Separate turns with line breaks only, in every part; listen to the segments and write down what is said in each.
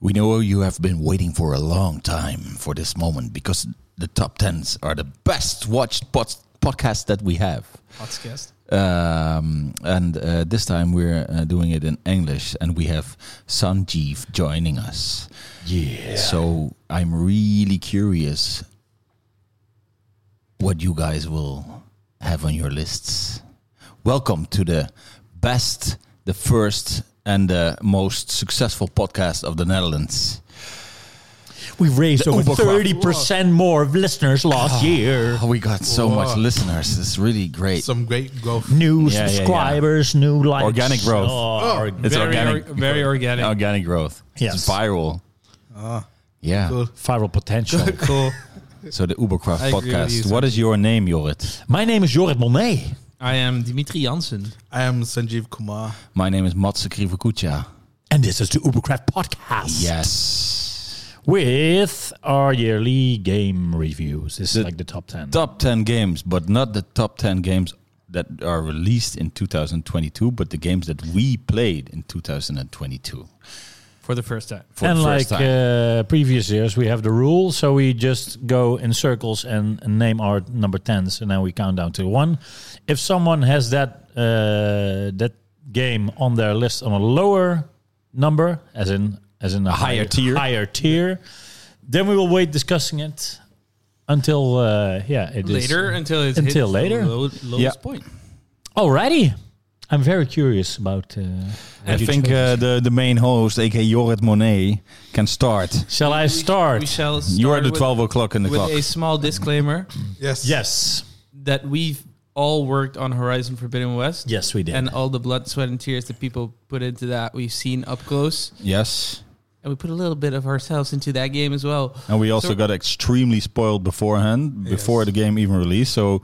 We know you have been waiting for a long time for this moment because the top tens are the best watched pod- podcast that we have.
Podcast.
Um, and uh, this time we're uh, doing it in English, and we have Sanjeev joining us. Yeah. So I'm really curious what you guys will have on your lists. Welcome to the best, the first, and the most successful podcast of the Netherlands.
We raised
The
over
Uber crowd.
thirty percent more of listeners last year.
Oh, we got so much
Wow.
listeners. It's really great.
Some great growth.
New
Yeah, yeah, yeah.
subscribers, new likes,
Organic growth.
Oh,
It's
very
organic.
or- very organic. Ah.
Organic growth.
Yes.
It's viral. yeah.
Cool.
viral potential.
cool.
So the Ubercraft
I agree with
podcast.
you,
what is your name, Jorrit?
My name is Jorrit Monet.
I am Dimitri Jansen.
I am Sanjeev Kumar.
My name is Matze Krivokucha.
And this is the Ubercraft podcast
Yes.
with our yearly game reviews. This
The
is like the top 10.
Top 10 games, but not the top 10 games that are released in 2022, but the games that we played in 2022
For the first time.
for
and
the
like
first time.
uh, previous years, we have the rule. So we just go in circles and, and name our number 10s, and then we count down to one. If someone has that, uh, that game on their list on a lower number, as in, as in a
Higher
higher,
tier.
higher tier, then we will wait discussing it until uh, yeah it is
Later until it's
Until
hit
later.
the low- lowest
Yeah.
point.
Alrighty. I'm very curious about. Uh,
I think uh, the, the main host, aka Jorrit Monet, can start.
shall I start?
We shall start
You are the
with-
12 o'clock in the
with
clock.
a small disclaimer
Yes.
yes.
that we've all worked on Horizon Forbidden West.
Yes, we did.
And all the blood, sweat, and tears that people put into that, we've seen up close.
Yes.
And we put a little bit of ourselves into that game as well.
And we also
So-
got extremely spoiled beforehand, before the game even released. So,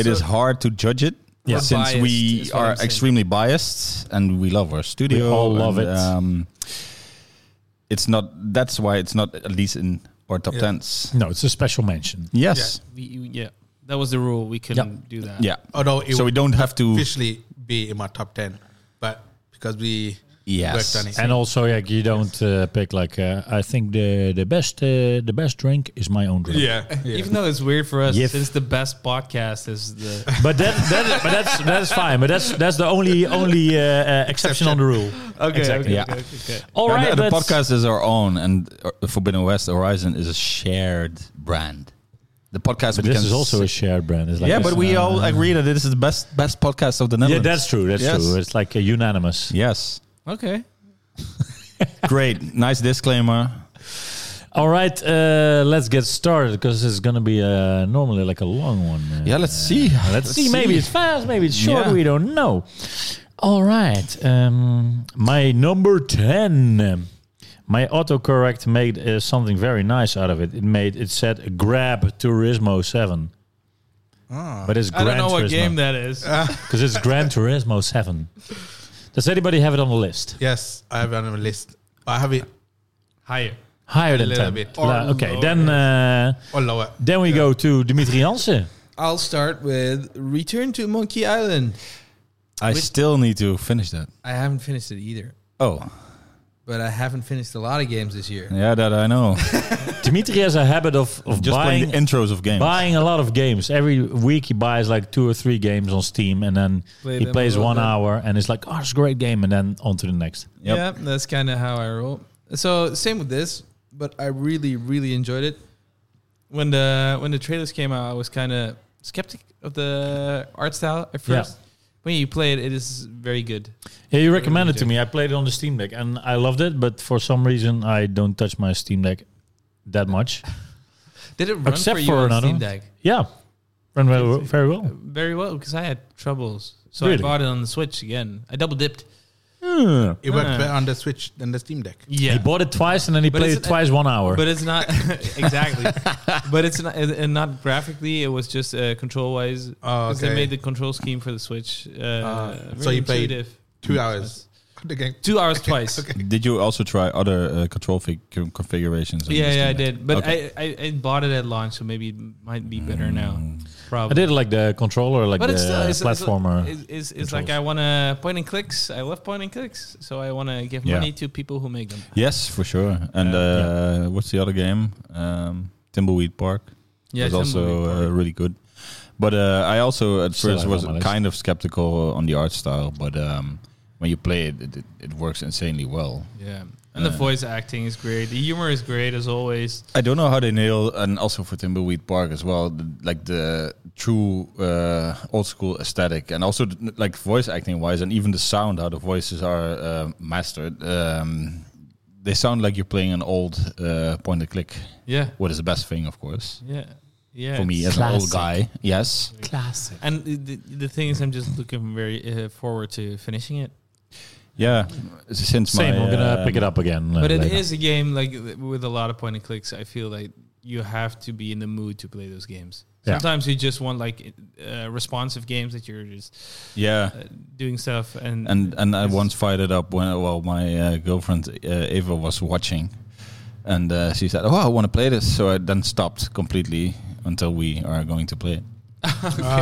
it is hard to judge it.
We're
since
biased,
we
is what
are
I'm saying.
extremely biased and we love our studio,
all love
and,
it.
Um, it's not. That's why it's not at least in our top
Yeah.
tens.
No, it's a special mention.
Yes.
We, yeah, that was the rule. We couldn't do that.
Yeah.
Although it
so we don't have to.
officially be in my top 10, but because we
Yes.
worked on it.
And also, like you don't uh, pick like uh, I think the the best uh, the best drink is my own drink.
yeah. yeah.
Even though it's weird for us,
Yif.
since the best podcast is the.
But that, that but that's that's fine. But that's that's the only only uh, uh, exception on the rule.
okay,
Exactly.
Yeah.
okay, okay, okay.
All
And
right,
the, the
let's-
podcast is our own, and uh, Forbidden West Horizon is a shared brand. The podcast
But
we
this
can
is also a
s-
shared brand. It's like
yeah,
it's,
but we
uh,
all agree that this is the best best podcast of the
yeah,
Netherlands.
that's true. That's
Yes.
true. It's like uh, unanimous.
yes.
Okay.
Great, nice disclaimer.
All right, uh, let's get started because it's gonna be uh, normally like a long one. uh,
Yeah, let's see.
Let's see. Maybe it's fast. Maybe it's short.
Yeah.
We don't know. All right. Um, my number ten. My autocorrect made uh, something very nice out of it. It made it said Grab Turismo Seven.
Ah.
But it's
I
Gran
don't know what
Turismo,
game that is.
because it's Gran Turismo Seven. Does anybody have it on the list?
Yes, I have it on my list. I have it
Higher.
Higher than
little
ten.
bit.
La-
Or
okay,
lower.
then uh,
or lower.
then we go to Dimitri Jansen.
I'll start with Return to Monkey Island.
I
Which-
still need to finish that.
I haven't finished it either,
Oh,
but I haven't finished a lot of games this year.
yeah, that I know.
Dimitri has a habit of of
Just playing
buying
the intros of games.
buying a lot of games every week he buys like two or three games on steam and then
Play
he
them
plays
a little
one
bit.
hour and it's like oh it's a great game and then on to the next
Yep.
Yeah, that's kind of how I roll. So same with this, but I really, really enjoyed it. When the when the trailers came out, I was kind of skeptic of the art style at
Yeah.
first. When you play it, it is very good.
yeah you recommended to me i played it on the steam deck and i loved it but for some reason i don't touch my steam deck that much
Did it run
except
for
for,
you on
another
Steam
one.
Deck?
yeah ran very, well- very well
Very well, because I had troubles, so
Really?
I bought it on the Switch again. I double dipped.
yeah.
It worked
Ah.
better on the Switch than the Steam Deck.
Yeah,
he bought it twice and then he
But
played
is
it
it-
twice one hour
But it's not exactly. but it's not, and- and not graphically. It was just uh, control wise.
Oh,
Because They
okay.
made the control scheme for the Switch. Uh,
Ah, so
very
you played
intuitive.
Two hours. the game.
Two hours twice.
Did you also try other uh, control fig- con- configurations? and
Yeah,
this
yeah, I
and that?
did. But
Okay.
I, I, I bought it at launch, so maybe it might be better
Mm.
now. Probably.
I did like the controller, like
but
the
it's still it's,
uh, platformer.
It's, it's, it's like
controls.
I want to point and clicks. I love point and clicks, so I want to give
Yeah.
money to people who make them.
Yes, for sure. And uh, what's the other game? Um, Timbleweed Park
Yeah,
was
some
also
movie
uh,
part.
really good. But uh, I also at
Still
first
have
was
on my list.
kind of skeptical on the art style, but um, when you play it, it, it, it works insanely well.
yeah, and the
uh,
voice acting is great. The humor is great as always.
I don't know how they nail, and also for Timbleweed Park as well, the, like the true uh, old school aesthetic, and also th- like voice acting wise, and even the sound how the voices are uh, mastered. Um, they sound like you're playing an old uh, point and click,
Yeah,
what is the best thing, of course,
yeah, yeah.
for me as an old
Classic.
guy. Yes,
Classic.
And the- the, the thing is, I'm just looking very uh, forward to finishing it.
yeah. Since
Same.
my,
I'm gonna
um,
pick it up again. uh,
but it is
later.
a game like th- with a lot of point and clicks. I feel like you have to be in the mood to play those games.
Yeah.
Sometimes you just want like uh, responsive games that you're just
Yeah,
uh, doing stuff and
and and I
Yes.
once fired it up when well my uh, girlfriend uh, Eva was watching, and uh, she said, "Oh, I want to play this," so I then stopped completely until we are going to play it.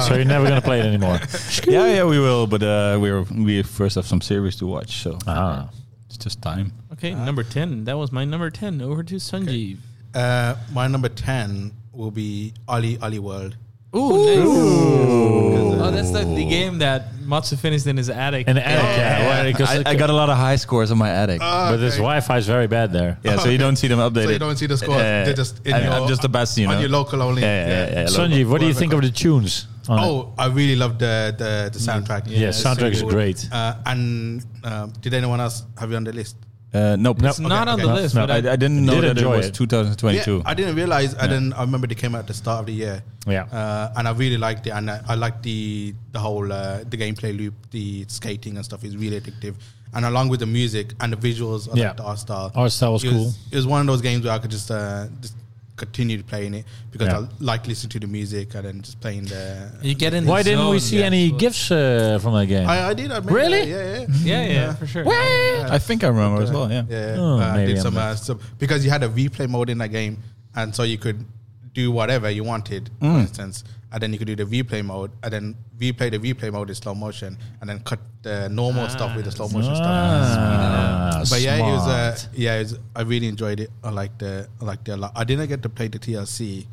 so you're never gonna play it anymore.
yeah, yeah, we will, but uh, we are we first have some series to watch, so
Ah,
it's just time.
Okay, number 10. That was my number 10. Over to Sanjeev.
Uh, my number ten will be Ali Ali World.
Ooh, nice. Oh, that's the, the game that Matsu finished in his attic.
and uh, the attic, yeah, well, because
I, I got a lot of high scores on my attic.
but this Wi-Fi is very bad there.
yeah, so you don't see them updated.
So you don't see the score.
Yeah,
They're just in
I'm,
your-
I'm just the best, you know.
on your local only.
yeah, yeah, yeah, yeah, local.
Sanjeev, what do you think of the tunes? on it?
Oh, I really love the the, the soundtrack.
yeah, soundtrack is
really
great.
good. Uh, and uh, did anyone else have you on the list?
Uh, nope.
No.
it's not on the
No,
list,
no,
but
I, I didn't know
Did
that it
enjoy
was
it.
Yeah,
2022.
I didn't realize. I didn't. I remember they came out at the start of the year.
Yeah.
uh, and I really liked it. And I, I liked the the whole uh, the gameplay loop, the skating and stuff is really addictive. And along with the music and the visuals, I
Yeah.
liked the art style.
Art style was
it
cool.
It was one of those games where I could just uh, just continue playing it because
Yeah.
I like listening to the music and then just playing the.
you get in
Why
the
didn't we
zone,
see
yeah.
any gifts uh, from that game?
I, I did. I made
Really?
that, Yeah, yeah.
Yeah, yeah, for sure.
I think I remember as well. Yeah.
Yeah,
Oh,
uh,
maybe
did
I'm
some,
not.
uh, some because you had a replay mode in that game, and so you could do whatever you wanted, for
Mm.
instance, and then you could do the replay mode, and then replay the replay mode in slow motion, and then cut the normal stuff with the slow motion
Ah,
stuff. But yeah, it was uh,
smart.
yeah, it was, I really enjoyed it. I liked the I liked it a lot. I didn't get to play the TLC.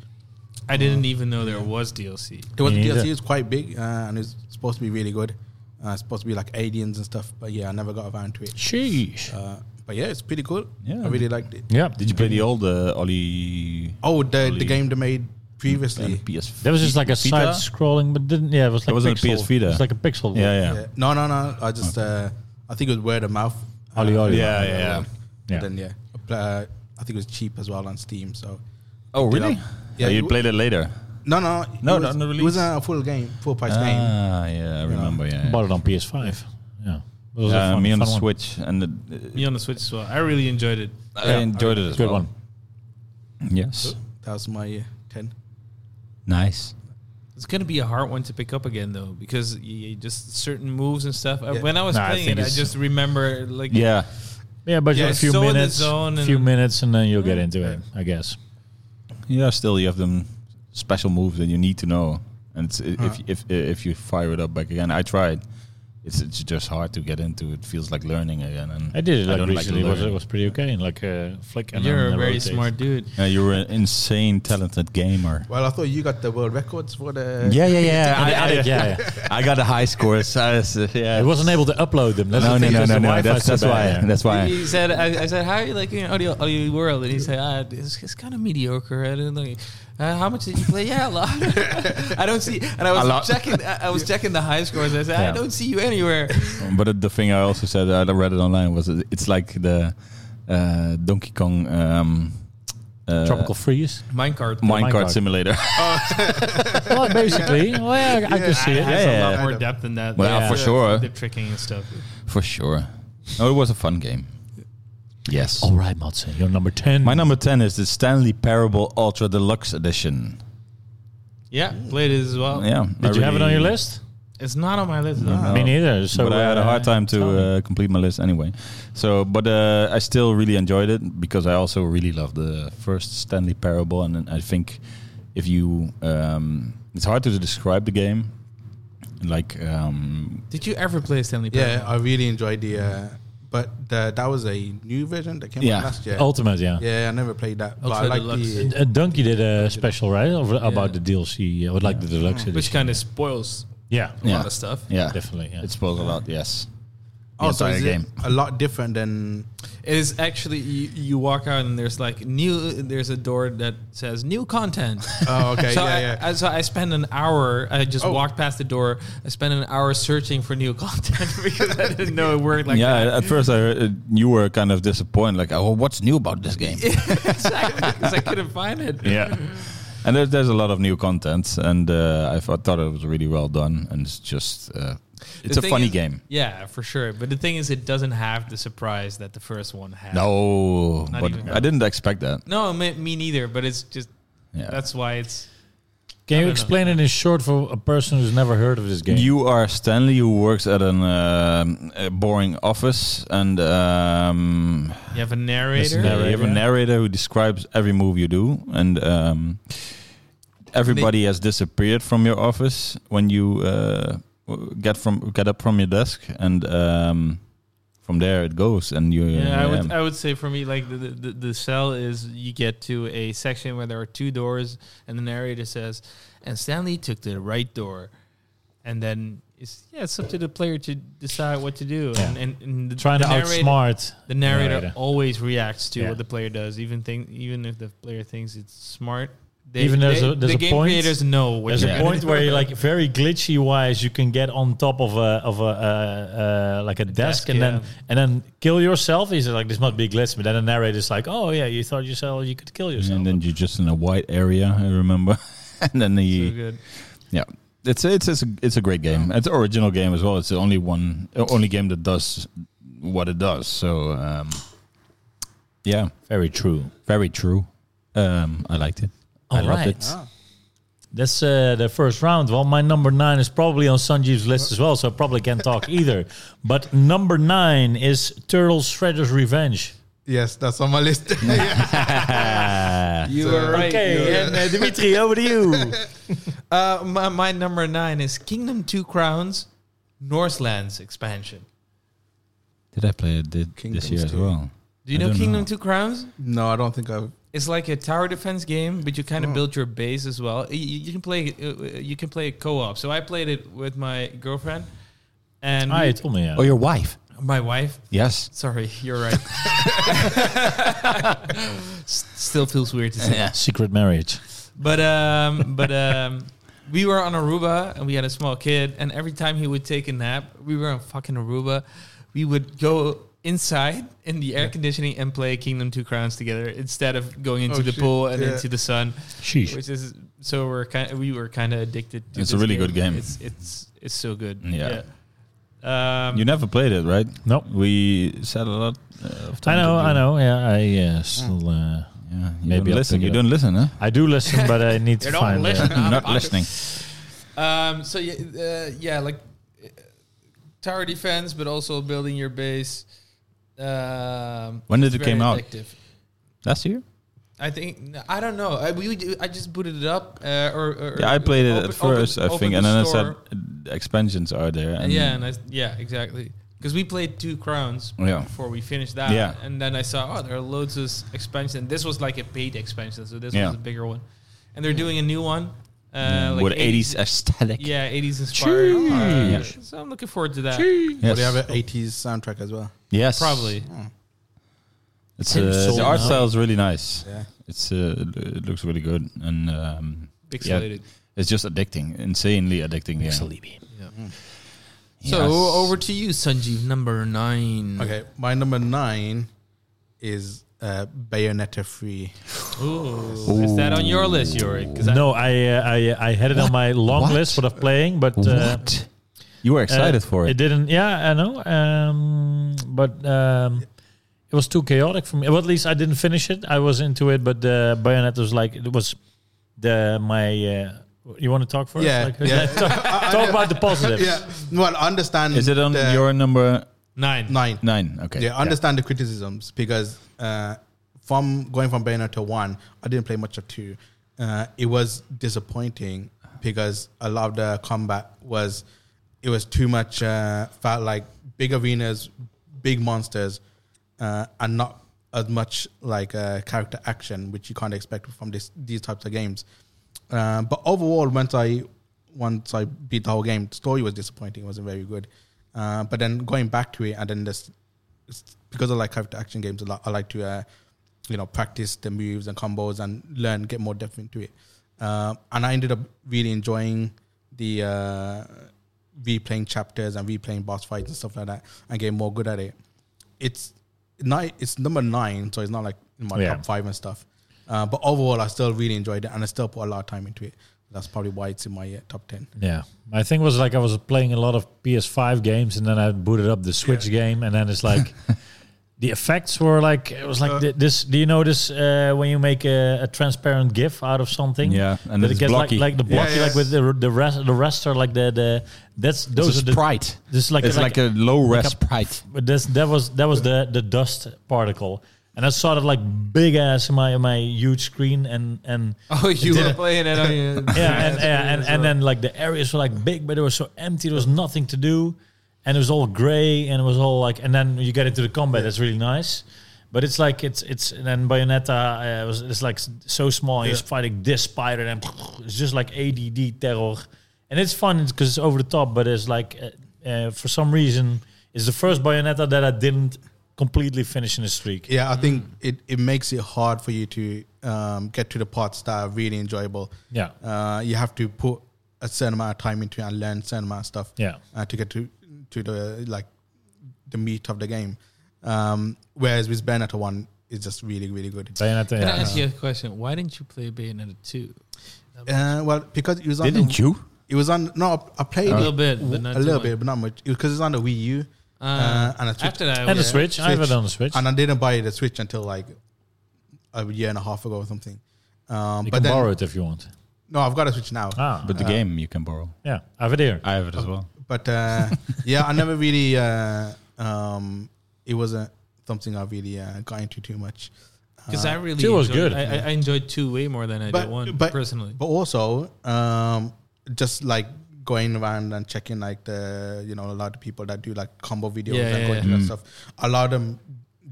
I didn't even know there was DLC.
It was
Me
the
neither.
DLC was quite big, uh, and it's supposed to be really good. Uh, it's supposed to be like aliens and stuff, but yeah, I never got around to it.
Sheesh.
Uh, but yeah, it's pretty cool.
Yeah.
I really liked it.
yeah.
Did you play the old uh, Oli?
Oh, the, the
Only-
game they made
and
previously.
PS.
That was just like a
Vita?
side scrolling, but didn't yeah, it was like
wasn't a
pixel.
PS Vita.
It was like a pixel.
Yeah, yeah.
Yeah. No, no, no. I just, uh, I think it was word of mouth.
Oli
Uh,
Oli.
Yeah, yeah, yeah.
Yeah.
Then yeah, uh, I think it was cheap as well on Steam. So
Oh, really?
Yeah,
Yeah, you
you-
played it later.
no, no,
No,
it
not
was,
on the
It
release.
wasn't a full game, full price game.
Ah, yeah, I remember. Yeah,
Bought it on PS5. Yeah. It was a
yeah. Uh,
fun-
me on the
fun one.
Switch, and the,
Me on the Switch as well. I really enjoyed it.
I enjoyed it as
Good
well.
one.
Yes,
That was my uh, ten.
nice.
It's going to be a hard one to pick up again, though, because you, you just certain moves and stuff. Uh
Yeah.
When I was
Nah, I
playing
think
it, I
it's-
just remember, like,
Yeah,
Yeah, but
Yeah,
a
it's
few
so in the
minutes,
zone
few
and-
minutes, and then you'll get into it, I guess.
yeah. Still, you have them special moves that you need to know, and it's, i- if if if you fire it up back again, I tried. It's it's just hard to get into. It feels like learning again. And
I did it
I
like
don't like to
recently. it was,
learn.
it was pretty okay. Like uh, flick. And
you're
then
a very
rotate.
smart dude.
Yeah, you're an insane talented gamer.
Well, I thought you got the world records for the.
Yeah, yeah, yeah.
And the
I,
attic,
I,
yeah, yeah.
I got a high score. So I was, uh, yeah,
I wasn't able to upload them. That's
No,
the
no,
thing,
no,
because
no,
the
no.
Wi-Fi
That's
is so
that's why.
bad.
That's why.
He said, I, I said, how are you liking audio, audio world? And he said, ah, it's, it's kind of mediocre. I don't know. Uh, how much did you play? Yeah, a lot. I don't see. And I
A
was
lot.
checking. I, I was checking the high scores. I said, I
Yeah.
don't see you anywhere.
But uh, the thing I also said I read it online was it- it's like the uh, Donkey Kong um, uh,
Tropical freeze.
minecart
Minecart.
minecart.
simulator.
well, basically, well, yeah, I can see it.
Yeah,
has
yeah,
a lot
yeah.
more depth than that.
Well,
The-
for sure.
The tricking and stuff.
For sure. No, it was a fun game. Yes.
All right, Matze, you're number ten.
My number ten is the Stanley Parable Ultra Deluxe Edition.
Yeah, played it as well.
Yeah.
Oh. Did you have it on your list?
It's not on my list.
No.
though.
Me neither. So
but I had a
uh,
hard time to
tell me.
uh, complete my list anyway. So, but uh, I still really enjoyed it because I also really love the first Stanley Parable, and I think if you, um, it's hard to describe the game. Like, um,
Did you ever play Stanley?
Yeah,
Parable?
I really enjoyed the. Uh, but the, that was a new version that came
Yeah.
out last year.
Ultimate, yeah.
Yeah, I never played that, but I
Ultra
like
Deluxe.
the.
Uh, Donkey did a special, right? Over, About
Yeah.
the DLC, uh, with, like the deluxe edition.
which kind of spoils
yeah,
a
Yeah.
lot of stuff.
yeah,
definitely. Yeah.
it spoils a lot. Yes, the
Oh, so
entire
is it
game.
a lot different than
It is actually you, you walk out and there's like new. There's a door that says new content.
Oh, okay,
so
yeah,
I,
yeah.
I, so I spend an hour. I just
Oh.
walked past the door. I spent an hour searching for new content because I didn't know it worked like
yeah, at first I heard, uh, you were kind of disappointed, like, oh, what's new about this game?
that. exactly because I couldn't find it.
yeah. And there's, there's a lot of new content, and uh, I thought thought it was really well done, and it's just uh, it's
The
a
thing
funny
is-
game.
Yeah, for sure. But the thing is, it doesn't have the surprise that the first one had.
No,
Not
but
even.
I didn't expect that.
no, me, me neither. But it's just
Yeah.
that's why it's
Can
I
you
don't
explain it in short for a person who's never heard of this game?
You are Stanley, who works at an um, a boring office, and um,
you have a narrator.
narrator.
you have a narrator who describes every move you do, and um, everybody has disappeared from your office when you uh, w- get from get up from your desk, and um, from there it goes, and you
Yeah, I would,
um,
I would say for me, like the, the, the- the cell is you get to a section where there are two doors, and the narrator says, and Stanley took the right door. And then it's, yeah, it's up to the player to decide what to do.
Yeah.
And, and, and the,
trying
the
to
narrator,
outsmart.
The narrator,
narrator.
always reacts to
Yeah.
what the player does, even think, even if the player thinks it's smart. They,
Even there's
they-
a- there's
the
a
game
point-
creators know what
There's
you're
a
gonna
point
do.
where you like very glitchy wise, you can get on top of a of a uh, uh, like a desk,
desk,
and
yeah.
then and then kill yourself. He's like, this must be a glitch, but then the narrator's like, oh yeah, you thought yourself you could kill yourself.
and then you're just in a white area. I remember, and then the.
So good.
Yeah, it's it's it's a, it's a great game. It's an original game as well. It's the only one, uh, only game that does what it does. So, um, yeah,
very true.
very true. Um, I liked it. I
All
loved
right.
it.
Ah.
That's uh, the first round. Well, my number nine is probably on Sanjeev's list as well, so I probably can't talk either. But number nine is Turtles Shredder's Revenge.
Yes, that's on my list. Yeah.
You
So-
were right. you were-
and uh, Dimitri, over to you.
Uh, my, my number nine is Kingdom Two Crowns, Norselands expansion.
Did I play it did
Kingdoms
this year as
too.
well?
Do you
I
know
don't
Kingdom
know.
Two Crowns?
No, I don't think I've.
It's like a tower defense game, but you kind of build your base as well. You, you can play uh, you can play it co-op. So I played it with my girlfriend and
Ah, you
we-
told me. Yeah.
Oh, your wife?
my wife.
Yes.
Sorry, you're right. S- Still feels weird to say.
Secret marriage.
But um, but um, we were on Aruba and we had a small kid, and every time he would take a nap, we were on fucking Aruba. We would go inside in the air conditioning and play Kingdom Two Crowns together instead of going into
Oh,
the
shit.
pool and
Yeah.
into the sun,
Sheesh.
which is so we're kind we were kind of addicted. to
It's a
this
really good game.
It's it's it's so good.
Yeah.
Yeah. Um,
You never played it, right?
Nope.
We said a lot. uh, Of
I
times
know,
that you-
I know. Yeah, I uh, still. Uh,
Yeah, you
Maybe
don't
I'll
listen.
pick
You
it up.
don't listen, huh?
I do listen, but I need to
You don't
find.
listen.
Uh,
Not
I-
listening.
Um, so yeah, uh, yeah, like uh, tower defense, but also building your base. Um,
When did
it's
it came
very
out?
addictive.
Last year?
I think I don't know. I, we, we- I just booted it up. Uh, or, or
Yeah, I played it
open-
at first,
open-
I
open
think,
the
and then I
store.
said uh, expansions are there. And
yeah, and I, yeah, exactly. Because we played two crowns
Oh, Yeah.
before we finished that,
Yeah.
and then I saw oh there are loads of s- expansion. This was like a paid expansion, so this
Yeah.
was a bigger one, and they're doing a new one uh, like
with 80s aesthetic.
yeah, eighties inspired. Uh,
Cheese.
so I'm looking forward to that.
Well,
Yes.
they have an 80s soundtrack as well.
Yes,
Probably.
It's
Tim
uh,
Sold
the art
now.
style is really nice.
Yeah.
It's uh, it- it looks really good and um,
Pixelated.
it's just addicting, insanely addicting. Yeah.
So
Yes.
over to you, Sanjeev, number nine.
Okay, my number nine is uh, Bayonetta 3.
Ooh. Is that on your list, Yorick? 'Cause I-
no, I, uh, I, I had it on my long
What?
list what I'm playing, but uh,
what? You were excited
Uh,
for it.
It didn't. Yeah, I know. Um, but um, it was too chaotic for me. Well, at least I didn't finish it. I was into it, but uh, Bayonetta was like it was the my uh, You want to talk first?
Yeah,
Like,
yeah.
talk, talk about the positives.
yeah. Well, understand.
Is it on
the
your number
Nine.
nine?
nine? Okay.
Yeah, understand the criticisms because uh, from going from Bayonetta to one, I didn't play much of two. Uh, it was disappointing because a lot of the combat was it was too much. Uh, felt like big arenas, big monsters, uh, and not as much like uh, character action, which you can't expect from this, these types of games. Uh, but overall, once I once I beat the whole game, the story was disappointing. It wasn't very good. Uh, but then going back to it, and then this it's because I like character action games a lot, I like to, uh, you know, practice the moves and combos and learn, get more depth into it. Uh, and I ended up really enjoying the uh, replaying chapters and replaying boss fights and stuff like that, and getting more good at it. It's not, it's number nine, so it's not like in my
Yeah.
top five and stuff. Uh, but overall, I still really enjoyed it, and I still put a lot of time into it. That's probably why it's in my uh, top ten.
Yeah, I think it was like I was playing a lot of PS5 games, and then I booted up the Switch game, and then it's like the effects were like it was like thi- this. Do you notice uh, when you make a, a transparent GIF out of something?
Yeah, and
that
it's
it gets
blocky.
like like the
Yeah,
blocky,
yeah.
like with the the rest the raster, like the the that's those
Those
are
it's
the
a sprite.
This is like
it's like, a low res sprite.
but this that was that was the the dust particle. And I saw that like big ass in my in my huge screen and and
Oh, you
Did
were
it.
playing it on your.
yeah, and, yeah, and,
as
and
well.
then like the areas were like big, but it was so empty. There was nothing to do, and it was all gray, and it was all like. And then you get into the combat. That's really nice, but it's like it's it's and then Bayonetta uh, was it's like s- so small. You're fighting this spider, and it's just like ADD terror, and it's fun because it's over the top. But it's like uh, uh, for some reason, it's the first Bayonetta that I didn't completely finish in a streak.
Yeah, I think it, it makes it hard for you to um, get to the parts that are really enjoyable.
Yeah.
Uh, you have to put a certain amount of time into it and learn certain amount of stuff.
Yeah.
Uh, to get to to the like the meat of the game. Um, whereas with Bayonetta one is just really really good.
Bayonetta,
Can
yeah.
I ask you a question? Why didn't you play Bayonetta 2?
Uh, well, because it was on
Didn't
the,
you?
It was on. No, I
Uh,
played
A
it
little bit, but
w-
not
a
too
little
much.
bit, but not much. Because it's on the Wii U
Uh,
uh, and I switched
after that,
and the
yeah.
Switch. I have it
Switch.
on the Switch.
and I didn't buy the Switch until like a year and a half ago or something. Um,
you
but
can
then,
borrow it if you want.
no, I've got a Switch now.
Ah,
But the game you can borrow.
yeah, I have it here.
I have it as well.
But uh, yeah, I never really. Uh, um, it wasn't something I really uh, got into too much.
Because I really
Uh, Two was good.
enjoyed- I, I- I enjoyed two way more than I
But-
did one
but-
personally.
But also, um, just like going around and checking like the you know a lot of people that do like combo videos
Yeah,
and
yeah,
going
yeah. Mm.
through that stuff. A lot of them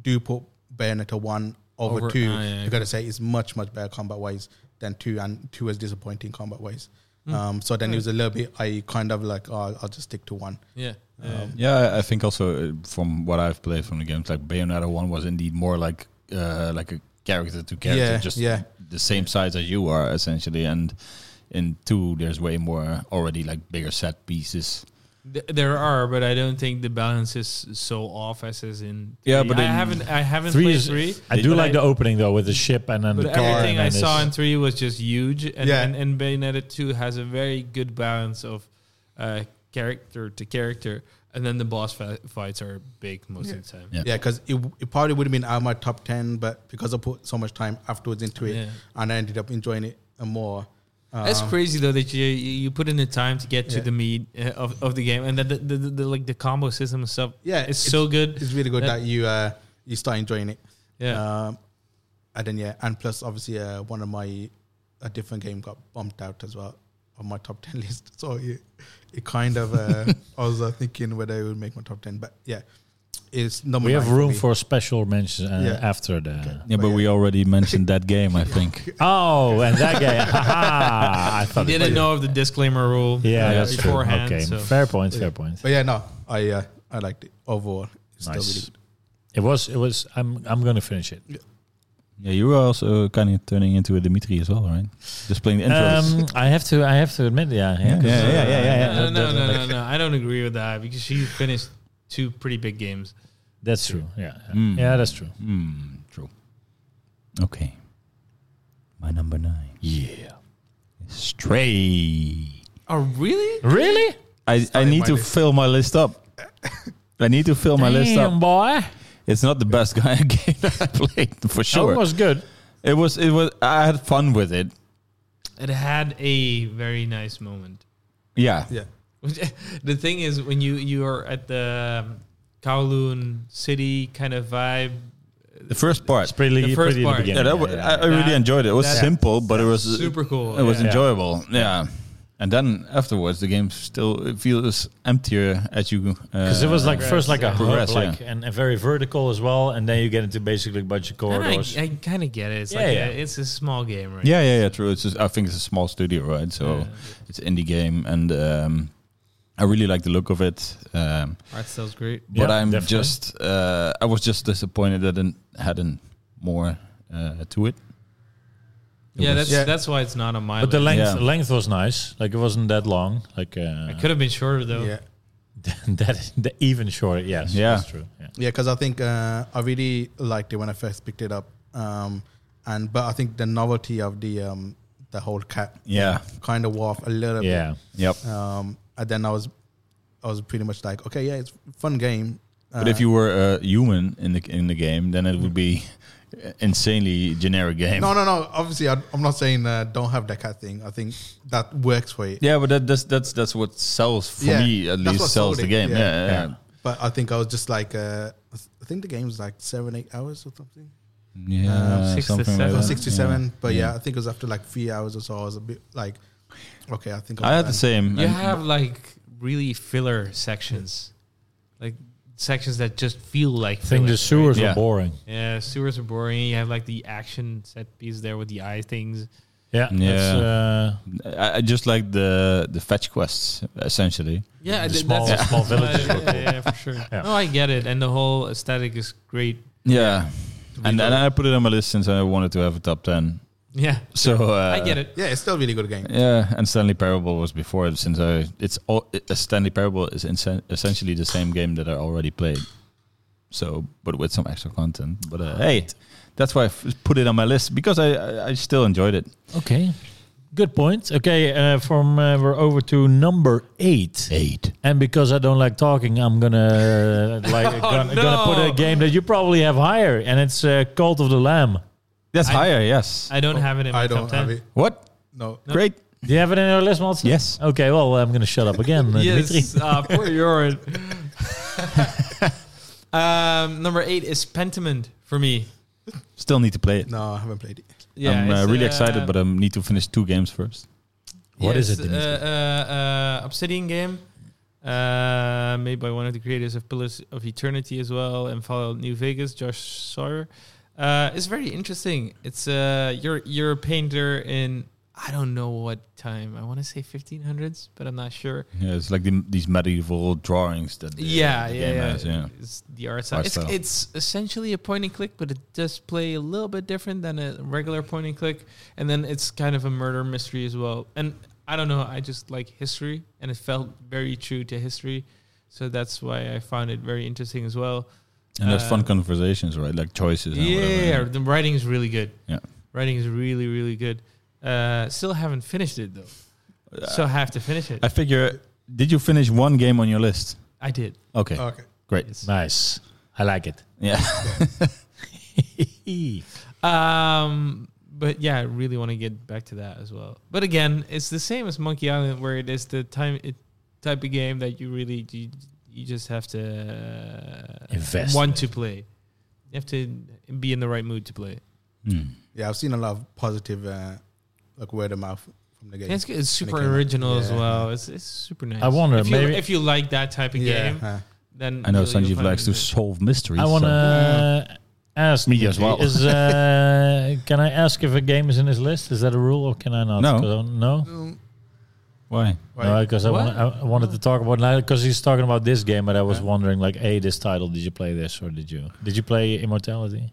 do put Bayonetta one over,
Over-
two.
ah, yeah,
you got to say it's much much better combat wise than two, and two was disappointing combat wise.
Mm.
Um, so then it was a little bit. I kind of like oh, I'll just stick to one.
Yeah. yeah.
Yeah, I think also uh, from what I've played from the games, like Bayonetta one was indeed more like uh, like a character to character,
Yeah,
just
yeah.
the same size as you are essentially. And in two, there's way more already like bigger set pieces.
Th- There are, but I don't think the balance is so off as is in.
Yeah,
three.
but
I
in
haven't. I haven't
three
played
is,
three.
I do
but
like the
I-
opening though with the ship and then
But
the car.
everything
and
I
then
saw
it's-
in three was just huge, and
Yeah.
and, and Bayonetta two has a very good balance of uh, character to character, and then the boss fi- fights are big most of the time.
Yeah.
Yeah, because it, it probably would have been out of my top 10, but because I put so much time afterwards into it
Yeah.
and I ended up enjoying it more. Uh,
That's
Um,
crazy though that you you you put in the time to get to
Yeah.
the meat uh, of, of the game, and that the, the, the, the like the combo system and stuff.
Yeah,
it's, so good.
It's really good
Yeah.
that you uh, you start enjoying it.
Yeah.
Uh,
Um, and then, yeah, and plus, obviously, uh, one of my, a different game got bumped out as well on my top 10 list. So it, it kind of, uh, I was uh, thinking whether it would make my top 10, but yeah, it's number
we have
nine
room
me.
for special mentions uh,
Yeah.
after the.
Yeah, but
But
we already mentioned that game, I think.
Oh, and that game! Haha. I
I
thought. it-
didn't know of the disclaimer rule.
yeah,
uh,
that's true.
beforehand.
Okay,
So.
fair point. Fair point.
But yeah, no, I uh, I liked it overall. It's still really
Nice.
good.
It was. It was. I'm. I'm gonna finish it.
Yeah, you were also kind of turning into a Dimitri as well, right? Just playing the intros.
Um, I have to. I have to admit. Yeah. uh, Yeah.
Yeah, yeah, yeah, yeah, yeah.
No, no, no, no, no, no. I don't agree with that because she finished two pretty big games.
That's true. Yeah. Yeah,
Mm.
yeah that's true.
Hmm, true. Okay. My number nine. Yeah. Stray.
Oh, really?
Really?
I, I
in
need
my
to
list.
fill my list up. I need to fill my list uh,
Damn,
up.
boy.
It's not the best guy game that I played for
Sure.
sure.
was good.
It was it was I had fun with it.
It had a very nice moment.
Yeah.
Yeah.
Which- the thing is, when you you are at the um, Kowloon city kind of vibe,
The first part.
It's pretty,
The first
pretty in the
part.
Yeah,
beginning.
that wa- I, I really
That-
enjoyed it. It was
that-
simple, but it was
super cool.
It was
yeah.
enjoyable. Yeah. And then afterwards, the game still it feels emptier as you uh,
because it was like first
Progress,
like a
progress,
hub, like and, and very vertical as well, and then you get into basically a bunch of
And I,
corridors.
I kind of get it. It's
Yeah,
like
yeah.
A, it's a small game, right?
Yeah, yeah, yeah. True. It's just, I think it's a small studio, right? So
Yeah.
it's indie game, and um, I really like the look of it. Um,
Art style's great.
but
Yeah,
I'm
definitely.
just, uh, I was just disappointed that it hadn't more uh, to it. It
Yeah,
was-
that's
Yeah.
that's why it's not on my.
but the
list.
length
Yeah.
length was nice. Like it wasn't that long. Like uh,
it could have been shorter though.
Yeah.
that the even shorter. Yes,
Yeah.
that's true. Yeah.
Yeah, because I think uh, I really liked it when I first picked it up, um, and but I think the novelty of the um, the whole cat
Yeah.
kind of warped a little
Yeah.
Yep.
bit. Um, and then I was, I was pretty much like, okay, yeah, it's a fun game. Uh,
But
Ah.
if you were a human in the in the game, then it would be insanely generic game.
no, no, no. Obviously, I, I'm not saying uh, don't have that cat thing. I think that works for it.
Yeah, but that, that's that's that's what sells for
Yeah,
me at
that's
least
what
sells
sold
the
it,
game. Yeah,
yeah.
yeah.
Yeah.
But I think I was just like, uh, I th- I think the game was like seven, eight hours or something.
Yeah,
Uh, six to
something like
seven.
Or
that.
67.
Yeah.
But yeah. I think it was after like three hours or so. I was a bit like, okay, I think I'm
I had the
done.
same.
You
and-
have like really filler sections, like sections that just feel like.
I think the
fillers,
sewers
Yeah.
were boring.
right? Yeah, sewers are boring. You have like the action set piece there with the eye things.
Yeah.
Yeah.
That's, uh,
I, I just like the the fetch quests essentially.
Yeah,
The
th-
small- small villages
Yeah,
were cool.
yeah, yeah, for sure.
Yeah.
No, I get it, and the whole aesthetic is great.
Yeah, and
reload.
and I put it on my list since I wanted to have a top ten.
Yeah,
So uh,
I get it.
Yeah, it's still a really good game.
Yeah, and Stanley Parable was before it since I it's all it- Stanley Parable is insen- essentially the same game that I already played. So, but with some extra content. But uh, hey, that's why I f- put it on my list because I I, I still enjoyed it.
uh, okay. Good point. Okay, uh, from uh, we're over to number eight.
Eight.
And because I don't like talking, I'm gonna uh, like gonna, gonna put
Oh, no.
a game that you probably have higher, and it's uh, Cult of the Lamb.
That's
I-
higher. Yes.
I don't have it in my
I
top
don't
ten.
have it.
what?
No.
Great.
Do you have it in your list, Maltz?
Oh.
Yes.
Okay. Well, I'm gonna shut up again, uh, Dimitri.
Yes, uh, poor Joran. um, number eight is Pentiment for me.
Still need to play it.
No, I haven't played it.
Yeah,
I'm uh,
it's,
really
uh,
excited, but I need to finish two games first.
What is
it's,
it,
Uh,
Dimitri?
uh, uh, Obsidian game uh, made by one of the creators of Pillars of Eternity as well and Fallout New Vegas, Josh Sawyer. Uh, it's very interesting. It's uh, you're you're a painter in I don't know what time. I want to say 1500s, but I'm not sure.
Yeah, it's like the, these medieval drawings that. the-
yeah,
the
yeah,
game
yeah.
has, yeah.
It's the art style. It's,
Art style.
it's essentially a point and click, but it does play a little bit different than a regular point and click. And then it's kind of a murder mystery as well. And I don't know, I just like history, and it felt very true to history. So that's why I found it very interesting as well.
And there's fun
Uh,
conversations, right? Like choices. And
Yeah,
whatever.
the writing is really good.
Yeah.
writing is really really good. Uh, still haven't finished it though. so I have to finish it.
Uh, I figure. Did you finish one game on your list?
I did.
Okay.
Okay.
Great.
nice. I like it.
Yeah.
Um, but yeah, I really want to get back to that as well. But again, it's the same as Monkey Island, where it is the time it type of game that you really you, you just have to uh,
Invest in
want
it.
to play. You have to be in the right mood to play.
Hmm.
Yeah, I've seen a lot of positive, uh, like word of mouth from the game.
It's, it's
When it
super
came out.
original as
Yeah.
well. It's, it's super nice.
I wonder,
if you,
maybe-
if you like that type of
yeah.
game,
uh,
then
I know
you'll- you'll
Sanjeev
find
likes to
it.
solve mysteries.
I want to uh, ask
Me as well.
Is uh, can I ask if a game is in his list? Is that a rule or can I not?
No.
'Cause I don't- no,
um,
Why?
right.
no, because I,
What?
wanna- I- I wanted to talk about because he's talking about this game, but I was wondering like, hey, this title, did you play this or did you did you play Immortality?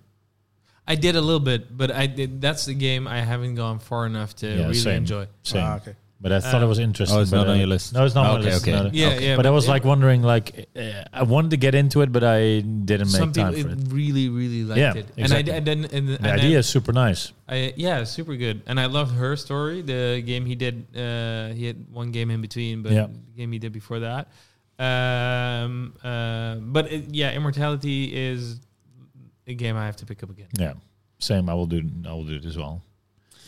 I did a little bit, but I did. That's the game I haven't gone far enough to
Yeah,
really
same.
enjoy.
Same,
Ah, okay.
but I thought it
Um,
was interesting.
Oh, it's
but,
not on
uh,
your list.
No, it's not on my
Okay,
list.
okay.
no.
Yeah, yeah.
but I was
it-
like wondering, like uh, I wanted to get into it, but I didn't
some
make time
people
for it.
it really really liked
Yeah,
it
exactly.
and i did and, and
The idea is super nice.
I, yeah super good and i loved her story the game he did uh he had one game in between but
Yeah.
the game he did before that um uh but it, yeah immortality is a game i have to pick up again
Yeah, same. I will do. I will do it as well.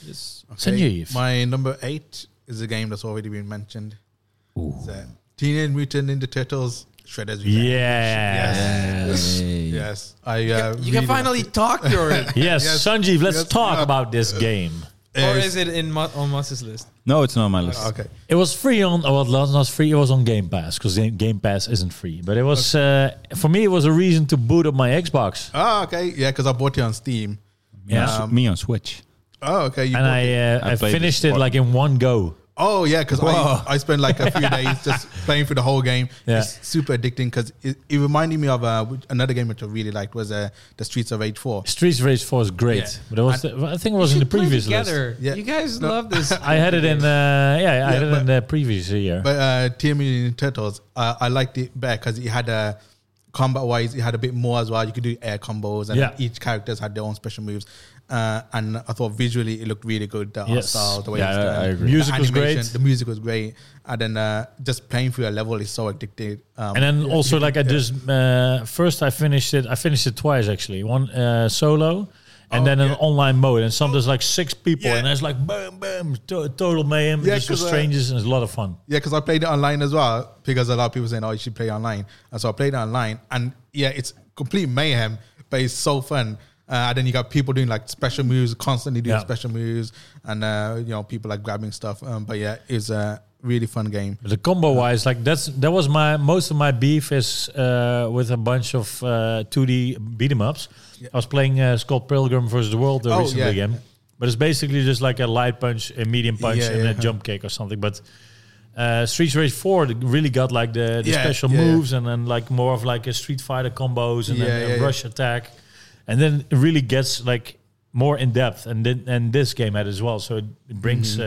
Yes.
Sanjeev.
My number eight is a game that's already been mentioned. It's, uh, Teenage Mutant Ninja Turtles Shredder's Revenge.
Yes.
Yes, I. Uh,
You can
really
finally
like
talk, Jordan.
Yes,
Yes.
Sanjeev, let's
Yes.
talk
Yeah.
about this game.
it.
or
Uh,
is it in Mo- on Moss's list?
No, it's not on my list.
Okay.
It was free on, oh, well, not not free, it was on Game Pass, because Game Pass isn't free. But it was, uh, for me, it was a reason to boot up my Xbox.
Oh, okay. Yeah, because I bought it on Steam.
Yeah.
Su- me on Switch.
Oh, okay. You
and
bought
I,
it.
uh,
I
I,
played
finished
it
it like in one go.
Oh yeah, because
Whoa.
I, I spent like a few days just playing through the whole game.
Yeah.
It's super addicting because it, it reminded me of uh, which- another game which I really liked was uh, the Streets of Rage Four.
Streets Race 4 is great,
Yeah.
but it was the, I think it was in the
Should play
previous list.
together.
Yeah.
You guys
No.
love this.
I had it in, uh, yeah, I had
Yeah,
it in the previous year.
But uh, Teenage Mutant Ninja Turtles, uh, I liked it better because it had a combat wise, it had a bit more as well. You could do air combos, and
Yeah.
each characters had their own special moves. Uh, and I thought visually it looked really good. The art
Yes.
style, the way
Yeah,
it's
I-
done,
I agree.
the
Music was
animation,
great.
The music was great, and then uh, just playing through a level is so addictive. Um,
and then also like I just uh, first I finished it. I finished it twice actually. One uh, solo, and then
Oh,
an
yeah.
online mode. And sometimes like six people,
Yeah.
and there's like boom, boom, to- total mayhem.
Yeah,
just with
'cause, uh,
strangers, and it's a lot of fun.
Yeah, because I played it online as well because a lot of people saying, "Oh, you should play online," and so I played it online, and yeah, it's complete mayhem, but it's so fun. Uh, and then you got people doing like special moves, constantly doing
Yeah.
special moves, and uh, you know people like grabbing stuff. Um, but yeah, it's a really fun game.
But the combo wise, like that's that was my most of my beef is uh, with a bunch of uh, 2D beat 'em ups. I was playing uh, Scott Pilgrim versus the World the
Oh,
recent
yeah.
game, but it's basically just like a light punch, a medium punch,
Yeah,
and
yeah.
a jump kick or something. But uh, Street Race Four really got like the, the
Yeah,
special
yeah, yeah.
moves and then like more of like a Street Fighter combos and
Yeah,
then a
yeah, yeah.
rush attack, and then it really gets like more in depth. And then and this game had as well, so it, it brings. Uh,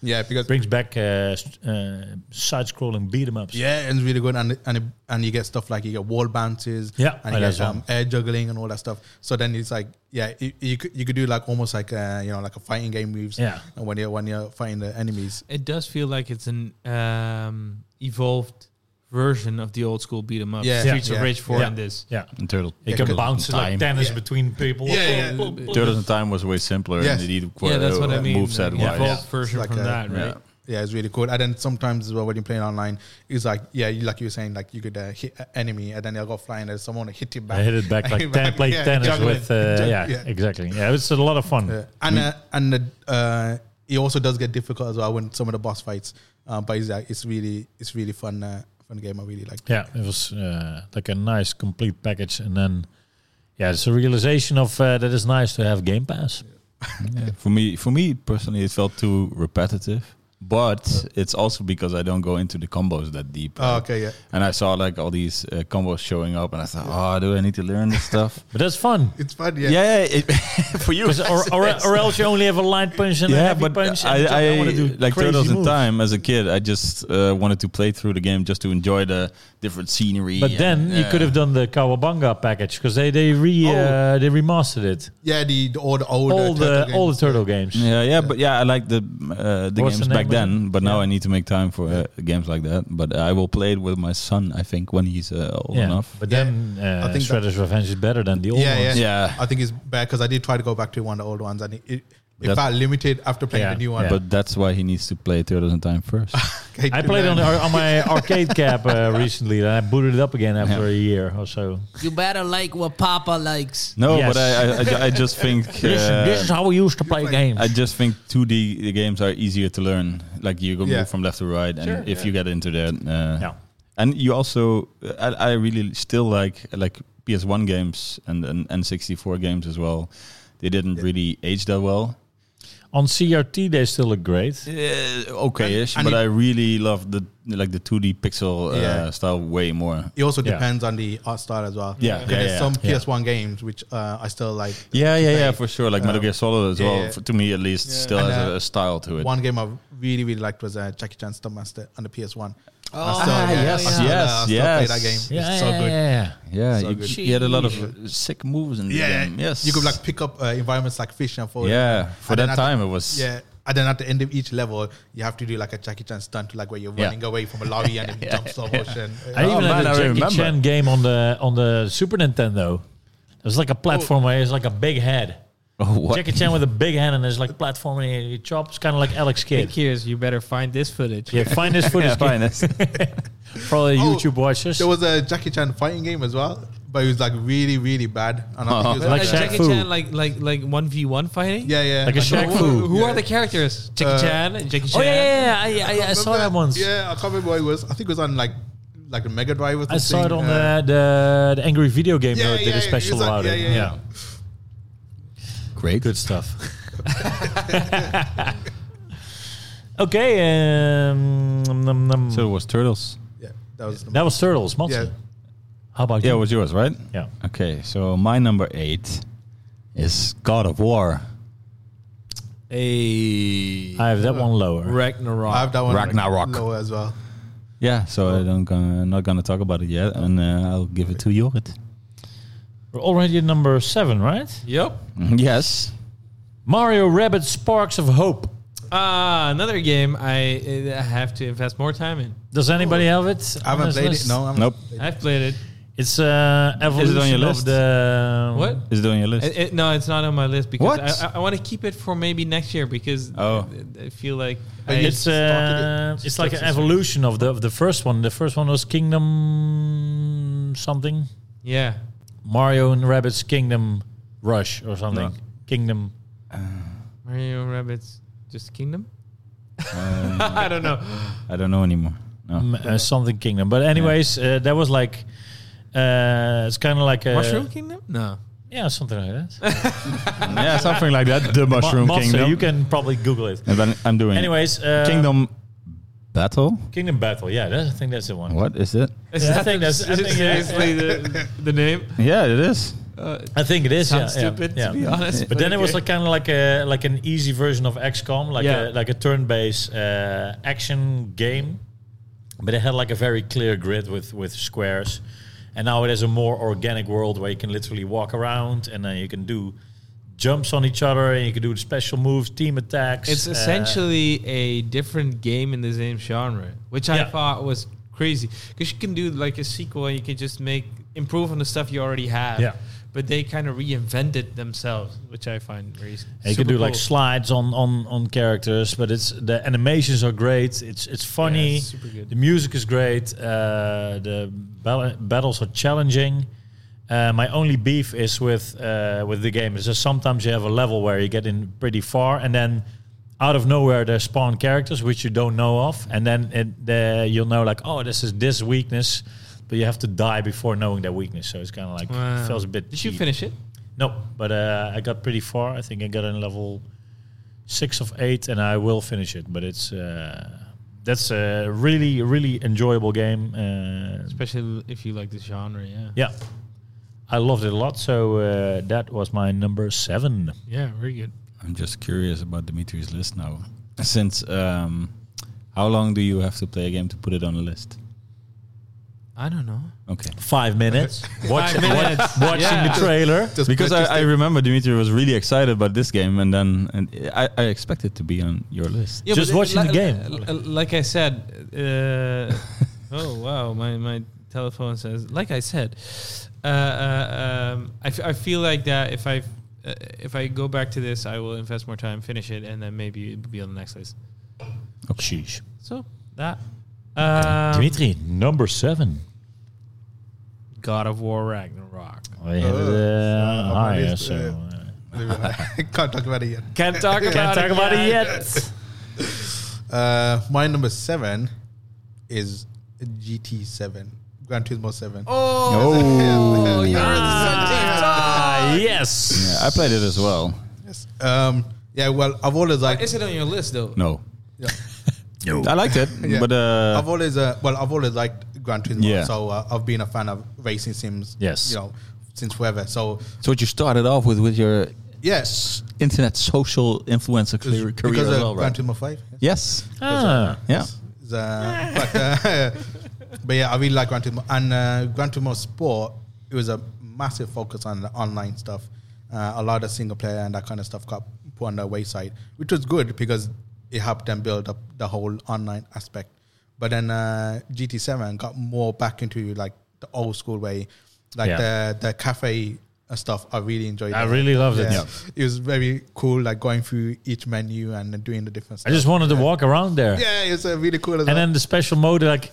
Yeah, because
brings back uh, st- uh, side-scrolling beat 'em ups.
yeah, it's really good, and and it, and you get stuff like you get wall bounces,
Yeah,
and
I
you
know
get
as well.
um, air juggling and all that stuff. So then it's like, yeah, you, you could you could do like almost like a, you know like a fighting game moves,
Yeah.
and when you're when you're fighting the enemies.
It does feel like it's an um, evolved version of the old school beat 'em up.
Yeah.
Streets
Yeah.
of Rage 4
Yeah.
and this.
Yeah.
And Turtle.
You
Yeah,
can bounce it like
time.
tennis between people.
Yeah, yeah.
Turtles in Time was way simpler
Yes.
and indeed
Yeah, that's what I
uh,
mean.
moveset
yeah.
wise.
Evolved version
Like
from
a-
that, right?
Yeah.
Yeah, it's really cool. And then sometimes as well when you're playing online, it's like yeah, you, like you were saying, like you could uh, hit an enemy and then they'll go flying and someone will hit you back.
I hit it back like ten, play
Yeah,
tennis
juggling.
with. Uh,
Jug-
yeah, exactly. Yeah, it's a lot of fun.
Yeah. And uh, and uh, uh, it also does get difficult as well when some of the boss fights. Um, but it's, uh, it's really it's really fun uh, fun game. I really like.
Yeah, it was uh, like a nice complete package, and then yeah, it's a realization of uh, that it's nice to have Game Pass.
Yeah. For me, for me personally, it felt too repetitive. But it's also because I don't go into the combos that deep.
Ah,
Oh, okay, yeah.
And I saw like all these uh, combos showing up, and I thought, oh, do I need to learn this stuff?
But that's fun.
It's fun. Yeah.
yeah, it, for you.
'Cause Or, or, or else you only have a light punch and a
yeah,
heavy
but
punch.
I,
and
I,
wanna
like
crazy
Turtles in
moves.
Time as a kid. I just uh, wanted to play through the game just to enjoy the different scenery.
But
and,
then you
uh,
could have done the Kawabanga package because they they re uh, they remastered it.
Yeah, the, the all Oh. the older
all the
turtle
all the
games.
turtle games.
Yeah, yeah, but yeah, I like the uh, the
What's
games
the
back
name of
then. But now
Yeah.
I need to make time for uh, games like that. But I will play it with my son. I think when he's uh, old
Yeah,
enough.
But
Yeah.
then uh,
I think that-
Shredder's Revenge is better than the old
Yeah,
ones.
Yeah.
I think it's bad because I did try to go back to one of the old ones and it, it, it
That-
felt limited after playing
Yeah,
the new one.
yeah.
Uh, But that's why he needs to play Turtles in Time first.
Okay,
I played on, the,
then-
on my arcade cap uh, recently, and I booted it up again after a year or so.
You better like what Papa likes.
no,
Yes.
but I, I- I, ju- I just think
Listen, this
uh,
is how we used to play games.
I just think 2D the games are easier to learn. Like you go
Yeah.
move from left to right, and if you get into that, uh,
Yeah.
and you also, I, I really still like like PS1 games and and N64 games as well. They didn't really age that well.
on CRT, they still look great.
Uh, okay-ish,
And- and
but
it-
I really love the like the 2D pixel
Yeah.
uh, style way more.
It also
Yeah.
depends on the art style as well.
Yeah,
'Cause
yeah,
there's
yeah.
some
Yeah.
PS1 games which uh, I still like.
Yeah, yeah, yeah,
Like,
for sure. Like Metal Gear Solid as
um, yeah,
well,
yeah.
for, to me at least, still
And,
has a,
uh,
a style to it.
One game I really really liked was uh, Jackie Chan Stuntmaster on the PS1. Oh,
Ah,
yes, yes, yes.
play that game.
Yeah,
it's so
yeah,
good.
yeah, yeah.
yeah,
So
you,
good.
he had a lot of uh, sick moves in the
Yeah,
game. Yes,
You could like pick up uh, environments like fish and fall.
yeah. For
And then
that
at the-
time, it was
Yeah. And then at the end of each level, you have to do like a Jackie Chan stunt, like where you're
Yeah.
running away from a lorry and it jumps slow motion. Uh,
I
Oh,
even
man,
had
I
a Jackie
remember.
Chan game on the on the Super Nintendo. It was like a platform where it's like a big head.
Oh, what?
Jackie Chan with a big hand and is like platforming and he chops, kind of like Alex Kidd.
Big ears, you better find this footage.
Yeah, find this footage
fine. eh? that's-
for all the
Oh,
YouTube watchers.
There was a Jackie Chan fighting game as well, but it was like really, really bad. And I think it was
Like
Like
Shaq
Jackie
Fu.
Chan, like like like one v one fighting.
yeah, yeah.
Like a
I
Shaq
can't
Who,
Fu.
remember-
who- who
Yeah.
are the characters? Jackie
Uh,
Chan, Jackie Chan.
Oh yeah, yeah, yeah. I, I, I saw
Remember-
that once.
Yeah, I can't remember what it was. I think it was on like like a Mega Drive or something.
I saw it on
Uh,
the, the the Angry Video Game
Yeah,
Nerd did
yeah,
a
yeah,
special
exact-
about
yeah,
it.
yeah, yeah.
Great.
good stuff. okay, um, nom, nom.
So it was turtles.
Yeah, that was the
that was Turtles, Monty.
Yeah.
How about
Yeah, it
you?
was yours, right?
yeah,
Okay, so my number eight is God of War. Hey.
I have that one lower.
Ragnarok.
I have that one
Ragnarok.
lower as well.
Yeah, so I don't gonna, not gonna talk about it yet, and uh, I'll give it to Jorrit.
We're already at number seven, right?
Yep.
Yes.
Mario Rabbit Sparks of Hope.
Ah, another game I, uh, I have to invest more time in.
Does anybody have it?
Oh. I haven't played it. No, I'm
Nope.
I've played it.
It's uh, evolution
your
of
list?
the uh,
What?
Is it on your list?
It- it- no, it's not on my list
What?
because I, I, I want to keep it for maybe next year because
Oh.
I, I feel like I,
It's uh,
started it.
it's like an evolution of the of the first one. The first one was Kingdom something.
yeah.
Mario and Rabbit's Kingdom Rush or something. Kingdom.
Mario Rabbits just Kingdom. I don't know.
I don't know anymore. No.
um, uh, something kingdom. But anyways, uh, that was like uh, it's kind of like a
Mushroom Kingdom? No.
Yeah, something like that.
yeah, something like that. The Mushroom
Monster,
Kingdom.
You can probably Google it.
And then I'm doing it.
Anyways, uh,
Kingdom Battle.
Kingdom Battle. Yeah, that, I think that's the one.
What is it?
Is
Yeah, I think that's- I
is it
think- yeah.
seriously the, the name?
Yeah, it is.
Uh,
I think it is.
sounds
yeah, yeah,
stupid
yeah,
to be honest.
But then it was
okay.
like kind of like a like an easy version of XCOM, like
Yeah.
a like a turn-based uh, action game. But it had like a very clear grid with with squares, and now it has a more organic world where you can literally walk around and then you can do jumps on each other and you can do special moves, team attacks.
It's
uh,
essentially a different game in the same genre, which I
Yeah.
thought was crazy because you can do like a sequel and you can just make improve on the stuff you already have.
Yeah.
But they kind of reinvented themselves, which I find very. s-
And you can
super
do like
cool.
slides on on on characters, but it's the animations are great. It's it's funny.
it's super good.
The music is great. Uh, the bal- battles are challenging. Uh, my only beef is with uh, with the game is that sometimes you have a level where you get in pretty far, and then out of nowhere there spawn characters which you don't know of, and then it, the, you'll know like, oh, this is this weakness, but you have to die before knowing that weakness. So it's kind of like
Wow.
feels a bit.
Did you
cheap.
finish it?
No, but uh, I got pretty far. I think I got in level six of eight, and I will finish it. But it's uh, that's a really really enjoyable game. Uh,
Especially if you like the genre, yeah.
yeah, I loved it a lot. So uh, that was my number seven.
Yeah, very good.
I'm just curious about Dimitri's list now. Since um, how long do you have to play a game to put it on a list?
I don't know.
Okay.
Five minutes. Watch,
Five minutes.
wa- watching
Yeah.
the trailer.
Just
Because I,
purchased
I
it.
remember Dimitri was really excited about this game, and then and I, I expect it to be on your list.
Yeah,
Just
but, uh,
watching the
li-
game.
li- li- Like I said, uh, oh wow, my my telephone says. Like I said, uh, uh, um, I, f- I feel like that if I uh, if I go back to this, I will invest more time, finish it, and then maybe it will be on the next list.
Oh, Sheesh.
So that um,
Dimitri, number seven.
God of War Ragnarok.
I had it,
Uh,
uh,
uh,
higher,
uh,
so, uh,
I can't talk about it yet.
Can't talk about
can't
it.
talk about it yet.
Uh, my number seven is GT7, Gran Turismo 7.
Oh,
Oh,
you're
Ah, yes.
Yeah, I played it as well.
Yes. Um, yeah, well, I've always like.
Is it on your list though?
No,
Yeah.
I liked it,
Yeah.
but uh,
I've always uh, well, I've always liked Gran Turismo,
Yeah.
so uh, I've been a fan of racing sims.
Yes.
you know, since forever. So
so what you started off with with your
yes,
internet social influencer career, career
because
as
of
well,
Gran
right?
Turismo Five. yes.
Yes.
Ah.
Yeah.
Is, uh, but, uh, but yeah, I really like Gran Turismo. And uh, Gran Turismo Sport, it was a massive focus on the online stuff. Uh, a lot of single player and that kind of stuff got put on the wayside, which was good because it helped them build up the whole online aspect. But then uh, GT7 got more back into like the old school way, like
Yeah.
the the cafe and stuff. I really enjoyed
I
it.
really loved it.
Yeah. It was very cool, like going through each menu and doing the different
I
stuff.
just wanted to walk around there.
yeah, it's uh, really cool. As
And
well.
then the special mode, like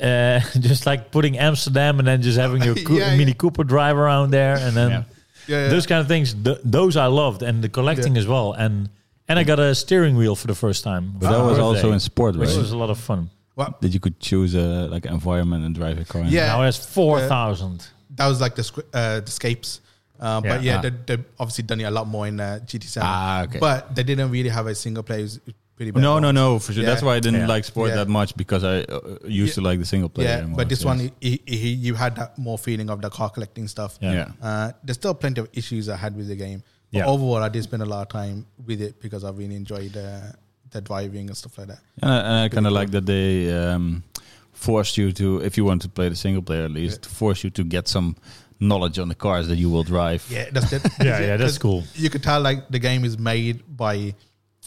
uh, just like putting Amsterdam and then just having your coo-
Yeah, yeah.
Mini Cooper drive around there, and then
Yeah.
Yeah, yeah.
those kind of things. Th- those I loved, and the collecting as well. And and I got a steering wheel for the first time.
But that was also in sport,
which
right?
was a lot of fun.
What?
that you could choose a like environment and drive a car. in.
Yeah.
Now it's four thousand.
that was like the squ- uh, the scapes. Uh,
Yeah. uh-huh.
but yeah,
Ah.
they, they've obviously done it a lot more in uh, GT7.
Ah, okay.
But they didn't really have a single player. It was pretty bad.
No, no, no, for sure.
Yeah.
That's why I didn't
Yeah.
like sport
Yeah.
that much because I uh, used to like the single player.
Yeah,
more,
but this
yes.
one, he, he, he, you had that more feeling of the car collecting stuff.
Yeah.
yeah.
Uh, there's still plenty of issues I had with the game. But
Yeah.
overall, I did spend a lot of time with it because I really enjoyed uh, the driving and stuff like that.
And I, and I kind of like that they um, forced you to, if you want to play the single player at least, force you to get some knowledge on the cars that you will drive.
Yeah, that's it.
Yeah, yeah,
'cause
that's cool.
You could tell like the game is made by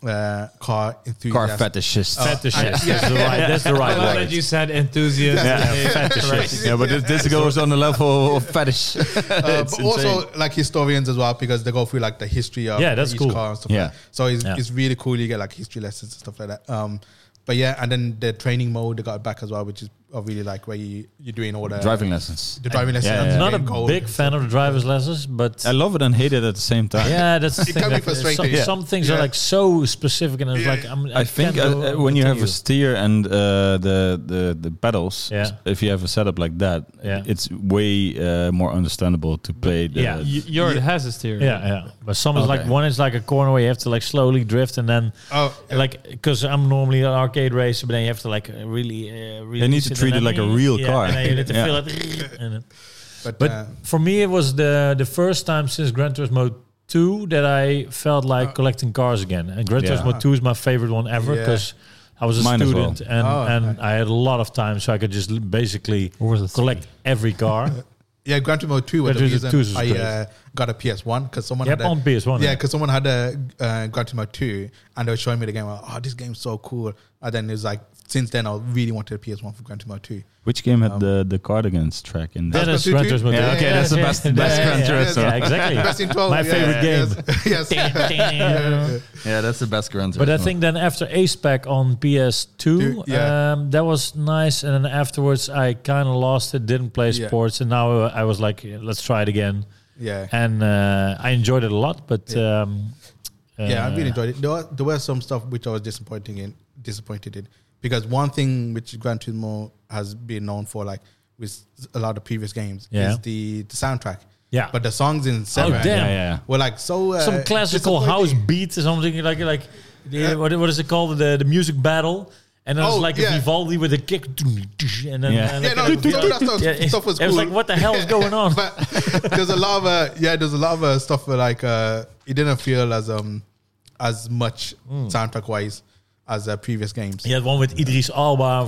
uh, car
Car
enthusiasts.
fetishists.
Oh.
Fetishes. That's the right. That's the
I love
right
that
word.
you said enthusiast.
Yeah.
Yeah.
yeah, but this, this goes on the level of fetish.
Uh,
It's
but also
insane.
like historians as well because they go through like the history of
Yeah, that's
each
cool.
car and stuff.
Yeah.
like that. so it's,
Yeah.
it's really cool. You get like history lessons and stuff like that. Um, but yeah, and then the training mode they got back as well, which is I really like where you you're doing all the
driving lessons.
the driving lessons.
Yeah,
and
yeah.
the
Not a
main goal.
big fan of the driver's lessons, but
I love it and hate it at the same time.
yeah, that's the
It
thing.
can be
like, uh, Some,
frustrating. Yeah.
some things are
Yeah.
like so specific, and it's
Yeah.
like I'm, I,
I think
can't
uh, uh,
go
when you have a
continue.
steer and uh, the the the pedals,
Yeah.
if you have a setup like that,
Yeah.
it's way uh, more understandable to play. The,
yeah.
Y- Yours has a steering.
Yeah, yeah. But some is like
Okay.
one is like a corner where you have to like slowly drift, and then
Oh, yeah.
like because I'm normally an arcade racer, but then you have to like uh, really, uh, really.
need to treat it like a real
yeah,
car.
And then you need to
Yeah.
feel it. and it-
but,
But
uh,
for me, it was the the first time since Gran Turismo two that I felt like collecting cars again. And Gran
Yeah.
Turismo two is my favorite one ever
Uh. Yeah.
because. I was a
Mine as well.
student, and,
Oh,
and I had a lot of time, so I could just l- basically collect every car.
Yeah, Gran Turismo 2 was
Gran Turismo
the
2 is
reason I
great.
uh, got a PS1 because someone
Yep,
had a,
on PS1,
Yeah,
yeah.
because someone had a uh, Gran Turismo 2 and they were showing me the game. Like, oh, this game's so cool. And then it was like, since then, I really wanted a PS1 for Gran Turismo 2.
Which game had the the cardigans track in
That
there?
That's
is
Gran
Gran Turismo
Turismo.
two.
Yeah, okay, that's
the best- best
yeah,
Gran
yeah,
Turismo.
Yeah, exactly.
Best in 12.
My
yeah,
favorite game.
Yes. yes.
Yeah, that's the best Gran
But I think then after Ace Pack on PS2,
Two, yeah.
um, that was nice. And then afterwards, I kind of lost it, didn't play
Yeah.
sports, and now uh, I was like, "Yeah, let's try it again.
yeah.
And uh, I enjoyed it a lot, but um,
yeah, I
uh,
really enjoyed it. There were, there were some stuff which I was disappointing in, disappointed in, because one thing which Gran Turismo has been known for, like with a lot of previous games,
Yeah.
is the, the soundtrack.
Yeah. Oh,
but the songs in seven
damn.
yeah, yeah.
were like so uh,
some classical house
disappointing.
beat or something like like the, what, what is it called the the music battle. And then
Oh,
it's like
yeah.
a Vivaldi with a kick, and then
Yeah.
and
Yeah,
like
no,
a-
no, that stuff-
Yeah,
stuff was
it was
cool.
like, what the hell is going on?
But there's a lot of uh, yeah, there's a lot of uh, stuff where like uh, it didn't feel as um as much
Hmm.
soundtrack wise as uh, previous games.
He had one with Idris Alba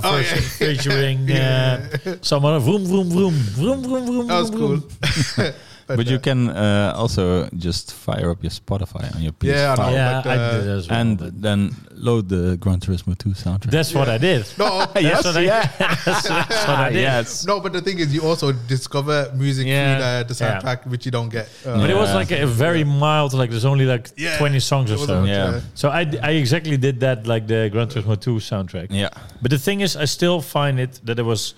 Oh,
first,
yeah.
featuring uh, someone of vroom vroom vroom vroom vroom vroom.
That was cool.
vroom, vroom.
but,
uh,
you can uh, also just fire up your Spotify on your PS5
Yeah, I know.
Yeah,
but,
I
uh,
did as well.
and
but
then load the Gran Turismo 2 soundtrack.
that's what I did.
no,
That's what I, that's what I did.
yes.
No, but the thing is, you also discover music
Yeah.
through the, the
Yeah.
soundtrack, which you don't get. Uh,
But it was
Yeah.
like a very mild, like there's only like
Yeah.
20 songs
it
or
was
so.
about,
Yeah.
uh,
So I, d- I exactly did that, like the Gran Turismo 2 soundtrack.
Yeah.
But the thing is, I still find it that there was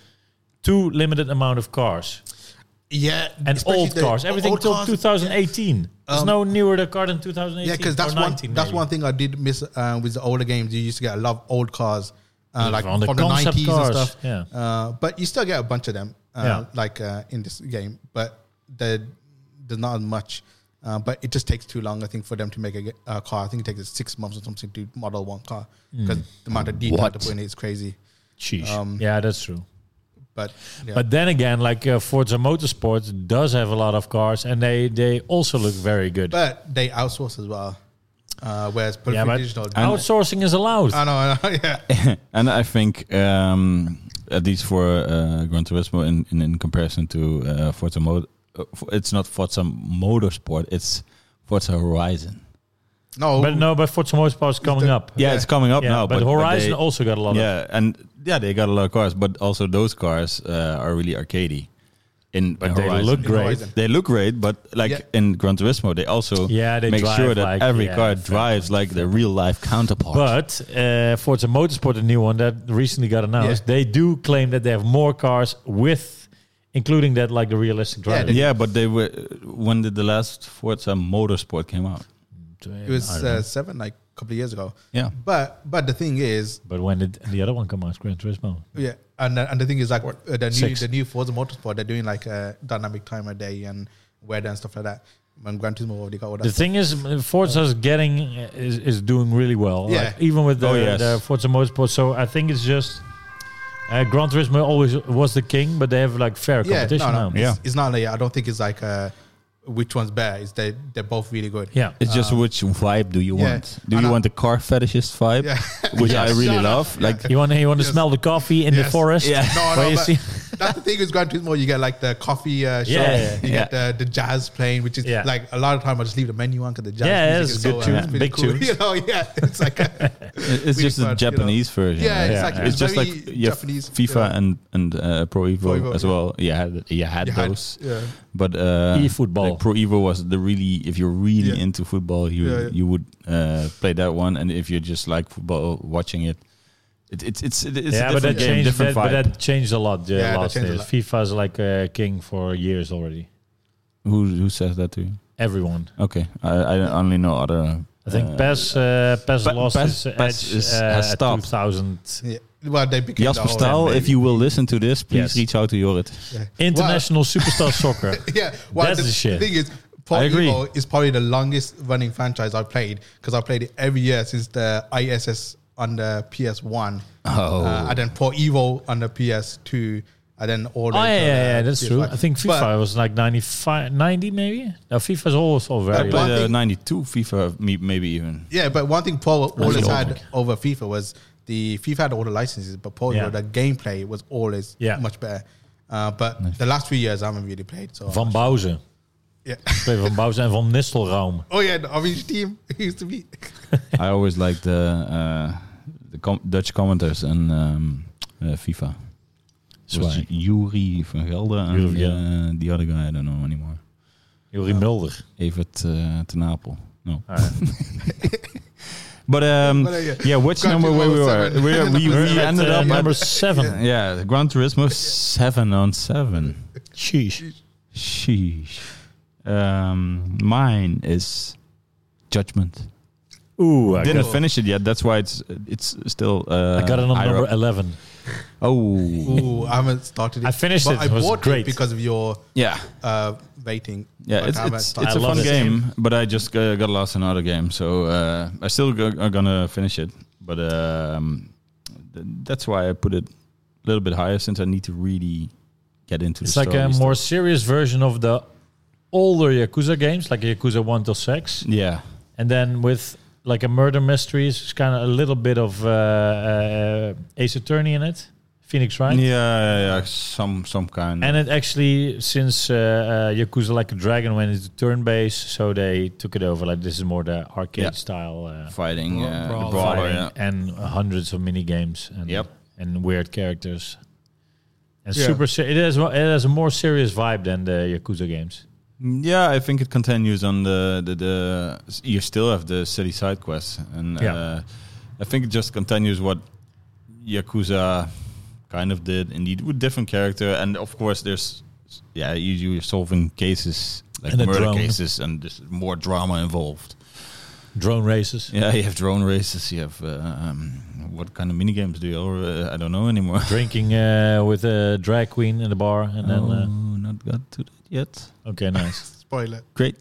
too limited amount of cars
yeah,
and
especially
old
the
cars. Everything
old
till
cars.
2018. There's
Um,
no newer the car than 2018.
Yeah, because
or
that's one
19
that's
maybe.
one thing I did miss uh, with the older games. You used to get a lot of old cars, uh, like
from
from
the
the,
concept
90s
cars,
and stuff.
yeah.
Uh, but you still get a bunch of them, uh,
Yeah.
like uh, in this game. But there- there's not as much. Uh, but it just takes too long, I think, for them to make a, ge- a car. I think it takes six months or something to model one car because
Hmm.
the amount of detail
What?
to put in it is crazy.
Sheesh. yeah, that's true.
But Um, yeah.
But then again, like uh, Forza Motorsport does have a lot of cars, and they they also look very good.
But they outsource as well, uh, whereas
yeah,
Perfect
but
Digital.
outsourcing is allowed.
I know, I know, yeah,
and I think um, at least for uh, Gran Turismo in, in, in comparison to uh, Forza Mod, uh, f- it's not Forza Motorsport, it's Forza Horizon.
no,
but no, but Forza Motorsport is coming up.
Yeah, it's coming up
Yeah,
now.
but, Horizon
they-
also got a lot of.
yeah, and yeah, they got a lot of cars, but also those cars uh, are really arcadey. in
But they
Horizon.
look great.
Horizon.
They look great, but like
Yeah.
in Gran Turismo, they also
Yeah, they
make
drive
sure that
like-
every
yeah,
car
fair
drives like the real life counterpart.
But uh, Forza Motorsport, a new one that recently got announced, they do claim that they have more cars with, including that like the realistic
Yeah,
driving.
yeah, but they were. When did the last Forza Motorsport came out?
It was uh, seven, like a couple of years ago.
Yeah,
But but the thing is,
but when did the other one come out? Gran Turismo.
yeah, and the- and the thing is like uh, the new
Six.
the new Forza Motorsport, they're doing like a dynamic timer day and weather and stuff like that. And Gran Turismo already got all that.
The thing is, Forza is getting is, is doing really well.
Yeah.
Like, even with the,
Oh, yes.
the Forza Motorsport. So I think it's just uh, Gran Turismo always was the king, but they have like fair
yeah,
competition
no, no,
now.
it's, it's not like I don't think it's like uh, which one's better. It's they they're both really good.
Yeah.
it's just which vibe do you
Um, yeah.
want? Do
And
you
I-
want the car fetishist vibe,
Yeah.
which I really
Shut up.
love? Like,
You want you want to
Yes.
smell the coffee in the
Yes.
forest?
Yeah.
No,
Where
no,
you
but
see-
that's the thing with Gran Turismo. You get like the coffee uh, shop,
Yeah, yeah,
you get the, the jazz playing, which is
Yeah.
like a lot of time I just leave the menu on because the jazz
Yeah,
music
it's
is
good
so, uh,
tunes,
pretty
big
cool.
tunes.
You know, yeah, it's like a,
it's
Really
just a
fun, you know.
Japanese version.
yeah,
right?
it's like
yeah.
it's,
It's just
very
like you have
Japanese
FIFA and and uh, Pro Evo,
Pro Evo,
as
yeah.
well. You had you had
you had-
those,
yeah.
but uh,
E-football.
like Pro Evo was the really if you're really
Yeah.
into football, you
Yeah, yeah.
you would uh, play that one, and if you just like football, watching it, it it's it's it's
yeah,
a different
but that
game,
changed.
different
That, but
vibe.
that changed a lot. The
Yeah, that
last
changed a
years,
lot.
FIFA's like a king for years already.
who who says that to you?
Everyone,
Okay, I, I only know other.
I think
uh,
PES, uh, PES
Pe-
lost
PES
its edge
is-
uh,
has
at
stopped.
2000.
yeah. Well, they became
Jasper
the whole-
Staal, if you will listen to this, please
Oh, Yes.
reach out to Jorrit.
yeah.
International superstar soccer.
Well, yeah, well,
That's
the,
the shit.
thing is, Pro
I agree.
Evo is probably the longest running franchise I've played because I played it every year since the ISS on the PS1.
Oh.
Uh, and then Pro Evo on the PS2. And then all the
Oh
way
yeah,
till,
yeah,
uh,
yeah, that's true.
PS5.
I think FIFA
But-
was like 95, 90 maybe. Now FIFA's also
I
but-
very. low.
played uh,
thing-
'92 FIFA, me- maybe even.
Yeah, but one thing Paul always
the
had
ultimate.
over FIFA was the FIFA had all the licenses, but Paul
Yeah.
the gameplay was always
Yeah.
much better. Uh, but the last few years, I haven't really played. So
Van Bouzen,
yeah,
Play Van Bouzen en Van Nistelrooy.
oh yeah, the orange team used to be.
I always like the uh, the com- Dutch commenters in um, uh, FIFA. It was
Zwaar.
Yuri van Gelder
Yuri
and
van Gelder.
uh, the other guy I don't know anymore.
Juri Mulder.
Evert uh, ten Apel. No.
All right.
But um,
But, uh, yeah.
yeah, which
Gran
number where we
Turismo
were?
seven.
We, we,
We're
we
at,
ended
uh,
up
number
at
seven.
yeah, Gran Turismo seven on seven.
Sheesh.
Sheesh. Um, mine is Judgment.
Ooh, I
Didn't
got,
finish it yet. That's why it's it's still. Uh,
I got it on
higher
number
up.
eleven.
Oh.
Ooh, I haven't started it.
I finished
but
it, it was great.
because of your
Yeah,
uh, rating.
yeah,
But
it's
I haven't
it's,
started
it's
I
a
love
fun
it.
game, but I just uh, got lost in another game, so uh, I still go, are gonna finish it. But um, th- that's why I put it a little bit higher, since I need to really get into.
It's
the
like
story
a
stuff.
more serious version of the older Yakuza games, like Yakuza One to Six,
yeah,
and then with like a murder mysteries, it's kind of a little bit of uh, uh, Ace Attorney in it, Phoenix Wright.
yeah, yeah, yeah, some some kind.
And it actually, since uh, uh, Yakuza Like a Dragon went into turn based, so they took it over. Like this is more the arcade
Yeah.
style uh,
fighting, uh, the brawler,
Brawl- brawler,
fighting
yeah.
and hundreds of mini games and
Yep.
and weird characters. And
Yeah.
super, se- it has mo- it has a more serious vibe than the Yakuza games.
Yeah, I think it continues on the the, the you still have the city side quests, and
Yeah.
uh, I think it just continues what Yakuza kind of did, indeed, with different character, and of course there's yeah you you're solving cases like
And a
murder
drone.
cases, and there's more drama involved.
Drone races,
Yeah, you have drone races, you have uh, um, what kind of mini games do you? Or uh, I don't know anymore.
drinking uh, with a drag queen in the bar, and then
oh, not got to that yet.
uh, okay, nice.
Spoiler.
great.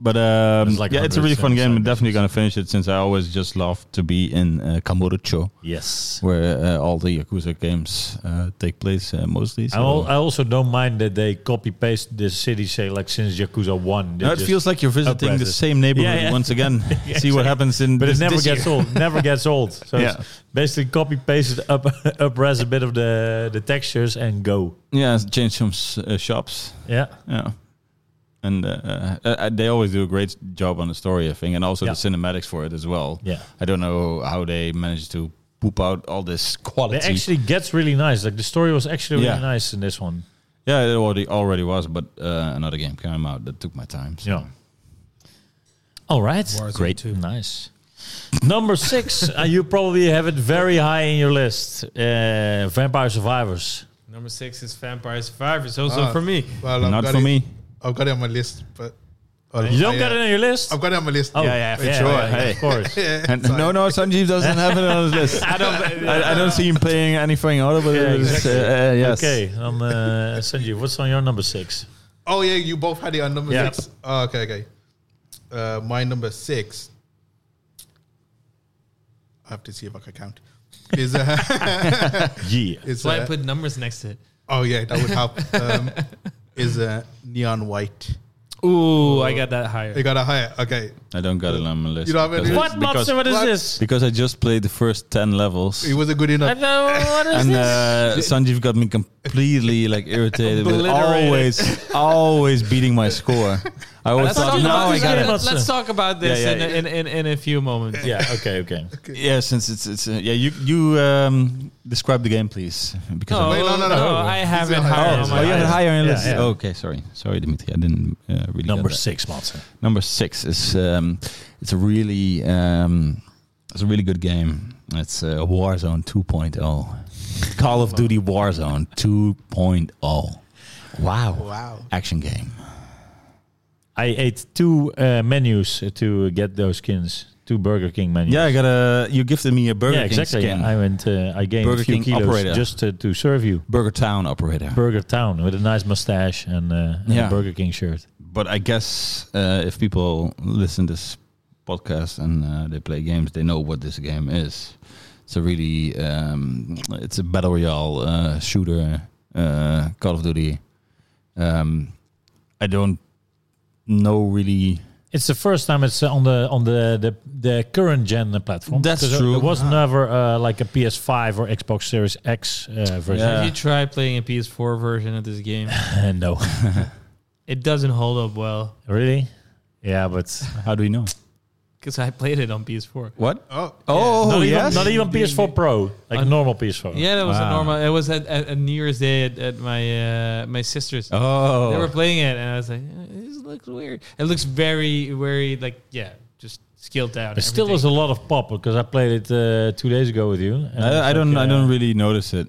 But um,
There's like
yeah, it's a
100
really fun
side-
game. I'm
side
definitely
missions.
gonna finish it since I always just love to be in uh, Kamurocho,
yes.
where uh, all the Yakuza games uh, take place uh, mostly. So.
I, al- I also don't mind that they copy paste the city, say like since Yakuza One. they
Now it
just-
feels like you're visiting
uprise
the
it.
same neighborhood
Yeah, yeah.
once again. See what
exactly.
happens in.
but
this,
it never
this year.
gets old. Never gets old. So
Yeah.
it's basically copy pasted up, upres a bit of the the textures and go.
Yeah, change some s- uh, shops.
Yeah,
Yeah. And uh, uh, uh, they always do a great job on the story, I think, and also
Yeah.
the cinematics for it as well.
Yeah.
I don't know how they managed to poop out all this
it
quality.
actually gets really nice. Like the story was actually really
Yeah.
nice in this one.
Yeah, it already already was, but uh, another game came out that took my time. so-
Yeah. All right.
Warzone
Great.
2.
Nice. Number six, uh, you probably have it very high in your list. Uh, Vampire Survivors.
Number six is Vampire Survivors. Also
Ah.
for me.
Well, I've
Not
got
for
it-
me.
I've got it on my list, but well,
You don't
I,
got
uh,
it on your list?
I've got it on my list.
Oh,
sure, hey.
of course.
And no, no, Sanjeev doesn't have it on his list. I don't.
uh,
I, I don't see him playing anything other. But
Yeah,
it is,
exactly.
uh, uh, yes.
Okay, um, uh, Sanjeev, what's on your number six?
Oh yeah, you both had it on number
Yeah.
six. Oh, okay, okay. Uh, my number six. I have to see if I can count. Is uh,
Yeah.
is
That's why I
uh,
put numbers next to it.
oh yeah, that would help. Um, is uh, neon white?
Ooh, I got that
You
higher.
got a higher. Okay,
I don't got it on my list.
You don't have it
because-
on your
What,
list?
Because,
Matze, what is
What?
this?
because I just played the first ten levels.
it wasn't good
I
enough.
know, what is
And
this?
uh, Sanjeev got me completely like irritated with
Obliterated.
always, always beating my score. I always
Let's
thought,
talk
no,
about
I
this
got
later.
it.
it.
Let's talk about this
Yeah, yeah,
in, a-
yeah.
In, in, in a few moments.
yeah, okay, okay.
Yeah, since it's it's uh, yeah. You you um, describe the game, please. Because
No,
I'm-
Wait, no, no, no.
I have
This
it
is higher.
higher.
Oh,
on
oh,
my
you had
list.
higher on your
Yeah,
list.
yeah.
okay, sorry, sorry, Dimitri. I didn't uh, really
Number
get that.
six, Matze.
Number six is um, it's a really um, it's a really good game. It's uh, Warzone 2.0, Call of Duty Warzone 2.0. Wow,
Wow.
action game.
I ate two uh, menus to get those skins. Two Burger King menus.
Yeah, I got a. You gifted me a Burger
yeah,
King
exactly.
skin.
I went. Uh, I gained
Burger
a few
King
kilos
operator.
just to, to serve you.
Burger Town operator.
Burger Town with a nice mustache and, uh, and
Yeah.
a Burger King shirt.
but I guess uh, if people listen to this podcast and uh, they play games, they know what this game is. It's a really um, it's a battle royale uh, shooter, uh, Call of Duty. Um, I don't know really.
It's the first time it's on the on the the, the current gen platform.
That's
'Cause
true. Uh-huh.
It was never uh, like a PS5 or Xbox Series X uh, version.
Yeah.
If you try playing a PS4 version of this game,
Uh, no,
it doesn't hold up well
really. Yeah, but
How do you know?
because I played it on PS4.
What?
Oh,
Oh,
not,
yes.
even, not even PS4 Pro, like
Un-
normal PS4.
Yeah, that was
Wow.
a normal. It was at, at, at New Year's Day at, at my uh, my sister's.
oh,
They were playing it, and I was like, "Eh, "This looks weird." It looks very, very like yeah, just scaled down.
It still is
everything.
a lot of pop because I played it uh, two days ago with you. and it's
I, I
like,
don't. I
uh,
don't really notice it.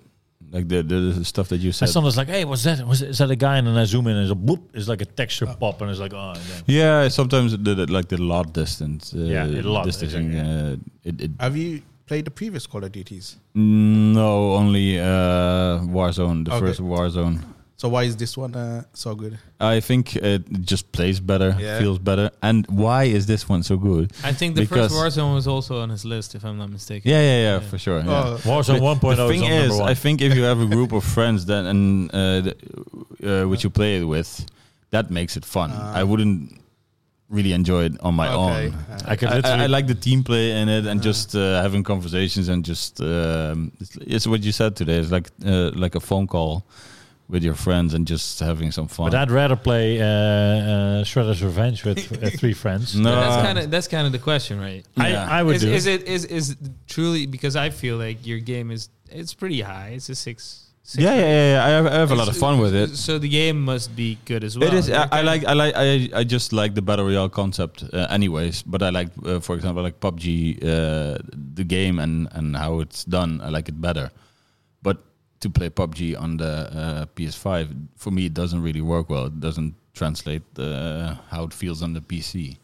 Like the the, the stuff that you
I
said.
sometimes like, hey, what's that? Was is that a guy? And then I zoom in, and it's a boop. It's like a texture pop, and it's like, oh, yeah.
Yeah, sometimes the, the, like the lot distance. Uh,
Yeah, the lot,
distancing. Uh, it, it
have you played the previous Call of Duties?
No, only uh, Warzone, the
Okay.
first Warzone.
So why is this one uh, so good?
I think it just plays better,
Yeah.
feels better. And why is this one so good?
I think the
Because-
first Warzone was also on his list, if I'm not mistaken.
Yeah, yeah, yeah, for sure. yeah.
Oh,
Warzone 1.0
the
is
thing
on
is,
number one.
I think if you have a group of friends that and uh, th- uh, which you play it with, that makes it fun. I wouldn't really enjoy it on my
Uh. okay.
own.
Uh,
I could
I,
literally
I- I like the team play in it and just uh, having conversations and just um, it's, it's what you said today. It's like uh, like a phone call with your friends and just having some fun.
But I'd rather play uh, uh, Shredder's Revenge with uh, three friends.
no,
But that's kind of that's kind of the question, right?
I,
Yeah.
I would
Is,
do.
is it is is truly because I feel like your game is it's pretty high. It's a six. six
yeah, yeah, yeah, yeah. I have, I have a lot of fun with it.
So the game must be good as well.
It is. I,
You're
I
kinda-
like. I like. I, I just like the battle royale concept, uh, anyways. But I like, uh, for example, like PUBG, uh, the game and and how it's done. I like it better. But to play PUBG on the uh, PS5 for me, it doesn't really work well. It doesn't translate uh, how it feels on the PC.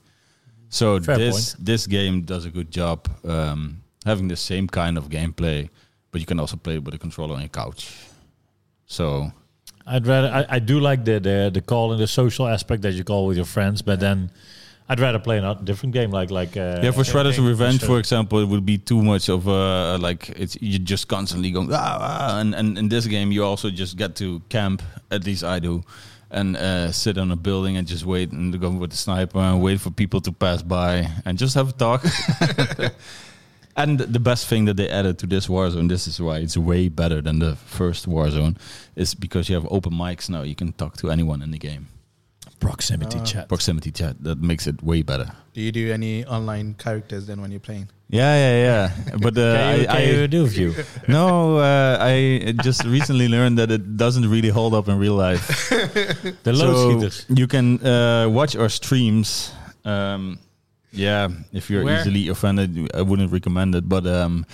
So
Fair
this this game does a good job um, having the same kind of gameplay, but you can also play it with a controller on a couch. So
I'd rather. I, I do like the, the the call and the social aspect that you call with your friends, but then I'd rather play a different game like like. Uh,
Yeah, for Shredder's
King,
Revenge,
so-
for uh, example, it would be too much of uh, like it's you just constantly going ah, ah," and and in this game you also just get to camp. At least I do, and uh, sit on a building and just wait and go with the sniper and wait for people to pass by and just have a talk. And the best thing that they added to this Warzone, this is why it's way better than the first Warzone, is because you have open mics now. You can talk to anyone in the game.
Proximity
Uh,
chat.
Proximity chat that makes it way better.
Do you do any online characters then when you're playing?
Yeah, yeah, yeah. But uh,
Can you,
I,
can
I
you do a few?
no, uh, I just recently learned that it doesn't really hold up in real life. so
The loadsheeters.
you can uh, watch our streams. Um, yeah, if you're
Where?
easily offended, I wouldn't recommend it. But um,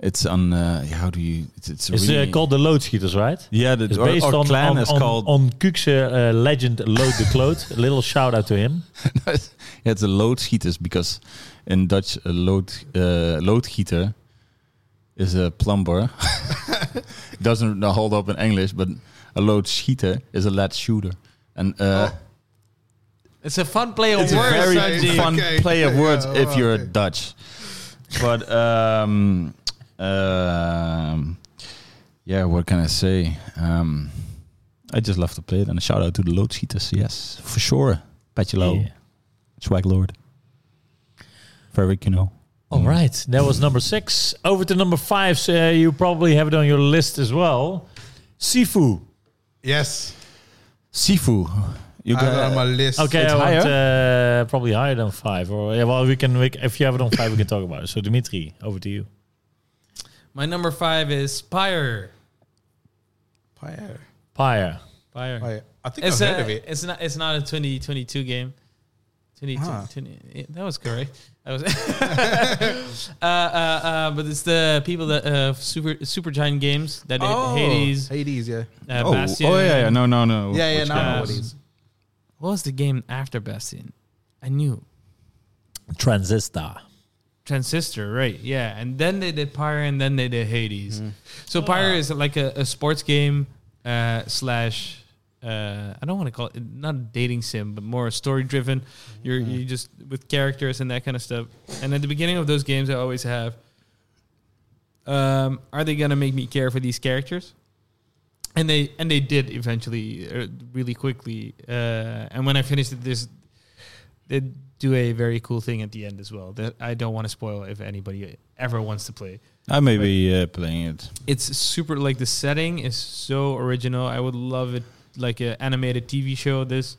it's on. Uh, how do you? It's, it's
It's
really
uh, called the loadsheeters, right?
Yeah, the,
It's
our,
based
our
on
clan
on,
is
on,
called.
on Kuukse, uh, legend Load the Cloat. a little shout out to him.
yeah, it's a loodgieters because in Dutch, a lood uh, loodgieter is a plumber. Doesn't hold up in English, but a loodschieter is a lead shooter. And uh,
It's a fun play of
it's a
words.
very
Sanjeev.
fun
Okay.
play of words
Yeah,
if you're
okay.
Dutch. But um, um, yeah, what can I say? Um, I just love to play it, and a shout out to the loodgieters. Yes, for sure, Patje Low.
Yeah.
Swag Lord. Very Kino.
All right, that was number six. Over to number five. So, uh, you probably have it on your list as well. Sifu.
Yes.
Sifu. You
I got on my list.
Okay,
It's
I want, uh, probably higher than five. Or yeah, well, we can. We, c- if you have it on five, we can talk about it. So, Dimitri, over to you.
My number five is Spire.
Fire.
Pyre.
Spire.
Fire. I think
It's,
I've heard
a-
of it.
it's not. It's not a 2022 game. 20,
Ah.
20 yeah, that was correct. I was. uh, uh, uh, but it's the people that uh, super super giant games that did Hades, uh,
Oh, Hades, yeah.
oh,
Bastion.
oh, yeah, yeah. No, no, no.
Yeah, yeah,
Which
now I know
guy?
what it is.
What was the game after Bastion? I knew
Transistor.
Transistor, right? Yeah, and then they did Pyre, and then they did Hades. So Pyre is like a, a sports game uh, slash. Uh, I don't want to call it not a dating sim, but more story driven. You're you just with characters and that kind of stuff. And at the beginning of those games, I always have. Um, are they gonna make me care for these characters? And they and they did eventually, uh, really quickly. Uh, and when I finished it, this they do a very cool thing at the end as well that I don't want to spoil if anybody ever wants to play.
I may be uh, playing it.
It's super like the setting is so original. I would love it like an animated TV show. This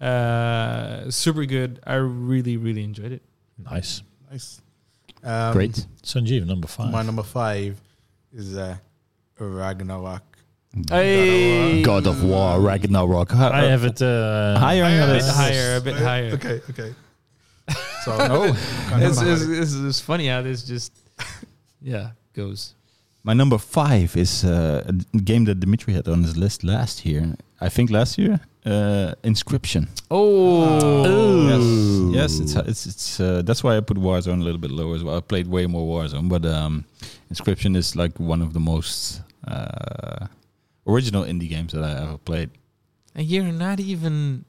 uh, super good. I really really enjoyed it.
Nice.
Nice. Um,
Great.
Sanjeev, number five.
My number five is uh, Ragnarok.
Hey.
God of War, Ragnarok.
I have it. Uh,
higher on your
A bit
list.
higher, a bit higher.
Okay, okay. So no,
It's, it's, it's, it's funny how this just yeah goes.
My number five is uh, a d- game that Dimitri had on his list last year. I think last year. Uh, Inscription.
Oh,
Yes, it's it's it's. Uh, that's why I put Warzone a little bit lower as well. I played way more Warzone, but um, Inscription is like one of the most uh, original indie games that I ever played.
and you're not even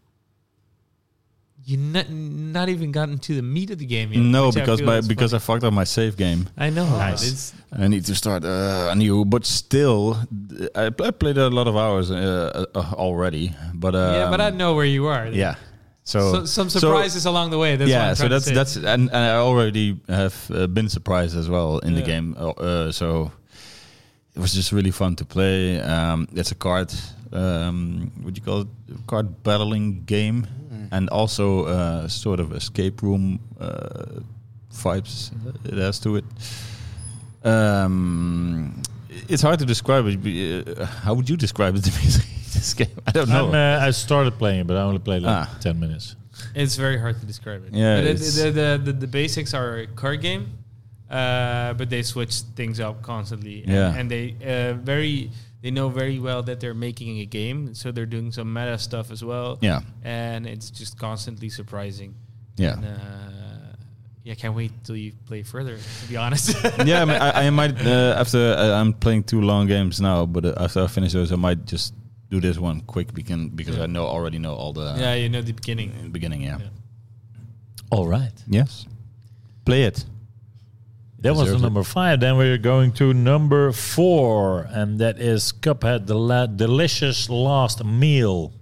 you not not even gotten to the meat of the game yet.
no,
which I
because
feel
my,
is
because
funny.
I fucked up my save game.
I know.
Nice.
It's,
I need to start uh, anew. But still, th- I, I played a lot of hours uh, uh, already. But um,
yeah, but I know where you are.
Yeah,
So,
so
some
so-
surprises along the way. That's
yeah,
what I'm
so
trying to
that's
say.
that's and, and I already have uh, been surprised as well in the
Yeah.
game. Uh, uh, so it was just really fun to play. Um, it's a card, um, what do you call it, card battling game,
Mm.
and also uh, sort of escape room uh, vibes it has to it. Um, it's hard to describe it. but, uh, How would you describe it? Dimitri, this game, I don't know.
I'm, uh, I started playing it, but I only played
Ah.
like 10 minutes.
it's very hard to describe it.
Yeah,
But it-
it's-
the, the, the the basics are a card game, uh, but they switch things up constantly. And-
Yeah.
and, they uh, very they know very well that they're making a game, so they're doing some meta stuff as well.
yeah,
and it's just constantly surprising.
yeah.
And, uh, yeah, can't wait till you play further. To be honest,
yeah, I, mean, I, I might uh, after I, I'm playing two long games now, but uh, after I finish those, I might just do this one quick because because I know already know all the
yeah, you know the beginning.
in the beginning. Yeah.
Yeah.
All right.
Yes. Play it.
That was the
Deserved it.
number five. Then we're going to number four, and that is Cuphead: The la- Delicious Last Meal.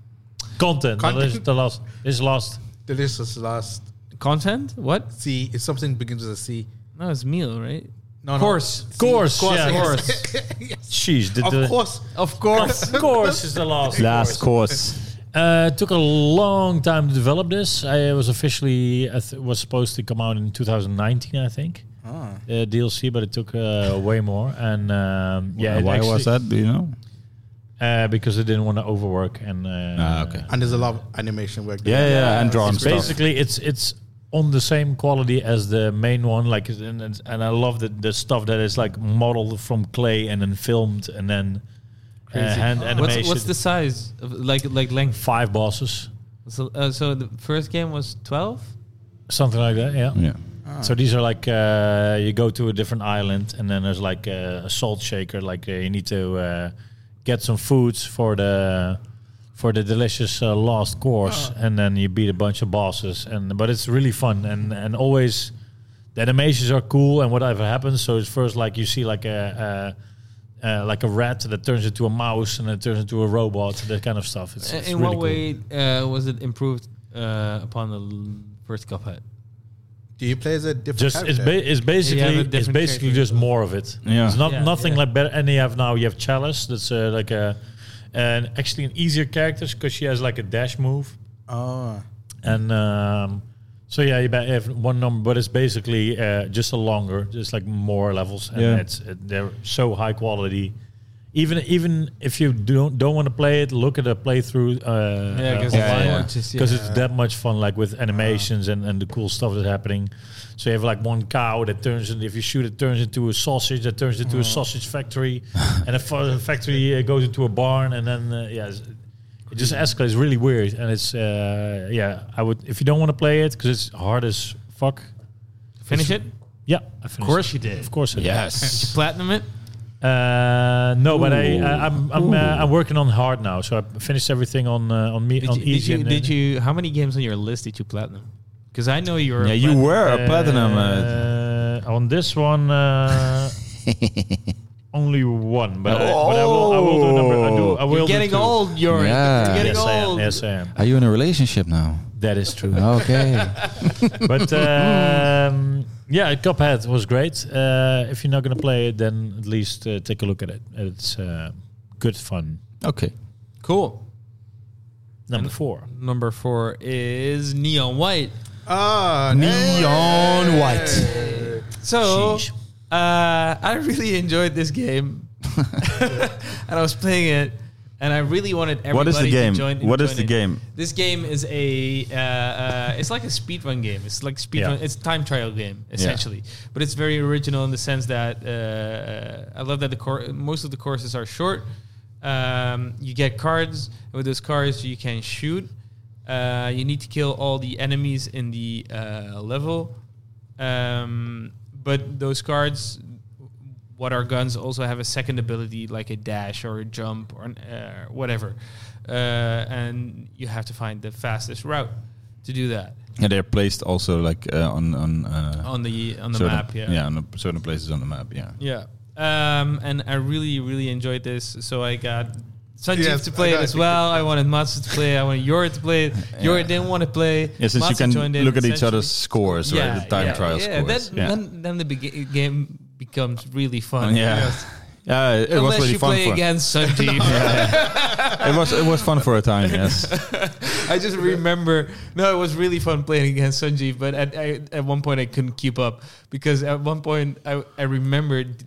Content.
Content.
Delicious, the last is last.
Delicious last
Content? What?
C. It's something begins with a C.
No, it's meal, right?
No,
Course.
no. C.
Course, yeah.
yes.
Jeez, the,
of
the-
course.
Of course.
of course is the last.
Last course.
Uh, it took a long time to develop this. I was officially I th- was supposed to come out in 2019, I think.
Ah.
Uh, DLC, but it took uh, way more. And um, yeah,
Yeah,
it
why
actually-
was that? Do you know?
Uh, because I didn't want to overwork and. Uh,
Ah, okay.
And there's a lot of animation work.
Yeah, yeah, and drawn
it's
stuff.
basically it's it's on the same quality as the main one like and, and and i love the, the stuff that is like modeled from clay and then filmed and then uh,
Crazy.
hand animation
What's, what's the size of like like length?
five bosses
So, uh, so the first game was twelve.
something like that yeah,
Yeah.
Ah.
so these are like uh, you go to a different island and then there's like a, a salt shaker like uh, you need to uh, get some foods for the for the delicious uh, last course
Ah.
and then you beat a bunch of bosses and but it's really fun and and always the animations are cool and whatever happens so it's first like you see like a, a uh, like a rat that turns into a mouse and then turns into a robot that kind of stuff it's,
Uh,
it's
In
really
what
cool.
way uh, was it improved uh, upon the l- first Cuphead?
Do you play as a different
just it's,
character?
ba- it's
Yeah,
basically
the
it's
different
basically
characters.
just more of it.
Yeah.
it's not
Yeah,
nothing
yeah.
like better. And you have now you have Chalice. That's uh, like a and actually an easier character because she has like a dash move
oh.
and um, so yeah you ba- have one number, but it's basically uh, just a longer, just like more levels, and
Yeah.
it's it, they're so high quality. Even even if you don't don't want to play it, look at a playthrough. Uh, uh,
because
yeah,
online
yeah.
because it's that much fun like with animations and, and the cool stuff that's happening so you have like one cow that turns and if you shoot it turns into a sausage that turns into a
Mm.
sausage factory and a fa- factory uh, goes into a barn and then uh, yeah it's- it just escalates really weird and it's uh, yeah i would if you don't want to play it because it's hard as fuck
finish it.
yeah I finished
course
it.
you did.
of course I did.
Yes.
Platinum it.
uh, no but I,
Ooh.
I i'm I'm, uh, I'm working on hard now so i finished everything on uh, on me
Did
on
you, did,
easy
you,
and,
did you? How many games on your list did you platinum? Because I know you're.
Yeah, you were a platinum. Uh,
Uh, on this one, uh, only one. But, I, but I will. I will do number. I do. I will.
You're
do
getting
two. Ah,
old, Jorik.
Yeah.
You're getting
Yes, I am.
old.
Yes, I am.
are you in a relationship now?
That is true.
Okay.
but um, yeah, Cuphead was great. Uh, if you're not gonna play it, then at least uh, take a look at it. It's uh, good fun.
okay.
Cool.
Number four.
Number four is Neon White.
Ah,
Neon white.
So, uh, I really enjoyed this game, and I was playing it, and I really wanted everybody
What is the game?
to join.
What is
join
the
in.
game?
This game is a, uh, uh, it's like a speedrun game. It's like
Yeah.
speedrun. It's time trial game essentially, but it's very original in the sense that uh, uh, I love that the cor- most of the courses are short. Um, you get cards. With those cards, you can shoot. Uh, you need to kill all the enemies in the uh, level. Um, but those cards, what are guns, also have a second ability like a dash or a jump or an, uh, whatever. Uh, and you have to find the fastest route to do that
Yeah, they're placed also like uh, on on uh,
on the on the
certain-
map.
Yeah, on the- certain places on the map. Yeah.
Yeah. Um, and I really, really enjoyed this. So I got Sanjeev
Yes,
to play
I
it
got
as
it.
well. I wanted Matsu to play. I wanted Yor to play. Yor didn't want to play.
Yeah, since
Matsu
you can
joined in,
look at each
essentially.
other's scores, right? The time
yeah,
trial
yeah.
scores.
Then, Then, then the beg- game becomes really fun.
Yeah. Yeah, it
Unless
was really
you
fun.
play
For,
against Sanjeev.
It was it was fun for a time. Yes.
I just remember. No, it was really fun playing against Sanjeev, but at I, at one point I couldn't keep up because at one point I I remembered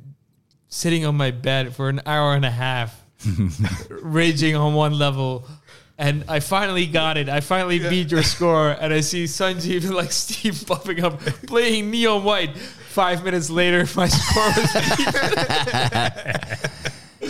sitting on my bed for an hour and a half, raging on one level. And I finally got it. I finally beat your score, and I see Sanjeev like steam popping up, playing neon white. Five minutes later, my score was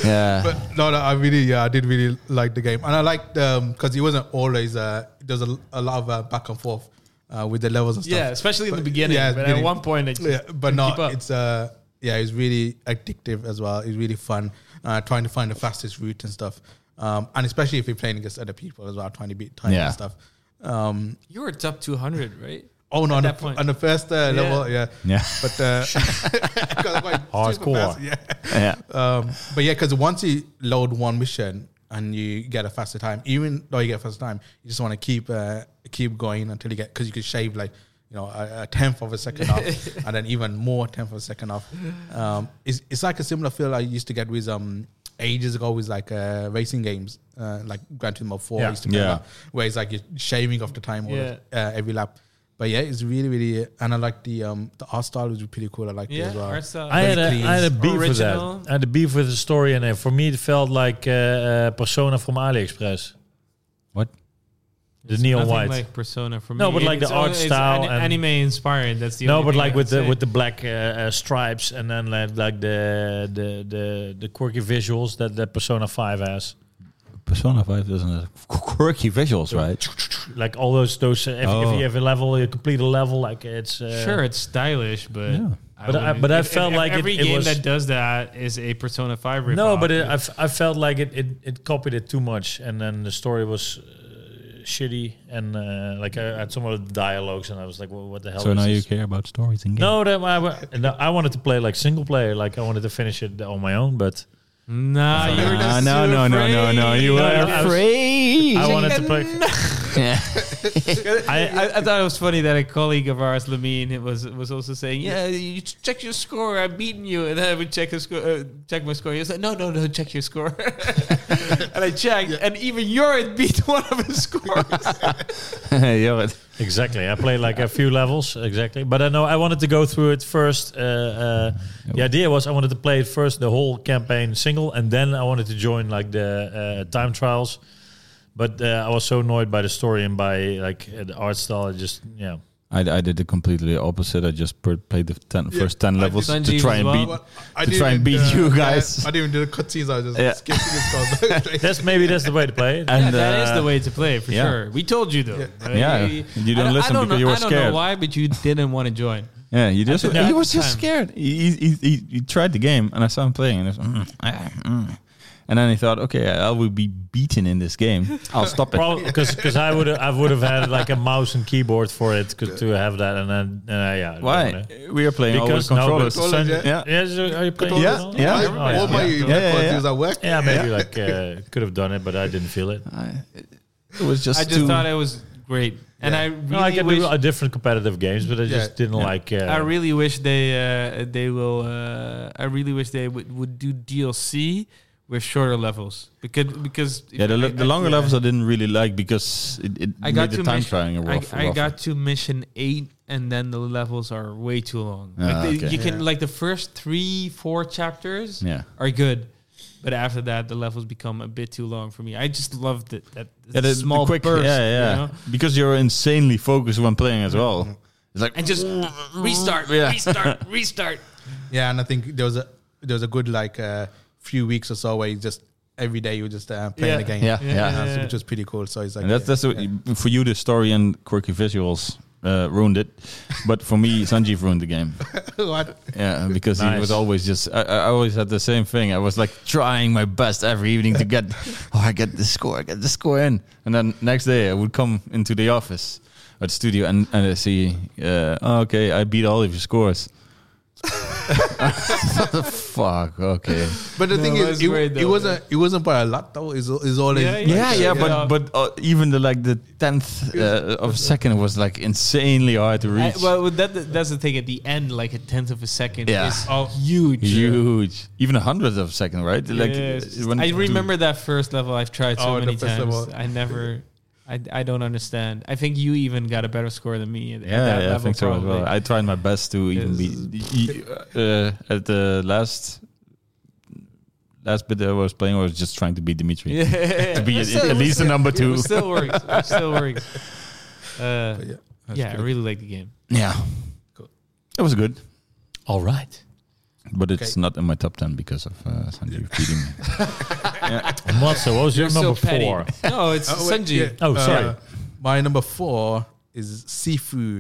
Yeah.
But no, no, I really, yeah, I did really like the game, and I liked um because it wasn't always uh there's a, a lot of uh, back and forth uh, with the levels and stuff.
yeah, especially in the
But-
beginning.
yeah,
but at
beginning.
one point, I just
yeah, but
couldn't
no,
keep up.
it's uh yeah, it's really addictive as well. It's really fun uh, trying to find the fastest route and stuff, um, and especially if you're playing against other people as well, trying to beat time
Yeah.
and stuff. Um,
you were top two hundred, right?
oh no, on
that
the,
point.
on the first uh, level, yeah,
Yeah.
but uh, 'cause I'm quite super
Hardcore.
fast, yeah.
yeah.
Um, but yeah, because once you load one mission and you get a faster time, even though you get a faster time, you just want to keep uh, keep going until you get because you could shave like you know a, a tenth of a second off, and then even more tenth of a second off. Um, it's it's like a similar feel I used to get with um ages ago with like uh, racing games, uh, like Grand Turismo Four.
Yeah.
I used to play
Yeah.
that, where it's like you're shaving off the time all
Yeah.
the- uh, every lap. But yeah, it's really really, and I like the um the art style was pretty cool. I like it
Yeah,
as well.
art style.
I had, a, I
clean.
had a beef with that.
Original.
I had a beef with the story, and for me, it felt like uh, uh, Persona from AliExpress.
What?
The neon
Nothing
white.
like Persona for me.
No, but like
It's
the art
only- it's
style
ani-
and-
anime inspired. That's the
no,
only
but
thing
like with
I would
the
say.
with the black uh, uh, stripes, and then like, like the, the the the quirky visuals that that Persona Five has,
Persona 5 doesn't have quirky visuals, right?
like all those those. Uh, if, if
Oh.
you have a level, you complete a level, like it's uh,
sure it's stylish, but
Yeah.
But I-
wouldn't-
but I
if- if-
felt
if
like it-
every
it
game
was-
that does that is a Persona Five.
No,
ripoff.
but it, I, f- I felt like it, it it copied it too much, and then the story was uh, shitty, and uh, like I had some of the dialogues, and I was like, well, what the hell?
So
is
now you
this?
care about stories and games.
No, that I, wa- no, I wanted to play like single player, like I wanted to finish it on my own, but
nah, you were
Ah,
just
no,
too
no, no, no, no.
afraid.
You
No,
were
I was-
afraid.
I wanted to play.
Yeah.
I, I, I thought it was funny that a colleague of ours, Lamine, it was was also saying, "Yeah, you ch- check your score. I've beaten you." And then I would check his score, uh, check my score. He was like, "No, no, no, check your score." and I checked, and even Jorrit beat one of his scores.
yeah, but
Exactly, I played like a few levels exactly, but I know I wanted to go through it first. Uh, uh, the idea was I wanted to play it first, the whole campaign single, and then I wanted to join like the uh, time trials. But uh, I was so annoyed by the story and by like uh, the art style. I just yeah,
I, I did the completely opposite. I just per- played the ten,
Yeah,
first 10
I
levels
did
to
Sanjeev
try
as
and
well.
beat.
But I
to try and
didn't,
beat you guys.
I, I didn't even do the cutscenes. I was just
Yeah.
skipping the scores.
that's maybe that's the way to play it.
And
Yeah, that is
uh,
the way to play for
yeah.
sure. We told you though. Uh,
Yeah,
we-
you didn't
I don't- I
listen
don't
because
know,
you were
I don't
scared.
know why, but you didn't want to join.
Yeah, you just
did that
he was just
time.
scared. He, he, he, he tried the game, and I saw him playing, and it was, mm, ah, mm. and then he thought, okay, I will be beaten in this game. I'll stop it.
Because because I would I would have had like a mouse and keyboard for it 'cause to have that and then uh, yeah I don't
Why?
know.
We are playing all with
because no, but
controllers.
Controllers,
Sun-
yeah.
yeah. so are you playing?
Yeah,
with
yeah.
it?
I
Oh,
remember all my
Yeah,
my
yeah,
cutscenes
yeah.
at work.
Yeah, maybe like uh, could have done it, but I didn't feel it.
I- it was just
I just
too-
thought it was great, and I
No, I
really
can
wish
do uh, different competitive games, but I just didn't like. Uh,
I really wish they uh, they will. Uh, I really wish they would, would do DLC with shorter levels because because
yeah, the,
I-
lo- the
I-
longer
yeah.
levels I didn't really like because it, it
I
made
got
the
to
time
mission-
trying a
I,
rough.
I got to mission eight, and then the levels are way too long.
Ah,
like they,
okay.
You can
Yeah.
like the first three four chapters
yeah.
are good. But after that, the levels become a bit too long for me. I just loved it. That
Yeah, the,
small
the quick,
burst,
yeah, yeah,
you know?
because you're insanely focused when playing as well. It's like
and just restart,
Yeah.
restart, restart.
Yeah, and I think there was a there was a good like uh, few weeks or so where you just every day you were just uh, playing
Yeah.
the game.
Yeah, yeah.
Uh, so which was pretty cool. So it's like
And that's that's what you- for you the story and quirky visuals uh, ruined it, but for me Sanjeev ruined the game.
what?
Yeah, because he
Nice.
was always just I, I always had the same thing. I was like trying my best every evening to get oh I get the score, I get the score in, and then next day I would come into the office or the studio and and I see uh, oh, okay I beat all of your scores. Fuck. Okay.
But the
No,
thing
that's
is, it,
great
it
though,
wasn't it wasn't by a lot though. It's it's all in-
Yeah,
like,
Yeah, yeah,
Yeah, yeah.
but but uh, even the like the tenth uh, of a second was like insanely hard to
I,
reach.
Uh, well, that, that's the thing. At the end, like a tenth of a second
Yeah.
is all huge.
Huge, even a hundredth of a second, right? Like
Yes.
uh, when
I
to-
remember that first level. I've tried so
Oh, the
many
first
times.
level.
I never. I, I don't understand. I think you even got a better score than me. At, at
Yeah,
that
yeah I
level,
think so as
probably.
well. I tried my best to even be y- uh, at the last last bit that I was playing. I was just trying to beat Dimitri
yeah.
to be
It
at,
still-
at least the number
it
two.
still works. It still works. Uh,
But yeah,
yeah, I really like the game.
Yeah,
Cool.
it was good,
all right.
but it's not in my top ten because of uh, Sanjeev beating me.
And what, so what was your
You're so
number
petty.
four?
No, it's
Oh, wait,
Sanji.
yeah.
Oh, sorry.
my number four is Sifu.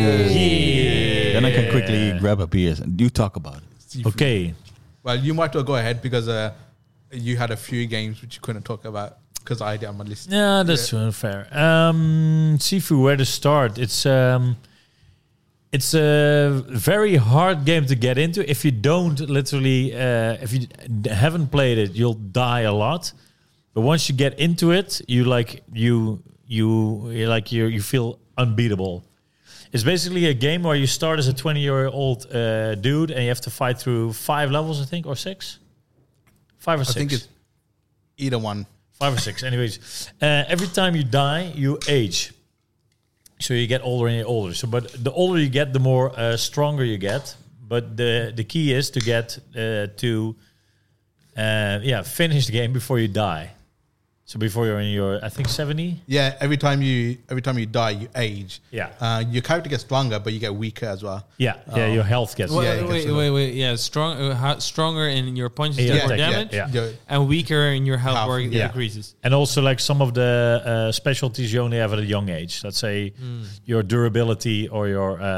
Hey.
Then I can quickly grab a beer and you talk about it.
Sifu.
Okay,
Well, you might well go ahead because uh, you had a few games which you couldn't talk about because I did on my list.
yeah, that's unfair. Um, Sifu, where to start? It's um, it's a very hard game to get into. If you don't literally, uh, if you d- haven't played it, you'll die a lot. But once you get into it, you like you you you like you you feel unbeatable. It's basically a game where you start as a 20 year old uh, dude and you have to fight through five levels, I think, or six. Five or
I
six.
think it's either one.
five or six. Anyways, uh, every time you die, you age. So you get older and older. So, but the older you get, the more uh, stronger you get. But the the key is to get uh, to, uh, yeah, finish the game before you die. So before you're in your, I think seventy.
Yeah, every time you every time you die, you age.
Yeah.
uh, your character gets stronger, but you get weaker as well.
Yeah, yeah, your health gets.
Oh,
Wait,
Yeah, you
wait,
can
wait,
say
wait, Yeah, strong, uh, ho- stronger in your punches
Yeah,
yeah, more
attack, yeah,
damage,
yeah.
Your-
and weaker in your health
Health,
where it
yeah.
decreases.
And also, like some of the uh, specialties you only have at a young age. Let's say your durability or your. Uh,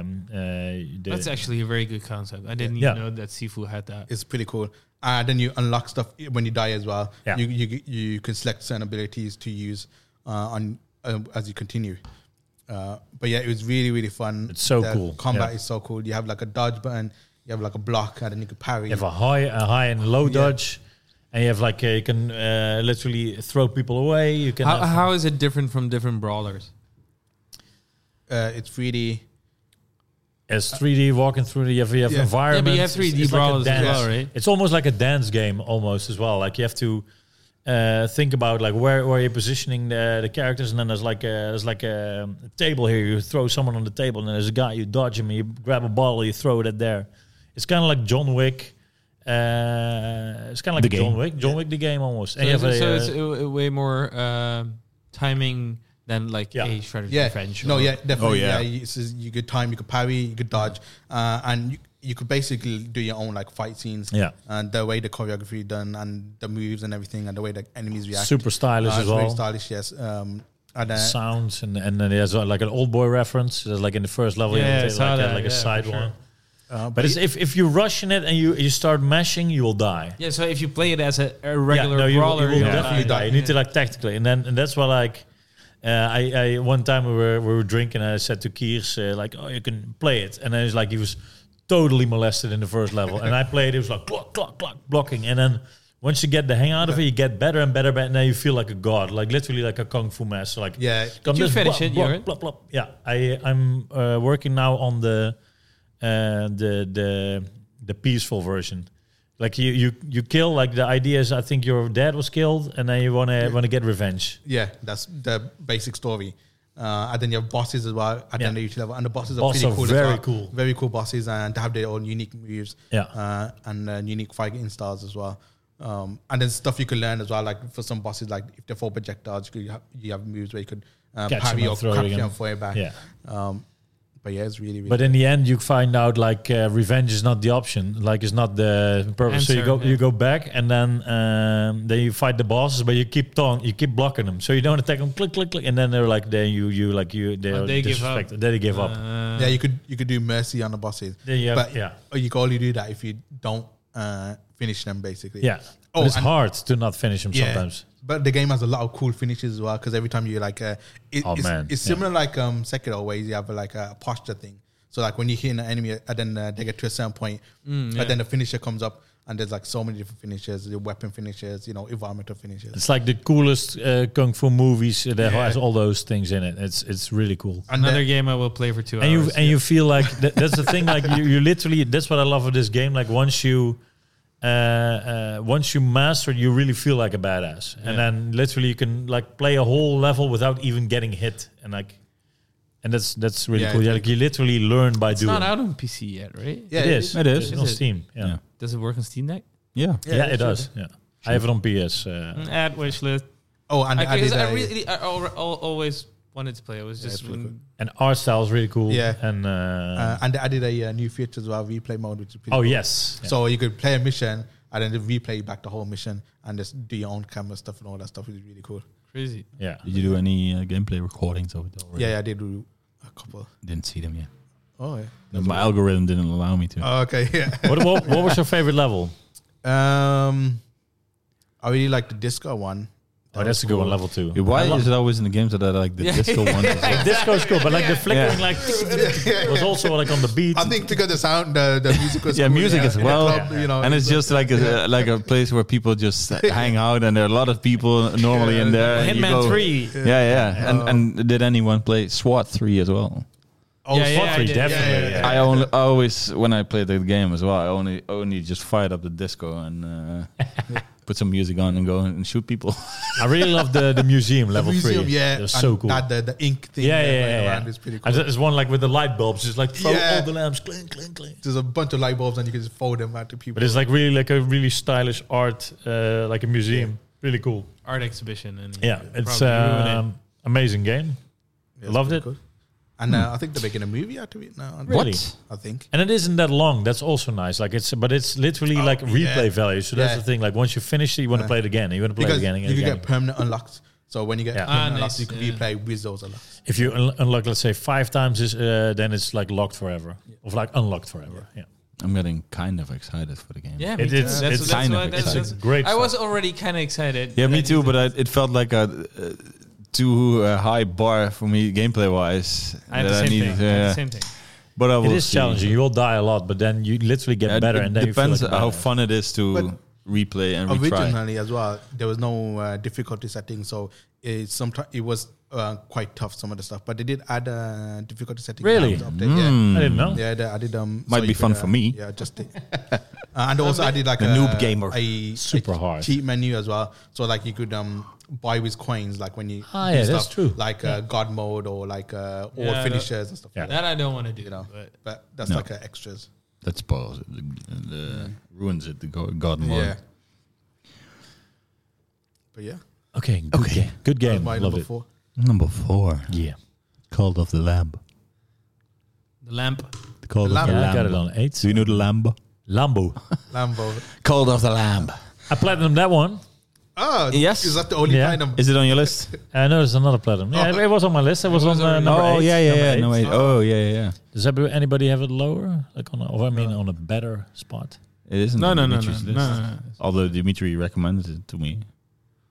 um, uh, the-
That's actually a very good concept. I didn't
Yeah.
even know that Sifu had that.
It's pretty cool. Uh, then you unlock stuff when you die as well.
Yeah.
You, you you can select certain abilities to use uh, on um, as you continue. Uh, but yeah, it was really really fun.
It's so
The
cool,
Combat
yeah.
is so cool. You have like a dodge button. You have like a block, and then you can parry.
You have a high, a high and low dodge, and you have like uh, you can uh, literally throw people away. You can.
How,
have-
how is it different from different brawlers?
Uh, it's really
it's 3D walking through. the- You have, you have
Yeah. Yeah, but you
environments.
have 3D
like a
brawlers as
dance.
well, right?
It's almost like a dance game, almost as well. Like you have to uh, think about like where where you're positioning the, the characters, and then there's like a, there's like a, um, table here. You throw someone on the table, and then there's a guy. You dodge him. You grab a bottle. You throw it at there. It's kind of like John Wick. Uh, it's kind of like
The
John
game.
Wick. John Wick, the game almost.
So,
And you have
it's, so
a,
it's
uh,
a- a way more um timing than like
Yeah.
a strategy
yeah.
French.
No,
or-
yeah, definitely.
yeah.
yeah, you, it's just- you could time, you could parry, you could dodge, uh, and you, you could basically do your own like fight scenes.
Yeah.
and the way the choreography done, and the moves and everything, and the way the enemies react.
super stylish
Uh,
as
it's very
well.
stylish, yes. Um, and uh,
sounds and and then there's uh, like an old boy reference there's like in the first level
Yeah,
you
I
have to take,
saw
like,
that,
a, like
yeah,
a
for
side
sure.
one
uh,
but
but
it's, if, if you rush in it and you you start mashing you will die
Yeah, so if you play it as a, a regular
no, you, will-
brawler,
you will
you'll
definitely
die.
die you need to like tactically and then and that's why like uh, I, I one time we were we were drinking and I said to Kiers uh, like oh you can play it and then it's like he was totally molested in the first level and I played it was like clock clock clock blocking and then once you get the hang out of it you get better and better and then you feel like a god like literally like a kung fu master like
yeah,
Come
Did you
just
finish
blop,
it,
blop,
Jorrit?
blop, blop. Yeah, I I'm uh, working now on the uh, the the the peaceful version. Like you you you kill like the idea is I think your dad was killed and then you wanna wanna get revenge.
yeah, that's the basic story. Uh, and then you have bosses as well at
Yeah.
the end of each level, and the bosses are
Boss
pretty
are
cool. as
very
well.
cool.
very cool bosses, and they have their own unique moves.
Yeah.
uh, and uh, unique fighting styles as well. Um, and then stuff you could learn as well. Like for some bosses, like if they're full projectiles, you, could have, you have moves where you could uh,
Catch them
parry
and
or
throw it
catch
again.
them and fire
Ah.
back.
Yeah.
Um, but yeah, it's really really.
But in the end, you find out like uh, revenge is not the option. Like it's not the purpose. so you
Answer,
go
yeah.
you go back and then um, then you fight the bosses, but you keep taunt, you keep blocking them. So you don't attack them. Click click click, and then they're like then you you like you they're
they give up.
disrespected. Then they give up.
Uh,
yeah, you could you could do mercy on the bosses.
Then you have-
but
yeah.
you can only do that if you don't uh, finish them basically.
Yeah.
Oh,
but it's
and-
hard to not finish them sometimes.
But the game has a lot of cool finishes as well because every time you like, uh, it,
Oh,
it's,
man.
it's
Yeah.
similar like um Sekiro where you have like a posture thing. So like when you hit an enemy and then uh, they get to a certain point,
Mm,
and then the finisher comes up and there's like so many different finishes, the weapon finishes, you know, environmental finishes.
It's like the coolest uh, kung fu movies that
Yeah.
has all those things in it. It's it's really cool.
And
another
then-
game I will play for two
And you
hours.
and you feel like that, that's the thing. Like you, you literally that's what I love of this game. Like once you uh, uh, once you master, it, you really feel like a badass. And then literally you can like play a whole level without even getting hit. And like and that's that's really
Yeah,
cool.
it's
Yeah, like you literally learn by
it's
doing.
not out on PC yet, right?
yeah,
it is.
It is.
It's on
Is it?
Steam. Yeah.
Yeah.
Yeah,
Does it work on Steam Deck?
Yeah.
it does. Yeah. I have it on PS. Uh,
Mm, Add wish list.
Oh, and
I,
I, added,
because I
a-
really, I al- al- always wanted to play. It was
Yeah,
just
it's really
when-
and art style is really cool.
Yeah.
And uh,
uh, and they added a uh, new feature as well, replay mode, which is pretty
oh
cool.
yes. Yeah.
So you could play a mission and then replay back the whole mission and just do your own camera stuff and all that stuff, which is really cool.
crazy.
yeah.
Did you do any uh, gameplay recordings of it already?
Yeah, yeah, I did do a couple.
Didn't see them yet.
Oh yeah.
My algorithm didn't allow me to.
Oh, okay, yeah.
what, what, what was your favorite level?
Um, I really like the disco one.
Oh, that's a good one. Level two.
Yeah, Why is it always in the games that I like the disco ones?
Disco's cool, but like the flickering,
Yeah.
like was also like on the beat.
I think because the sound, the, the music was
Yeah,
cool,
music as
in the
well.
club, you know,
and it's just like a, uh, like a place where people just hang out, and there are a lot of people normally in there. and you
Hitman
go-
Three.
Yeah, yeah. And and did anyone play SWAT three as well?
Oh,
Yeah, yeah,
fuck.
I did. Yeah,
definitely.
yeah, yeah.
I only I always when I play that game as well. I only only just fired up the disco and uh, put some music on and go and shoot people.
I really love the, the museum level
museum,
three.
yeah.
it was
and
so cool.
That, the, the ink thing.
yeah,
that
yeah,
went
yeah. yeah.
around is pretty cool.
And there's one like with the light bulbs, just like throw
Yeah.
all the lamps, clink, clink, clink.
There's a bunch of light bulbs and you can just fold them out to people.
But it's like really like a really stylish art, uh, like a museum. Really cool.
art exhibition and
Yeah, it's
probably ruin it.
um, amazing game,
Yeah, it's
loved
pretty
it. Hmm.
cool. And uh, I think they're making a movie out of it now. aren't they?
Really?
I think.
and it isn't that long. That's also nice. Like it's, but it's literally like replay value. So that's
Oh, Yeah.
the thing. Like once you finish it, you want to play it again. You want to play
Because
it again. Again.
you can
again.
get permanent unlocks. So when you get
Yeah.
permanent
Ah,
unlocks,
nice,
you can
yeah.
replay with those unlocks.
if you un- unlock, let's say five times, this, uh, then it's like locked forever, or like unlocked forever. Yeah.
I'm getting kind of excited for the game.
Yeah,
It-
me too.
it's-
That's-
it's
that's
kind
why-
of
that's-
exciting.
that's-
Great
I was already kind of excited.
Yeah, me
Like,
too. But I, it felt like a uh, too uh, high bar for me gameplay wise.
I had the same thing. I had the same thing.
But I will
It is
see.
challenging. You will die a lot, but then you literally get
Yeah, it-
better,
it
and then
depends
you feel like
how
better.
fun it is to
But
replay and retry.
Originally, as well, there was no uh, difficulty setting, so it sometimes it was uh, quite tough some of the stuff. But they did add a difficulty setting.
Really? Hmm.
down to update, yeah.
I didn't know.
Yeah, they added um.
Might
you
be
could,
fun for me.
Yeah, just it. uh, and also I did like uh,
A noob gamer.
a
Super
a
hard.
cheat menu as well. So like you could um buy with coins, like when you
Ah,
do
yeah, that's true.
Like uh, god mode or like uh, all
Yeah,
finishers and stuff.
Yeah.
like that.
That I don't want to do.
You know,
But
but that's
No.
like uh, extras.
That spoils it. The, the- ruins it. The go- God mode.
Yeah. But yeah,
Okay. Good game. Good
that was
game.
my
Love
number
it.
four.
Number four.
Yeah.
Called of the Lamb.
the lamp.
The Call
The
of the
Yeah,
Lamb.
I got it on eight.
Do you know the Lamb?
Lambo.
Lambo.
Called of the Lamb.
I platinum that one.
Oh,
Yes.
Is that the only
Yeah.
kind of
Is it on your list?
I know there's another platinum.
Oh.
Yeah, it- it was on my list. It was on
was
uh,
already-
number eight. number eight.
No, wait. Oh, yeah, yeah, yeah.
Does everybody- anybody have it lower? Like on, a, or I mean, on a better spot.
It isn't.
No,
on
no, no, no,
Dimitri's
no,
list.
no, no.
Although Dimitri recommended it to me.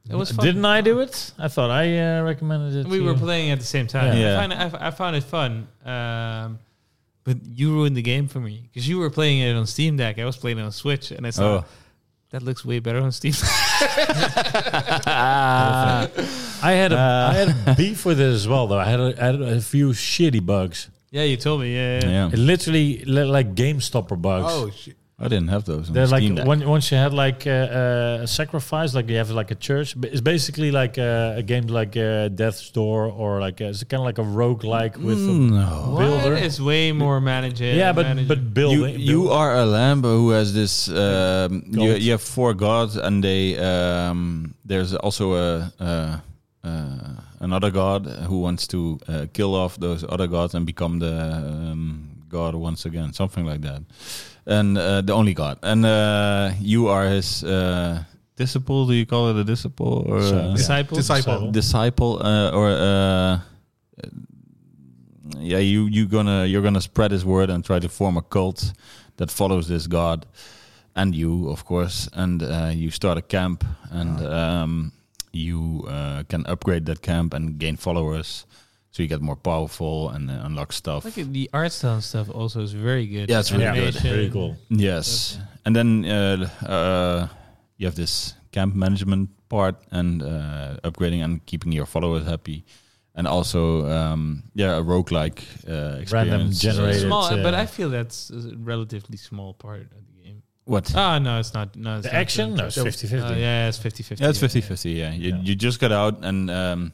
It was fun.
Didn't I do it? I thought I uh, recommended it.
we
to
were
you.
playing at the same time.
Yeah.
I, find it, I, f- I found it fun. Um, but you ruined the game for me because you were playing it on Steam Deck. I was playing it on Switch, and I saw
Oh.
that looks way better on Steam.
I had a,
Uh.
I had a beef with it as well though. I had a, I had a few shitty bugs.
yeah, you told me. Yeah, yeah. yeah.
Yeah.
It literally li- like game stopper bugs.
Oh shit!
I didn't have those. On
They're
Steam
like
Deck.
when, once you had like uh, uh, a sacrifice, like you have like a church. But It's basically like uh, a game like uh, Death's Door or like uh it's kind of like a rogue like with
Mm.
Mm, No.
a builder.
What is way more manageable.
yeah, but
manageable.
but
You,
building.
you are a lamb who has this. Um, you,
God.
you have four gods, and they um, there's also a, uh uh, another god who wants to uh, kill off those other gods and become the um, god once again, something like that. And uh, the only god, and uh, you are his uh, disciple. Do you call it a disciple or
So-
uh,
disciples.
Disciple.
disciple uh, or uh, yeah you you gonna you're gonna spread his word and try to form a cult that follows this god and you of course and uh, you start a camp and um, you uh, can upgrade that camp and gain followers so you get more powerful and uh, unlock stuff
Look at the art style and stuff. Also, is very good.
Yeah, it's really
yeah,
good.
Animation.
very cool.
Yes, and then uh, uh, you have this camp management part and uh, upgrading and keeping your followers happy, and also um, yeah, a roguelike uh, experience.
generated-
Uh,
Small,
It's, uh,
but I feel that's a relatively small part of the game.
What?
Ah, no, it's not. No, it's
The
not
action? No, it's 50
Oh, yeah, it's 50 50.
yeah, it's 50-50, Yeah, you,
Yeah.
you just get out and. Um,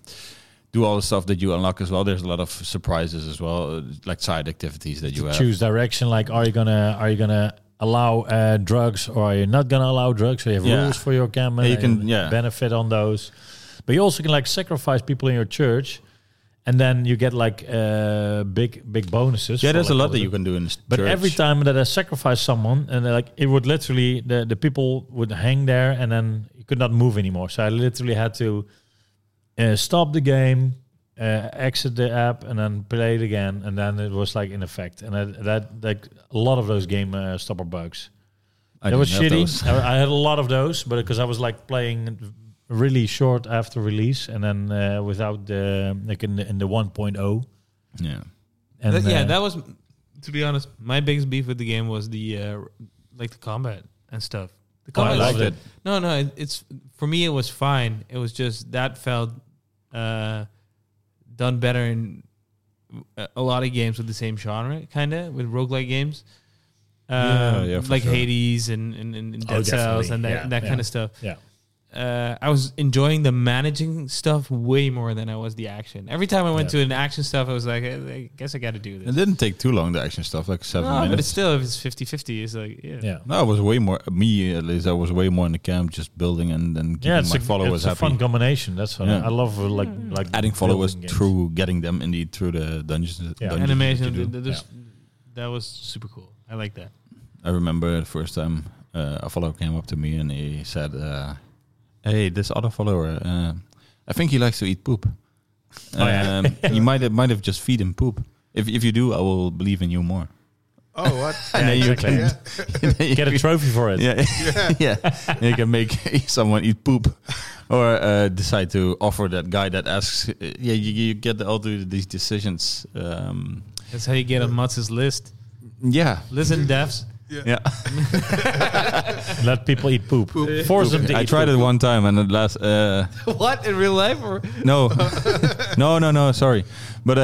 do all the stuff that you unlock as well. There's a lot of surprises as well, uh, like side activities that you have.
choose direction like are you gonna are you gonna allow uh, drugs or are you not gonna allow drugs so you have
Yeah.
rules for your camera
Yeah, you can-
and
yeah.
benefit on those but you also can like sacrifice people in your church and then you get like uh, big big bonuses
Yeah,
for,
there's a
like,
lot
all
that
the-
you can do in this
but
church.
every time that I sacrificed someone, and uh, like it would literally the, the people would hang there, and then you could not move anymore. So I literally had to uh, stop the game, uh, exit the app, and then play it again, and then it was like in effect. And I, that like a lot of those game uh, stopper bugs.
I
that was
didn't have
shitty.
those.
I, I had a lot of those, but because I was like playing really short after release, and then uh, without the like in the, in the 1.0.
Yeah,
And
That- yeah,
uh,
that was, to be honest, my biggest beef with the game was the uh, like the combat and stuff. The
Oh, I
combat,
liked
was-
it.
No, no, it, it's for me it was fine. It was just that felt uh, done better in uh, a lot of games with the same genre, kind of with roguelike games, um,
Yeah, yeah, for
like
sure.
Hades and and, and and
Oh,
Dead Cells
definitely.
and that,
Yeah,
that
yeah.
kind of stuff.
Yeah.
Uh, I was enjoying the managing stuff way more than I was the action. Every time I went
Yeah.
to an action stuff, I was like, I, I guess I got to do
It
this.
didn't take too long, the action stuff, like seven
No, but it's
minutes.
still if it's 50-50, it's like yeah.
Yeah.
No, it was way more, me at least, I was way more in the camp just building and then keeping
Yeah, it's,
my
a,
followers
it's a
happy.
fun combination. That's what
Yeah.
I love. uh, Like like
Adding followers
building games.
through getting them indeed through the dungeons.
Yeah.
dungeons that
Animation,
you do.
th- th- there's- that was super cool. I like that.
I remember the first time uh, a follower came up to me and he said, uh, "Hey, this other follower, uh, I think he likes to eat poop.
Oh,
um, you might have, might have just feed him poop. If if you do, I will believe in you more.
Oh, what?
and then you
exactly.
can
Get a trophy for it.
yeah, yeah. You can make someone eat poop, or uh, decide to offer that guy that asks. uh, Yeah, you, you get the, all the- these decisions. Um,
That's how you get on Matz's list.
yeah,
Listen, devs.
yeah.
Let people eat poop. Force them to
I
eat
tried
poop.
it one time, and it last. Uh,
what in real life? Or
No, no, no, no. Sorry, but uh,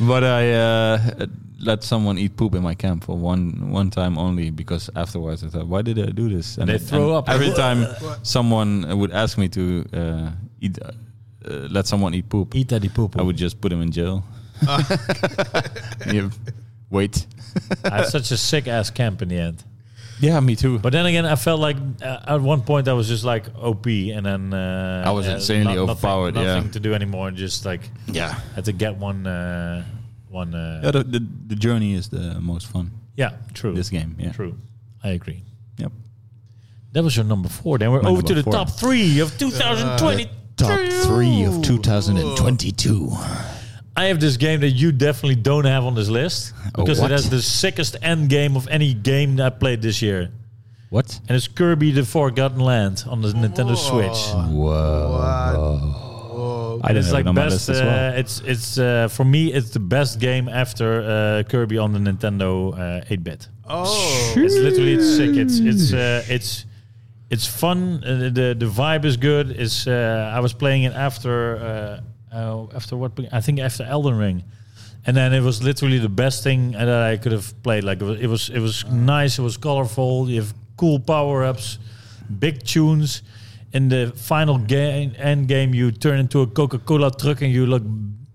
but I uh, let someone eat poop in my camp for one one time only because afterwards I thought, why did I do this? And
They throw up.
every time someone would ask me to uh, eat, uh, uh, let someone eat poop.
eat that poop.
I would just put him in jail. yeah, wait.
I had such a sick ass camp in the end.
Yeah, me too.
But then again, I felt like uh, at one point I was just like OP, and then uh,
I was
uh,
insanely
nothing-
overpowered,
Nothing,
yeah.
to do anymore. and Just like
yeah,
had to get one, uh, one. Uh,
yeah. The, the the journey is the most fun.
yeah, true.
This game, yeah.
True. I agree.
Yep.
That was your number four. Then we're
My
over to
number
the
four. Uh,
top three of 2020.
Top three of 2022.
I have this game that you definitely don't have on this list
Oh,
because
what?
it has the sickest end game of any game that I played this year,
What?
and it's Kirby: The Forgotten Land on the Nintendo Switch. Uh,
Whoa. I
It's
didn't
like
like
best.
best, as well.
Uh, it's it's uh, for me. It's the best game after uh, Kirby on the Nintendo uh, 8-bit.
Oh,
It's literally it's sick. It's it's uh, it's it's fun. Uh, the- the the vibe is good. Is uh, I was playing it after uh, uh, after what I think after Elden Ring, and then it was literally the best thing that I could have played. Like it was it was, it was nice. It was colorful. You have cool power ups, big tunes. In the final game end game, you turn into a Coca Cola truck and you look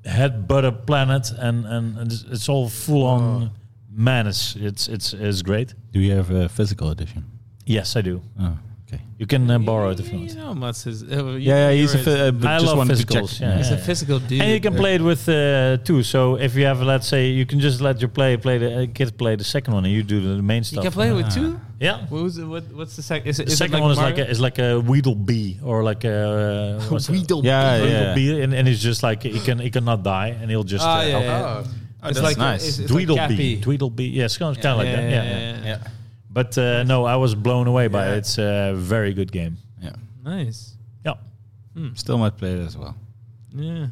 head butt a planet, and and it's, it's all full on madness. It's it's it's great.
Do you have a physical edition?
Yes, I do.
Oh, okay.
You can uh, borrow it if you
You
want.
know, Mats is. Uh,
Yeah, yeah he's a, phy- uh, but
I
just
love
wanted to check.
physicals. Yeah,
he's
yeah,
a
yeah.
physical dude.
And you can play it with uh, two. So if you have, let's say, you can just let your player play the uh, kid play the second one, and you do the main
You
stuff.
can play it with two.
Yeah.
What was the, what, what's the second? Is it,
The
is
second
it like
one is
Mario?
like a, is like a Weedle Bee or like a uh, what's it?
Weedle
Yeah,
Weedle
yeah.
Bee, and, and he's just like he can he cannot die, and he'll just
Ah,
uh,
yeah,
help.
yeah.
oh.
it's
that's
like uh,
nice.
It's, it's
Dweedle
like
Bee,
Cappy.
Dweedle Bee. Yeah, it's kind of like that. Yeah. yeah.
yeah.
But uh, no, I was blown away by
Yeah.
it. It's a very good game.
Yeah.
Nice.
Yeah.
Still might play it as well.
Yeah.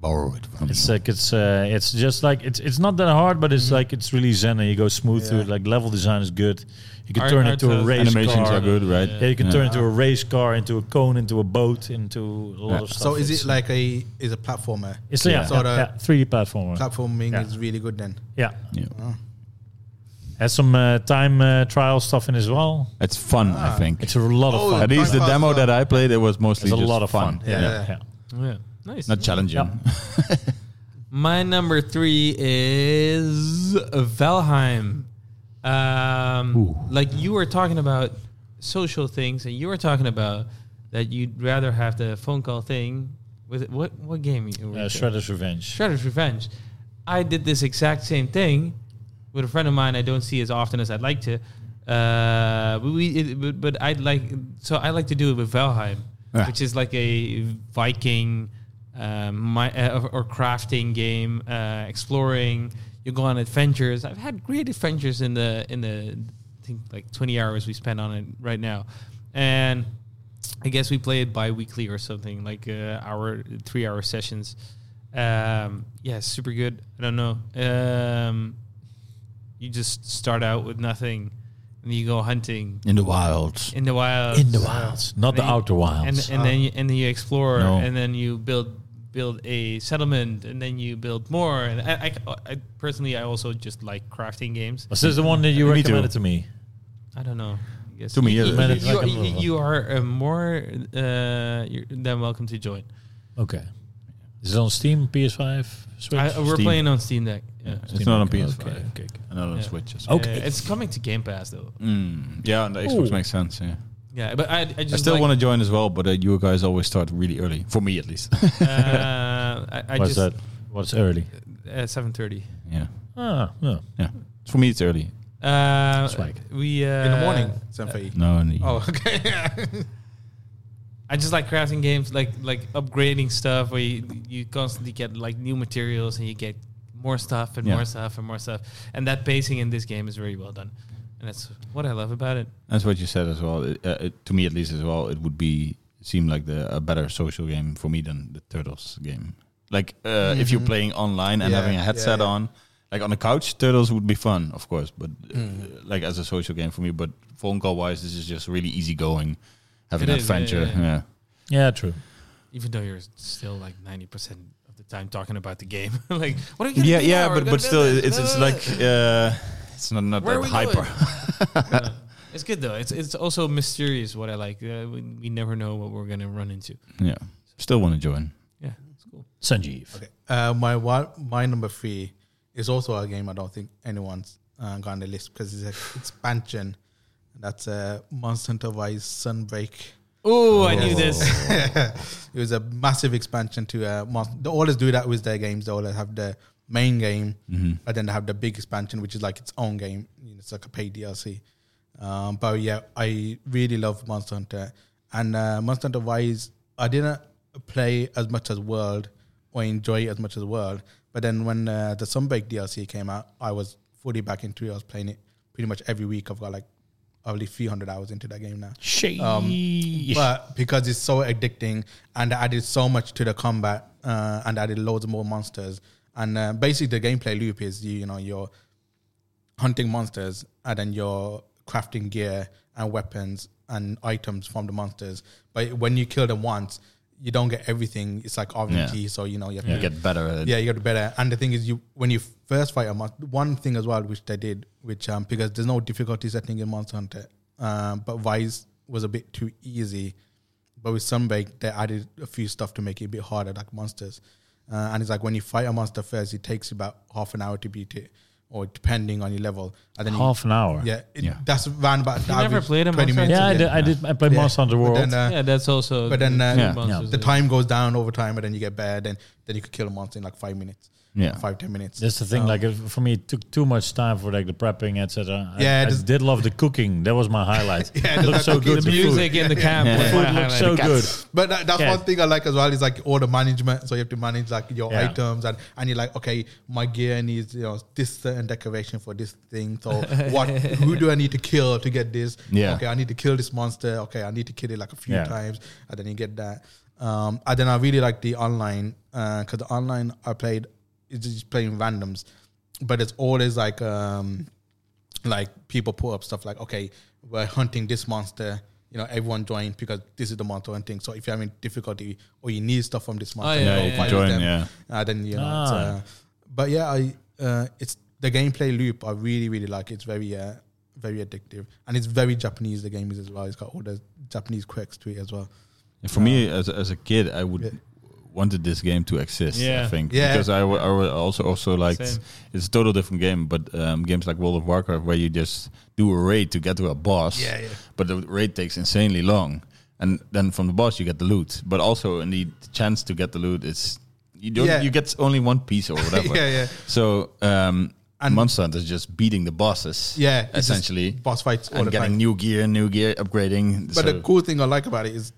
Borrow it from
It's
me.
like it's uh, it's just like it's it's not that hard, but it's like it's really zen and you go smooth through it. Like level design is good. You can
Art-
turn
art
into a
style.
race
Animations
car.
are good, right?
Yeah, you can turn into a race car, into a cone, into a boat, into a lot of stuff.
So is it
It's-
like a is a platformer?
It's yeah,
So
yeah,
the
yeah, 3D platformer.
platforming
Yeah.
is really good then.
yeah,
Yeah.
has some uh, time uh, trial stuff in as well.
It's fun, I think.
Ah, It's a lot
Oh,
of fun.
At least the
Time
demo
pass, uh,
that I played, it was mostly
It's a
just
lot of fun.
Yeah.
yeah. Uh, yeah.
Yeah. Nice.
Not challenging.
My number three is Valheim. Um, like you were talking about social things, and you were talking about that you'd rather have the phone call thing with what what game? you were
Uh,
playing?
Shredder's Revenge.
Shredder's Revenge. I did this exact same thing with a friend of mine. I don't see as often as I'd like to. Uh, but we, it, but, but I'd like so I like to do it with Valheim,
Yeah.
which is like a Viking, um, my uh, or crafting game, uh, exploring. You go on adventures. I've had great adventures in the in the I think like twenty hours we spend on it right now, and I guess we play it bi-weekly or something like uh, hour three hour sessions. Um, yeah, super good. I don't know. Um, you just start out with nothing, and you go hunting
In the wild.
in the wild,
In the wilds, not the
And then-
outer wilds.
and and then you, and then you explore,
No.
and then you build build a settlement and then you build more. And I, I, I personally, I also just like crafting games.
Was this the one that you
Me too.
recommended to me?
I don't know. I guess
To me,
you,
yeah,
you,
that
is-
you,
Like a
you-
move.
you are uh, more uh, you're, than welcome to join.
Okay. Is it on Steam, PS5, Switch?
I, uh, we're
Steam.
playing on Steam Deck. Yeah.
Steam
It's not on
Deck,
PS5.
Okay. okay.
and not on
Yeah.
Switch. as well.
Okay.
Yeah, it's coming to Game Pass though.
Mm, yeah, and the Xbox
Oh. Ooh.
makes sense. Yeah,
Yeah, but I, I just
I still
like,
want to join as well, but uh, you guys always start really early for me at least.
Uh, I, I
What's
just
that? What's early?
Uh, Seven thirty.
yeah,
Ah, no.
yeah. For me, it's early.
Uh,
Swag.
We uh,
in the morning. Something.
No, in the evening.
Oh, okay. I just like crafting games, like like upgrading stuff where you, you constantly get like new materials and you get more stuff and
Yeah.
more stuff and more stuff. And that pacing in this game is very well done, and that's what I love about it.
That's what you said as well. It, uh, it, to me, at least, as well, it would be seem like the a better social game for me than the Turtles game. Like uh, if
Mm-hmm.
you're playing online and
Yeah,
having a
yeah,
headset
yeah.
on, like on the couch, Turtles would be fun, of course. But uh,
Mm.
like as a social game for me, but phone call wise, this is just really easygoing, having
It
an
is, yeah,
adventure.
yeah, yeah.
yeah.
Yeah, true.
Even though you're still like ninety percent of the time talking about the game, like what are you? Gonna
yeah
do
yeah
now? We're
but
gonna
but
do
still
this.
it's it's like uh it's not not
Where are
that
we
hyper
Uh, it's good though. It's it's also mysterious what I like. Uh, we, we never know what we're gonna run into.
yeah still want to join
Yeah, it's cool.
Sanjeev.
Okay. Uh, my one, my number three is also a game I don't think anyone's uh, got on the list because it's an expansion. That's uh, Monster Hunter Rise Sunbreak.
Oh, I knew this.
it was a massive expansion to uh, Monster. They always do that with their games. They always have the main game, but then they have the big expansion, which is like its own game. You know, it's like a paid DLC. Um, but yeah, I really love Monster Hunter, and uh, Monster Hunter Rise. I didn't play as much as World or enjoy it as much as World, but then when uh, the Sunbreak DLC came out, I was fully back into it. I was playing it pretty much every week. I've got like probably 300 hours into that game now
Shade.
Um, but because it's so addicting and I added so much to the combat uh, and added loads more monsters and uh, basically the gameplay loop is you, you know you're hunting monsters and then you're crafting gear and weapons and items from the monsters but when you kill them once you don't get everything it's like RNG
Yeah.
so you know you have
you
to
get better at it.
yeah, you got better. And the thing is, you when you first fight a monster, one thing as well which they did, which um because there's no difficulty setting in Monster Hunter, um, but Vice was a bit too easy. But with Sunbreak, they added a few stuff to make it a bit harder, like monsters. Uh, and it's like when you fight a monster first, it takes about half an hour to beat it, or depending on your level. And then
Half an hour.
you, yeah, it,
Yeah.
that's round about the
never
average
played a
twenty
Monster
minutes.
Yeah, I
again.
did. I, did, I played
Yeah.
Monster Hunter World.
But then, uh,
yeah, that's also.
but then, uh,
two
Yeah.
monsters
the
ago.
time goes down over time, and then you get better. Then then you could kill a monster in like five minutes,
Yeah.
five ten minutes.
That's the thing. like if, for me, it took too much time for like the prepping, etc.
Yeah,
I, I
it is-
did love the cooking. That was my highlight.
Yeah,
it looked
the
so
cooking,
good.
the music in the camp.
The
was
food
my
looked
highlight.
so good.
But that, that's
Yeah.
one thing I like as well is like all the management. So you have to manage like your
Yeah.
items and and you're like, okay, my gear needs you know this certain decoration for this thing. So what? Who do I need to kill to get this?
Yeah.
Okay, I need to kill this monster. Okay, I need to kill it like a few
Yeah.
times, and then you get that. Um, and then I really like the online because the online I played is just playing randoms, but it's always like. um like people put up stuff like, okay, we're hunting this monster. You know, everyone join because this is the monster hunting. So if you're having difficulty or you need stuff from this monster,
Oh, yeah,
you go
yeah, yeah.
fight
Join,
with them.
yeah.
Uh, then you know, it's,
Ah.
uh, but yeah, I uh, it's the gameplay loop. I really, really like. It's very, uh, very addictive, and it's very Japanese. The game is as well. It's got all the Japanese quirks to it as well.
And for me as, as a kid i would
Yeah.
wanted this game to exist i
Yeah.
think
Yeah.
because I, w- I w- also also liked
Same.
it's a total different game but um, games like world of warcraft where you just do a raid to get to a boss
Yeah, yeah.
but the raid takes insanely long and then from the boss you get the loot but also in the chance to get the loot is you don't
Yeah.
you get only one piece or whatever
Yeah, yeah.
so um and
And-
monster hunter is just beating the bosses
Yeah, it's just
essentially
boss fights all
and
the
getting
time.
new gear new gear upgrading
But
So-
the cool thing I like about it is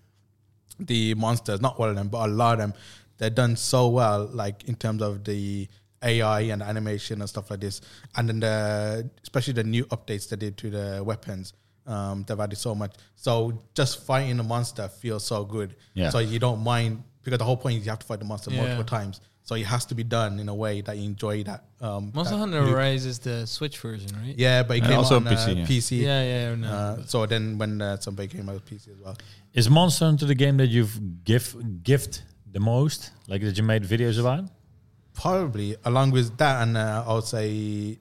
the monsters, not all of them, but a lot of them, they're done so well, like in terms of the AI and animation and stuff like this. And then the especially the new updates they did to the weapons. Um, they've added so much. So just fighting a monster feels so good.
Yeah.
So you don't mind because the whole point is you have to fight the monster
Yeah.
multiple times. So it has to be done in a way that you enjoy that. Um,
Monster
that
Hunter
loop.
Rise is the Switch version, right?
Yeah, but it
And
came
also
on
PC,
PC.
yeah.
PC.
Yeah, yeah, no.
Uh, so then when uh, somebody came out with PC as well.
Is Monster Hunter the game that you've gift gift the most? Like that you made videos about?
Uh, Probably along with that, and uh, I would say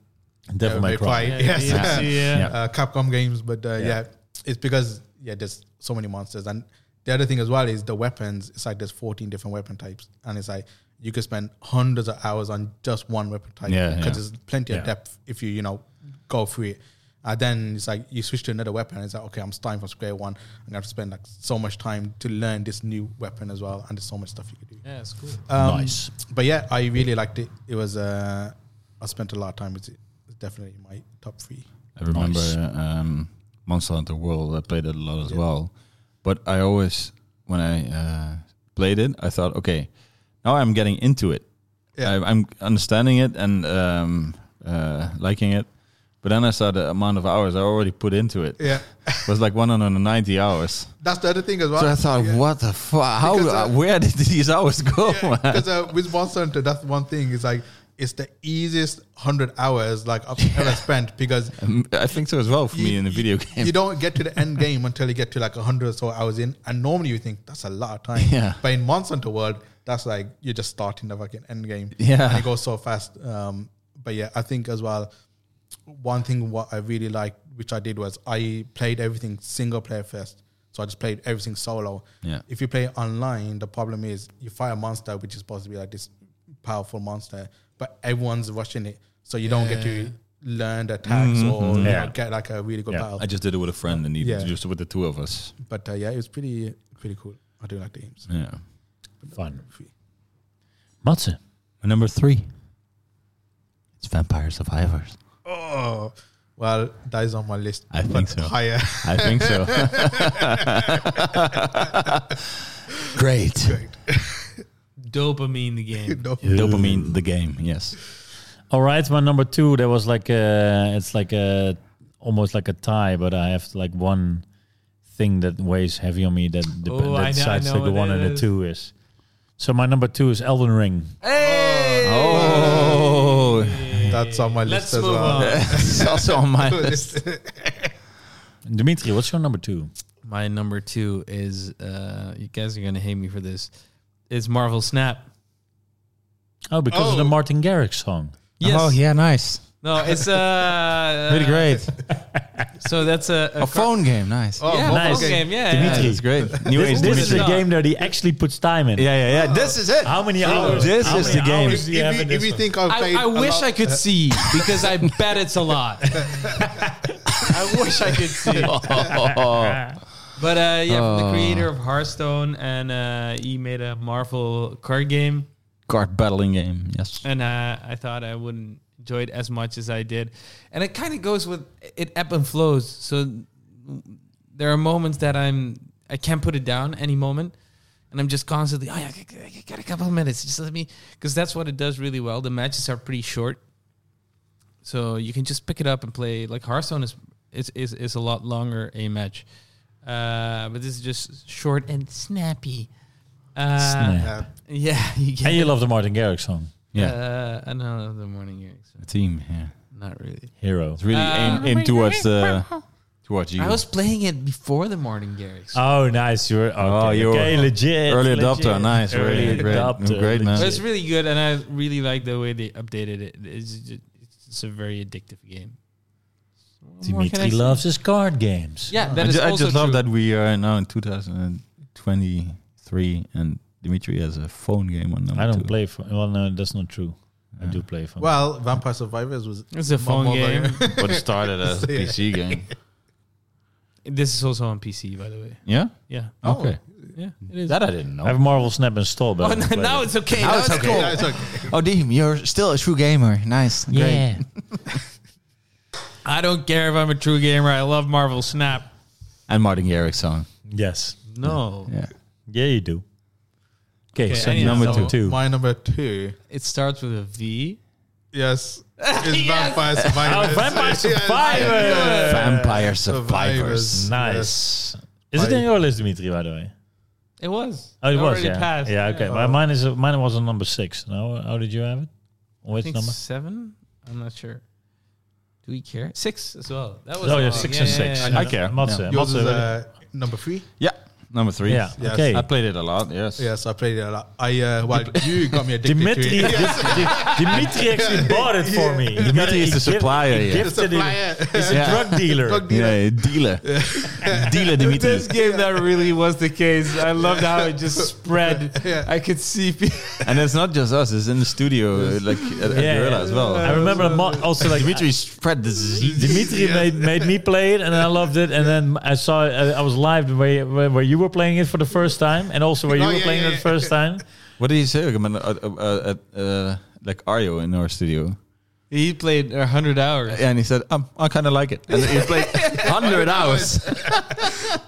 Devil
uh,
May
May
Cry.
Cry,
Yeah,
yes,
yeah, yeah.
Yeah.
Uh, Capcom games. But uh, yeah. it's because yeah, there's so many monsters, and the other thing as well is the weapons. It's like there's 14 different weapon types, and it's like you could spend hundreds of hours on just one weapon type
Yeah,
because
yeah.
there's plenty
Yeah.
of depth if you you know go through it. And then it's like you switch to another weapon. And it's like okay, I'm starting from square one. I'm gonna have to spend like so much time to learn this new weapon as well, and there's so much stuff you could do.
Yeah, it's cool.
Um,
Nice.
But yeah, I really liked it. It was uh, I spent a lot of time with it. It's definitely my top three.
I remember
Nice.
um, Monster Hunter World. I played it a lot as well, but I always when I uh, played it, I thought, okay, now I'm getting into it.
Yeah.
I, I'm understanding it and um, uh, liking it. But then I saw the amount of hours I already put into it.
Yeah,
It was like 190 hours.
that's the other thing as well.
So I thought,
yeah.
what the fuck? How?
Because, uh,
where did these hours go? man?
Because uh, with Monster Hunter, that's one thing. It's like it's the easiest hundred hours like I've ever spent because
Um, I think so as well for me in a video game.
You don't get to the end game until you get to like hundred or so hours in, and normally you think that's a lot of time.
Yeah.
But in Monster Hunter World, that's like you're just starting the fucking end game.
Yeah.
And it goes so fast. Um, but yeah, I think as well, one thing what I really liked, which I did was I played everything single player first. So I just played everything solo.
Yeah.
If you play online, the problem is you fight a monster which is supposed to be like this powerful monster, but everyone's rushing it, so you don't get to learn the attacks or you
Yeah.
know, get like a really good
Yeah.
battle.
Mm-hmm. I just did it with a friend and he
Yeah.
just with the two of us.
But uh, yeah, it was pretty pretty cool. I do like the games.
Yeah.
Um,
Fun. Matze, my number three.
It's Vampire Survivors.
Oh, well, that is on my list.
I think
but
so.
Higher.
I think so. Great.
Dopamine the game.
no.
Dopamine, the game, yes.
All right, my number two. There was like a, it's like a, almost like a tie, but I have like one thing that weighs heavy on me that dep-
Oh, I know- I
that decides
know
like the
what
one
it
and the
is.
two is. So my number two is Elden Ring.
Hey!
Oh,
That's on my
Let's
list as
move
well.
on.
it's also on my list.
Dimitri, what's your number two?
My number two is uh, you guys are gonna hate me for this. It's Marvel Snap.
Oh, because of the
Oh.
Martin Garrix song.
Yes.
Oh, yeah, nice.
No, it's uh,
Pretty great.
So that's a, a
A phone game, nice.
Oh,
yeah,
mobile
nice.
game.
game. Yeah,
Yeah,
Dimitri.
it's great. New
This,
age
this is
Dimitri.
the
Dimitri.
game that he actually puts time in.
Yeah, yeah, yeah. This is it.
How many hours?
This
how
is
many
the game.
hours do you have
If
in
you, if
this
you
one?
think I've played,
I, I
a
wish
lot-
I could see because I bet it's a lot. I wish I could see. But uh, yeah,
Oh.
from the creator of Hearthstone, and uh, he made a Marvel card game,
Card battling game, yes.
and uh, I thought I wouldn't enjoy it as much as I did. And it kind of goes with it ebb and flows. So there are moments that I'm I can't put it down any moment, and I'm just constantly oh yeah, I got- I got a couple of minutes, just let me because that's what it does really well. The matches are pretty short, so you can just pick it up and play. Like Hearthstone is is is, is a lot longer a match, uh, but this is just short and snappy. Uh,
Snap.
Yeah.
Yeah, you get
And you love the Martin Garrix song,
Yeah,
Uh, I don't know the morning here, so
a team, yeah.
not really.
Hero.
It's really aimed aim towards the towards you. Uh,
I was playing it before the morning Garrix.
Oh, nice. You're okay,
Oh, you were
okay, legit.
early
legit.
adopter, nice, really great, great, man.
But it's really good, and I really like the way they updated it. It's, ju- it's a very addictive game. What more can I
Dimitri
say?
loves his card games.
Yeah,
I,
that is
ju- I
also
just love
true.
that we are now in 2023 and Dimitri has a phone game on number
I don't
two.
play for. Well, no, that's not true. I do play for.
Well, Vampire Survivors was
It's a phone
mobile
game.
but it started as a PC game.
This is also on PC, by the way.
Yeah?
Yeah,
Oh. Okay.
Oh, yeah, it is.
That I didn't
I have Marvel Snap installed, but I
oh,
haven't
no,
played
now
it.
it's okay.
Now
Now
it's
it's
okay.
cool.
Yeah, it's okay.
Oh, Deem, you're still a true gamer. Nice.
yeah.
I don't care if I'm a true gamer. I love Marvel Snap.
And Martin Garrix song.
yes.
No,
Yeah.
Yeah, you do. Okay,
Okay,
so
anyhow,
number
so
two.
My number two.
it starts with a V.
Yes, is
Yes.
Vampire
Oh,
Survivors.
Vampire
Yes.
Survivor.
Vampire
Survivors.
Nice. Is it in your list, Dimitri? By the way.
It was.
Oh, it was.
already
Yeah.
Passed.
Yeah. Okay. My mine is mine was on number six. No, how did you have it?
I
Which
think
number?
seven. I'm not sure. Do we care? Six as well. That was
Oh, yeah,
long.
six
Yeah,
and
yeah,
six.
yeah,
I
yeah.
care.
Matze,
Yours is
Matze,
uh, number three.
Yeah. Number three.
Yeah.
Yes.
Okay.
I played it a lot. Yes.
Yes, I played it a lot. I uh, well, you got me addicted
Dimitri,
to it.
Dimitri actually bought it for me. He got-
Dimitri is
he
the
gi-
supplier.
he
Yeah.
The
gifted it.
supplier.
He's a
Yeah.
drug dealer.
Drug dealer.
Yeah, dealer. dealer Dimitri.
This game that really was the case. I loved how it just spread. I could see. People.
And it's not just us, it's in the studio, uh, like at, at
Yeah,
Gorilla
yeah.
as well.
I remember mo- also like
Dimitri spread the disease.
Dimitri made, made me play it, and I loved it. And then I saw I, I was live where, where where you were playing it for the first time, and also where you
Oh,
were
yeah,
playing
yeah,
it the
yeah.
first time.
What did he say? Like, I mean, uh, uh, uh, uh, like Ario in our studio.
He played a hundred hours.
And he said, um, I kind of like it. And he played 100 hours.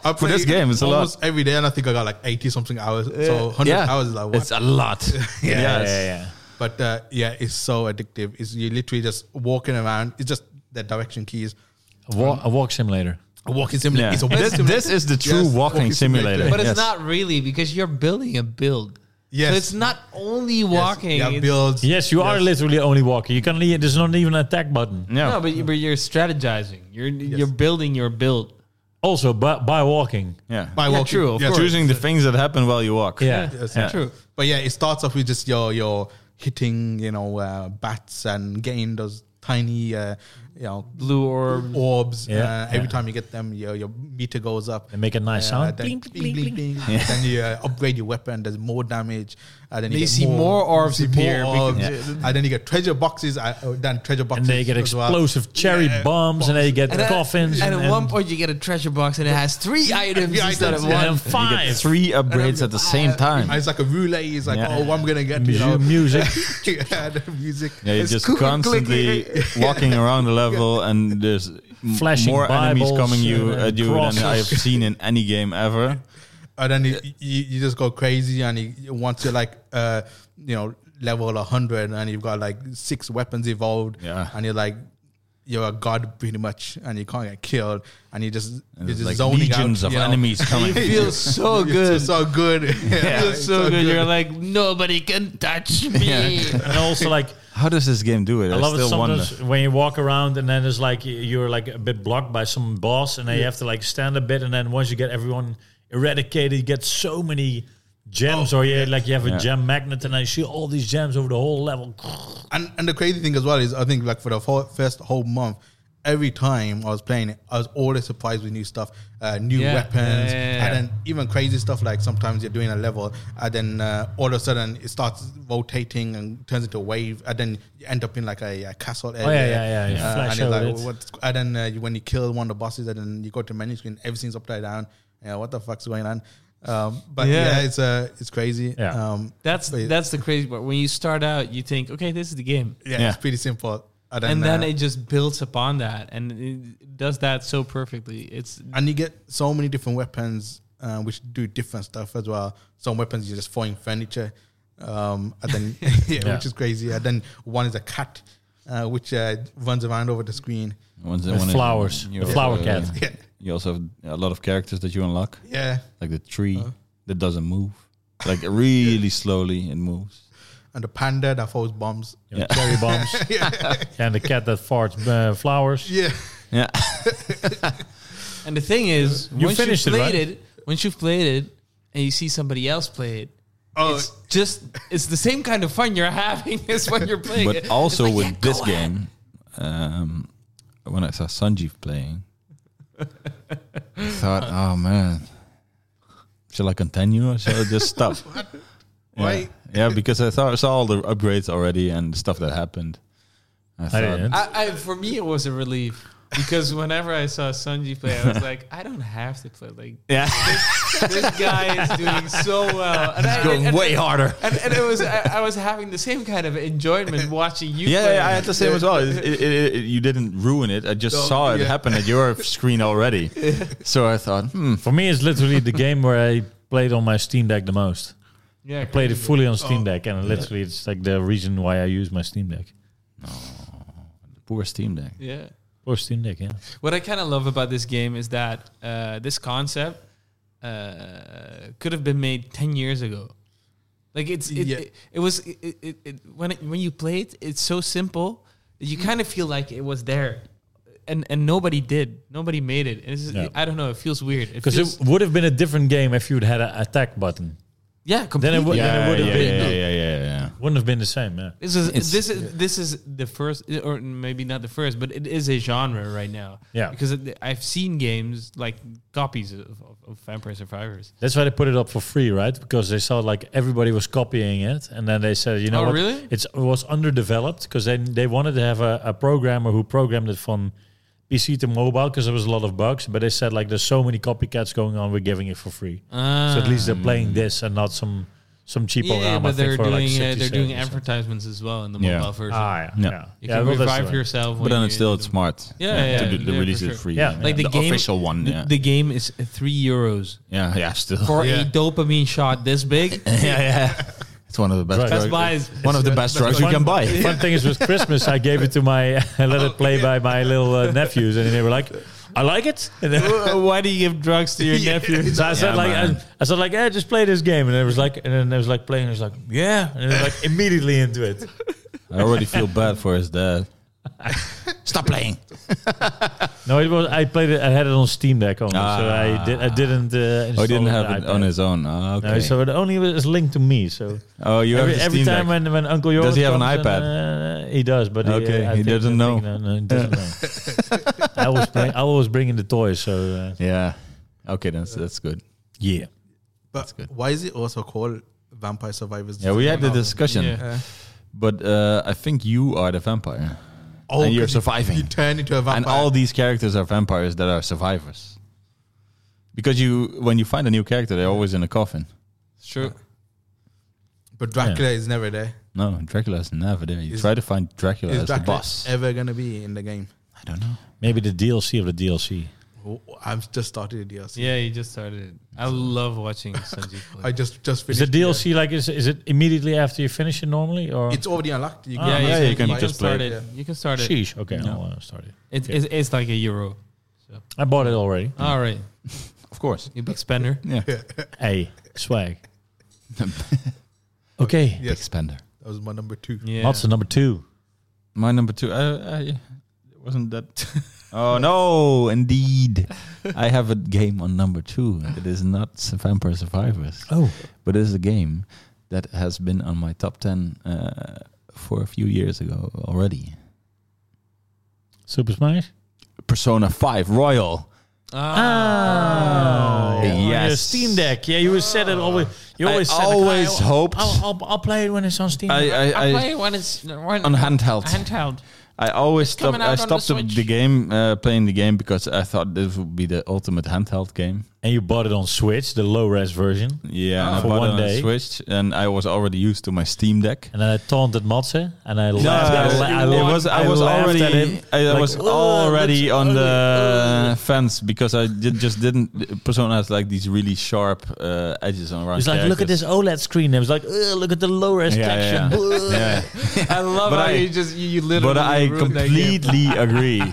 I
For this
play
game, it's a lot.
almost every day, and I think I got like eighty something hours. So hundred
Yeah.
hours is like what?
It's a lot.
Yeah, yeah,
Yes.
yeah.
But uh, yeah, it's so addictive. It's you literally just walking around. It's just the direction keys.
A, wa- a walk simulator.
A walking simulator.
Yeah.
It's a walking
This,
simulator.
this is the true
Yes,
walking,
walking
simulator.
simulator.
But
Yes.
it's not really because you're building a build.
Yes.
So it's not only
Yes,
walking.
Yeah,
it's-
builds.
Yes, you are literally only walking. You can le- there's not even an attack button.
Yeah.
No, but, you, but you're strategizing. You're you're building your build.
Also, by, by walking.
yeah.
By
Yeah,
walking.
true, of
Yes.
course.
Choosing the things that happen while you walk.
Yeah.
Yes.
Yeah.
True.
But yeah, it starts off with just your your hitting, you know, uh, bats and getting those tiny, uh, you know,
Blue orb.
orbs.
Yeah,
Uh, every
yeah.
time you get them, your your meter goes up.
They make a nice
Uh,
sound.
then,
Bling,
bling, bling, bling. then you uh, upgrade your weapon. There's more damage. And then you,
You
get
see more orbs
you see more
appear because-
orbs. And Uh, then you get treasure boxes. Uh, oh, then treasure
And
boxes.
they get
as well. Uh,
explosive cherry bombs, and they get
then-
coffins,
and,
and,
at one point you get a treasure box and it has three items
Three
instead
items,
of
and
one.
then
You get
five
three upgrades at the same time.
And it's like a roulette. It's like,
Yeah.
oh, I'm gonna get you
mu-
know,
music.
yeah, the music.
Yeah, you're
It's
just
cuckoo
constantly walking around the level, and there's m-
Flashing
more enemies
Bibles
coming you
and, uh,
at you than I have
crosses.
seen in any game ever.
and then you, you, you just go crazy and you, you want to like uh you know level 100 and you've got like six weapons evolved
Yeah.
and you're like you're a god pretty much and you can't get killed and you just
And
you're
it's
just
like
zoning
legions
out,
of
you know.
enemies coming.
It feels so good.
it's so good yeah,
It feels so, good. You're like nobody can touch me.
and also like
How does this game do it? I,
I love it
still wonder.
sometimes when you walk around and then it's like y- you're like a bit blocked by some boss and then you have to like stand a bit and then once you get everyone eradicated, you get so many gems or you like you have a
Yeah.
gem magnet and I see all these gems over the whole level.
and and the crazy thing as well is I think like for the whole, first whole month. Every time I was playing it, I was always surprised with new stuff, uh, new
Yeah.
weapons,
Yeah, yeah, yeah.
and then even crazy stuff like sometimes you're doing a level, and then uh, all of a sudden it starts rotating and turns into a wave, and then you end up in like a, a castle area.
Oh, yeah, yeah, yeah.
Uh,
Flash
and, you're
over
like,
it.
what's, and then uh, you, when you kill one of the bosses, and then you go to menu screen, everything's upside down. Yeah, what the fuck's going on? Um, but
Yeah.
yeah. it's uh, it's crazy.
Yeah.
Um,
That's
but
that's the crazy part. When you start out, you think, okay, this is the game,
yeah,
Yeah.
it's pretty simple.
and then
uh,
it just builds upon that, and it does that so perfectly. It's
Mm. and you get so many different weapons uh, which do different stuff as well. Some weapons you're just throwing furniture, um, and then yeah,
Yeah.
which is crazy. And then one is a cat uh, which uh, runs around over the screen.
Once-
With
when it-
flowers.
you
The
also-
flower cat.
Mm.
Yeah,
You also have a lot of characters that you unlock,
yeah.
like the tree
Uh-huh.
that doesn't move, like really slowly it moves.
And the panda that throws bombs.
Yeah. Cherry bombs. And the cat that farts uh, flowers.
Yeah,
Yeah,
and the thing is, once
finished it,
you've played
right?
it, once you've played it, and you see somebody else play it.
Oh.
It's just it's the same kind of fun you're having as when you're playing it.
but also
It's like,
with
yeah,
this
go ahead.
game, um, when I saw Sanjeev playing, I thought, oh man, shall I continue or shall I just stop? yeah.
Why?
Yeah, because I thought I saw all the upgrades already and stuff that happened. I thought,
didn't.
I, I for me it was a relief because whenever I saw Sanji play, I was like, I don't have to play. Like
yeah,
this guy is doing so well, and I,
going
and,
way harder.
and, and it was I, I was having the same kind of enjoyment watching you.
Yeah,
play.
yeah, I had the same as well. It, it, it, it- you didn't ruin it. I just
No,
saw it
yeah.
happen at your screen already. So I thought, hmm,
For me, it's literally the game where I played on my Steam Deck the most.
yeah,
I played it fully on Steam Deck, and literally, it's like the reason why I use my Steam Deck.
poor Steam Deck.
Yeah.
Or Steam Deck, yeah.
What I kind of love about this game is that uh, this concept uh, could have been made ten years ago. Like it's it,
Yeah.
it, it was it, it, it when it, when you play it, it's so simple that you kind of feel like it was there and and nobody did. Nobody made it. And it's just,
Yeah.
I don't know. It feels weird. It
Because
feels,
it would have been a different game if you'd had an attack button.
yeah,
Then
completely.
it, would then it would have
yeah,
been.
yeah, yeah, yeah, yeah.
Wouldn't have been the same. Yeah.
This is
It's-
this is this is the first, or maybe not the first, but it is a genre right now.
Yeah.
because it, I've seen games like copies of, of, of Vampire Survivors.
That's why they put it up for free, right? Because they saw like everybody was copying it, and then they said, you know
Oh,
what?
really?
It's, it was underdeveloped because they they wanted to have a, a programmer who programmed it from PC to mobile because there was a lot of bugs. But they said like there's so many copycats going on, we're giving it for free. so at least they're playing this and not some some cheap
Ah. yeah, but they're doing
like
uh,
60
they're doing
cents.
advertisements as well in the
Yeah.
mobile version.
Ah, yeah,
No.
yeah.
you
Yeah,
can
well, that's
revive
right.
yourself,
But
when
then
you
it's still
do
it's
them.
smart.
Yeah, yeah,
to do
yeah,
the
for
release
sure.
it free.
Yeah.
Like the,
the,
game,
official one.
the-
Yeah,
the game is three euros
yeah, yeah. Still,
for
Yeah.
a dopamine shot this big.
yeah, yeah. It's one of the best.
Right.
Best
drugs-
buys.
One of the best drugs you
Fun-
can buy.
Fun thing is with Christmas, I gave it to my, I let it play by my little uh, nephews, and they were like, "I like it." And then,
Why do you give drugs to your nephew?
So I said
Yeah,
like
man.
I, I said like yeah, just play this game, and it was like and then it was like playing, and it was like yeah, and it was like immediately into it.
I already feel bad for his dad. Stop playing.
No, it was I played it. I had it on Steam Deck only, so I did I didn't. Uh,
Oh,
install
he didn't
on
have
the
it
iPad.
on his own. Ah,
No,
okay.
so it only was linked to me. So
oh, you
every,
have the
every
Steam
time
Deck.
when, when Uncle Joris
Does he have an
comes and, uh, he does, but
Okay,
uh, I
he
think-
doesn't
I think-
know.
no, no, he doesn't know. I always bring I always bring in the toys. So uh,
Yeah. Okay, then so that's good.
yeah,
But why is it also called Vampire Survivors?
Yeah, we had the discussion,
Yeah.
but uh, I think you are the vampire,
Oh,
and you're
'cause you-
surviving.
You turn into a vampire.
and all these characters are vampires that are survivors. Because you, when you find a new character, they're always in a coffin.
Sure.
but Dracula is never there.
No, Dracula's never there. You
Is-
try to find Dracula
Is
as the
Dracula
boss.
ever gonna be in the game?
I don't know.
maybe the DLC of the DLC.
Oh, I've just started the DLC.
Yeah, you just started. it. I love watching Sanjeev
I
play.
just just
Is the
finished.
DLC like is is it immediately after you finish it normally or
It's already unlocked. You
yeah,
Ah, yeah,
you,
you
can,
can
you can
just
start
play
it. You can start it.
Sheesh. Okay, I'll uh, start it.
It's, it's, it's like a euro.
I bought it already.
All right,
Of course.
you big spender.
Yeah.
Hey, swag. okay,
Yes.
Big spender.
That was my number two.
Yeah.
what's the number two?
My number two. I, I it wasn't that. oh no! Indeed, I have a game on number two. It is not S- Vampire Survivors,
Oh,
but it is a game that has been on my top ten uh, for a few years ago already.
Super Smash.
Persona Five Royal.
Ah.
Oh,
yes.
Steam Deck. Yeah, you always said it always. You
I
always said
always
like,
hoped-
I'll, I'll, I'll play it when it's on Steam.
I,
Deck."
I, I,
when it's when
on handheld.
handheld.
I always stopped.
coming out
I
on the
stopped the,
Switch.
the game uh, playing the game because I thought this would be the ultimate handheld game.
and you bought it on Switch, the low res version,
Yeah, and I
For
bought
one
it on
day.
Switch, and I was already used to my Steam Deck.
and then I taunted Matze, and I
No,
laughed. at-
it
I,
was-
laughed-
it was. I was
laughed at
already.
him,
I
like,
was
"Oh,
already
that's
on
ugly,
the
ugh."
fence because I did, just didn't. Persona has like these really sharp uh, edges on around.
It's like, look at this OLED screen. It was like, "Ugh, look at the low res
Yeah,
texture.
yeah,
Blah.
Yeah.
I love
But
how
I-
you just you, you literally.
But I
ruined that game.
completely agree.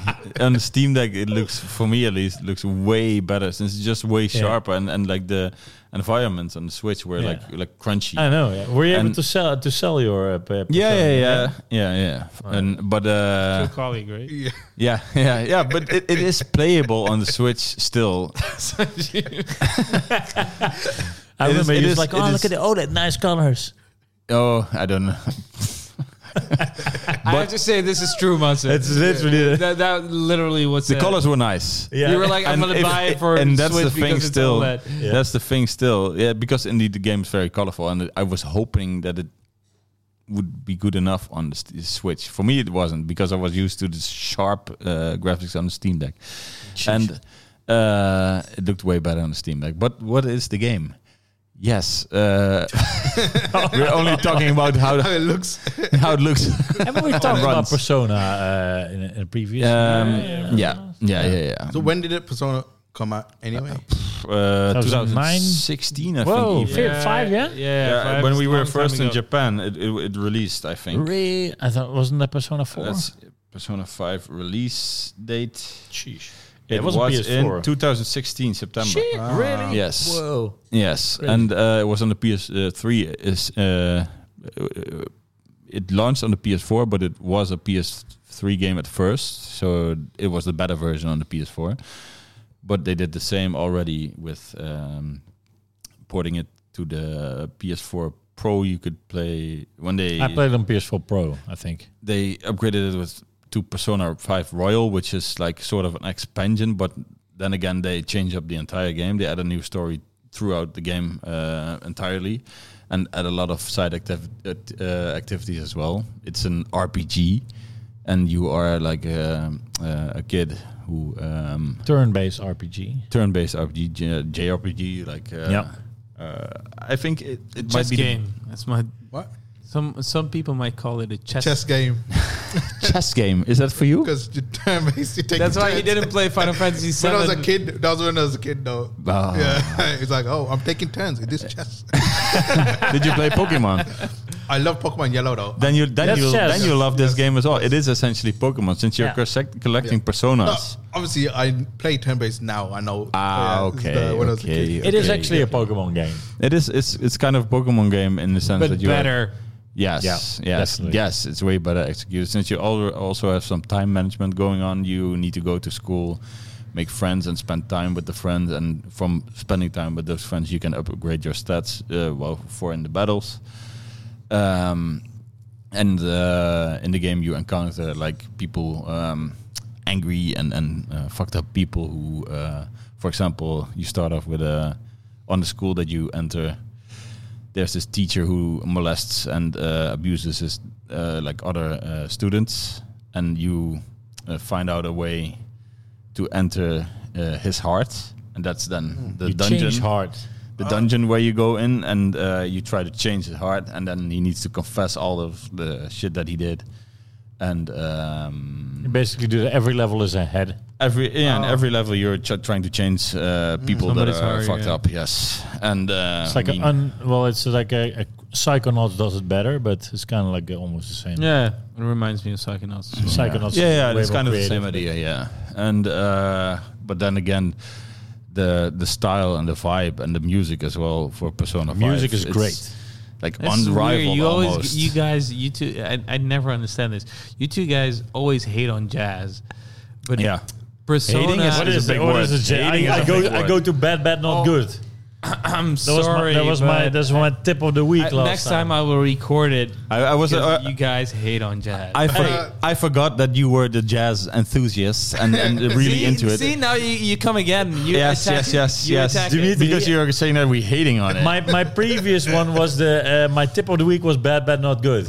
on the Steam Deck, it looks for me at least looks way better since it's just way sharper and, and like the environments on the Switch were
Yeah.
like like crunchy.
I know. Yeah. Were you able
And-
to sell to sell your? Uh, p-
yeah,
persona?
yeah, yeah, yeah, yeah. And but uh,
Your colleague, right?
Yeah.
yeah, yeah, yeah. But it, it is playable on the Switch still.
I
It is-
remember
it
you was
is-
like,
it
oh,
is-
look at the OLED, nice colors.
Oh, I don't know.
I have to say this is true, Matze.
It's literally
that, that literally what's
the
said.
colors were nice.
You were like, I'm
And
gonna
if-
buy it for
and that's
Switch
the thing
because it's
still.
OLED.
Yeah.
That's the thing still. Yeah, because indeed the game's very colorful, and I was hoping that it would be good enough on the st- Switch. For me, it wasn't because I was used to the sharp uh, graphics on the Steam Deck, and uh, it looked way better on the Steam Deck. But what is the game? Yes, uh, we're only talking about how
How it looks.
how it looks.
Haven't we talked about
Runs.
Persona uh, in, a- in a previous?
Um,
Yeah,
yeah, yeah, yeah, yeah.
So when did it Persona come out? Anyway,
uh,
2009?
2016, I
Whoa,
think. even.
fair- Five, yeah?
yeah.
Yeah,
five
when
is
we
a
were
long
first
time
in
ago.
Japan, it, it, it released, I think.
Re- I thought wasn't that Persona Four?
That's Persona 5 release date.
Sheesh.
It,
Yeah, it
was,
wasn't
in
PS4.
2016 September.
Shit, really?
Yes.
Whoa.
Yes,
Crazy.
and uh, it was on the PS3. is uh, uh, it launched on the PS4, but it was a PS3 3 game at first, so it was the better version on the PS4. But they did the same already with um, porting it to the PS4 Pro. You could play when they
I played on PS4 Pro, I think.
they upgraded it with to Persona 5 Royal, which is like sort of an expansion, but then again, they change up the entire game. They add a new story throughout the game uh, entirely and add a lot of side activ- act- uh, activities as well. It's an RPG, and you are like a, uh, a kid who um,
Turn-based RPG.
turn-based RPG, J- JRPG, like uh,
Yeah.
Uh, I think it, it might
Chess
be the-
game. That's my
What?
some some people might call it a chess.
Chess game.
chess game. Is that for you?
Because you turn basically take
That's why
turns.
he didn't play Final Fantasy VII.
When I was a kid, that was when I was a kid, though.
Ah.
Yeah, it's like, oh, I'm taking turns in this chess.
Did you play Pokemon?
I love Pokemon Yellow, though.
then you then
That's
you
chess.
then you love this game as well. It is essentially Pokemon since you're
Yeah.
collect- collecting
Yeah. No,
personas.
obviously, I play turn-based now. I know. Oh,
Ah,
Yeah, it's
okay,
the- when I was a
okay.
kid.
It is
Okay.
actually a Pokemon game.
It is it's it's kind of Pokemon game in the sense
but
that you are-
better.
yes
Yeah,
yes
definitely.
yes it's way better executed since you al- also have some time management going on. You need to go to school, make friends, and spend time with the friends. And from spending time with those friends, you can upgrade your stats uh, well for in the battles. Um, and uh, in the game you encounter like people um, angry and and uh, fucked up people who, uh, for example, you start off with a on the school that you enter. There's this teacher who molests and uh, abuses his uh, like other uh, students, and you uh, find out a way to enter uh, his heart, and that's then the
you
dungeon
change hard.
Oh.
the dungeon where you go in and uh, you try to change his heart, and then he needs to confess all of the shit that he did. And
You
um,
basically do that. Every level is a head.
every yeah,
Oh.
and every level you're ch- trying to change uh,
Mm.
people that
Somebody's
are
heart,
fucked
yeah.
up. Yes, and uh,
It's like
I
a
mean,
un, well, it's like a, a Psychonauts does it better, but it's kind of like uh, almost the same.
Yeah, it reminds me of Psychonauts. as well.
Psychonauts. is
yeah, yeah,
way
it's
more
kind of the same
creative.
idea. Yeah, and uh, but then again, the the style and the vibe and the music as well for Persona. 5,
Music is
it's
great.
like
That's
unrivaled.
weird. You
almost.
always, you guys, you two. I, I never understand this. You two guys always hate on jazz, but
yeah.
Persona.
Hating is-
What
It's a
is it?
big
What
word.
is it? Jay?
Hating
I,
is
I
a
go.
big
I
word.
go to bed. Bad, not
Oh,
good.
I'm
That was
sorry.
my. That was my.
but
That's my tip of the week.
I-
last
next time. I will record it.
I, I was.
because
uh,
you guys hate on jazz.
I, for-
Hey.
I forgot that you were the jazz enthusiast and, and really
see,
into it.
See now you, you come again. You
yes,
attack
yes,
it.
yes,
You
yes,
attack
Dimitri,
it.
Because you're saying that we're hating on it.
my my previous one was the. Uh, my tip of the week was bad, bad, not good.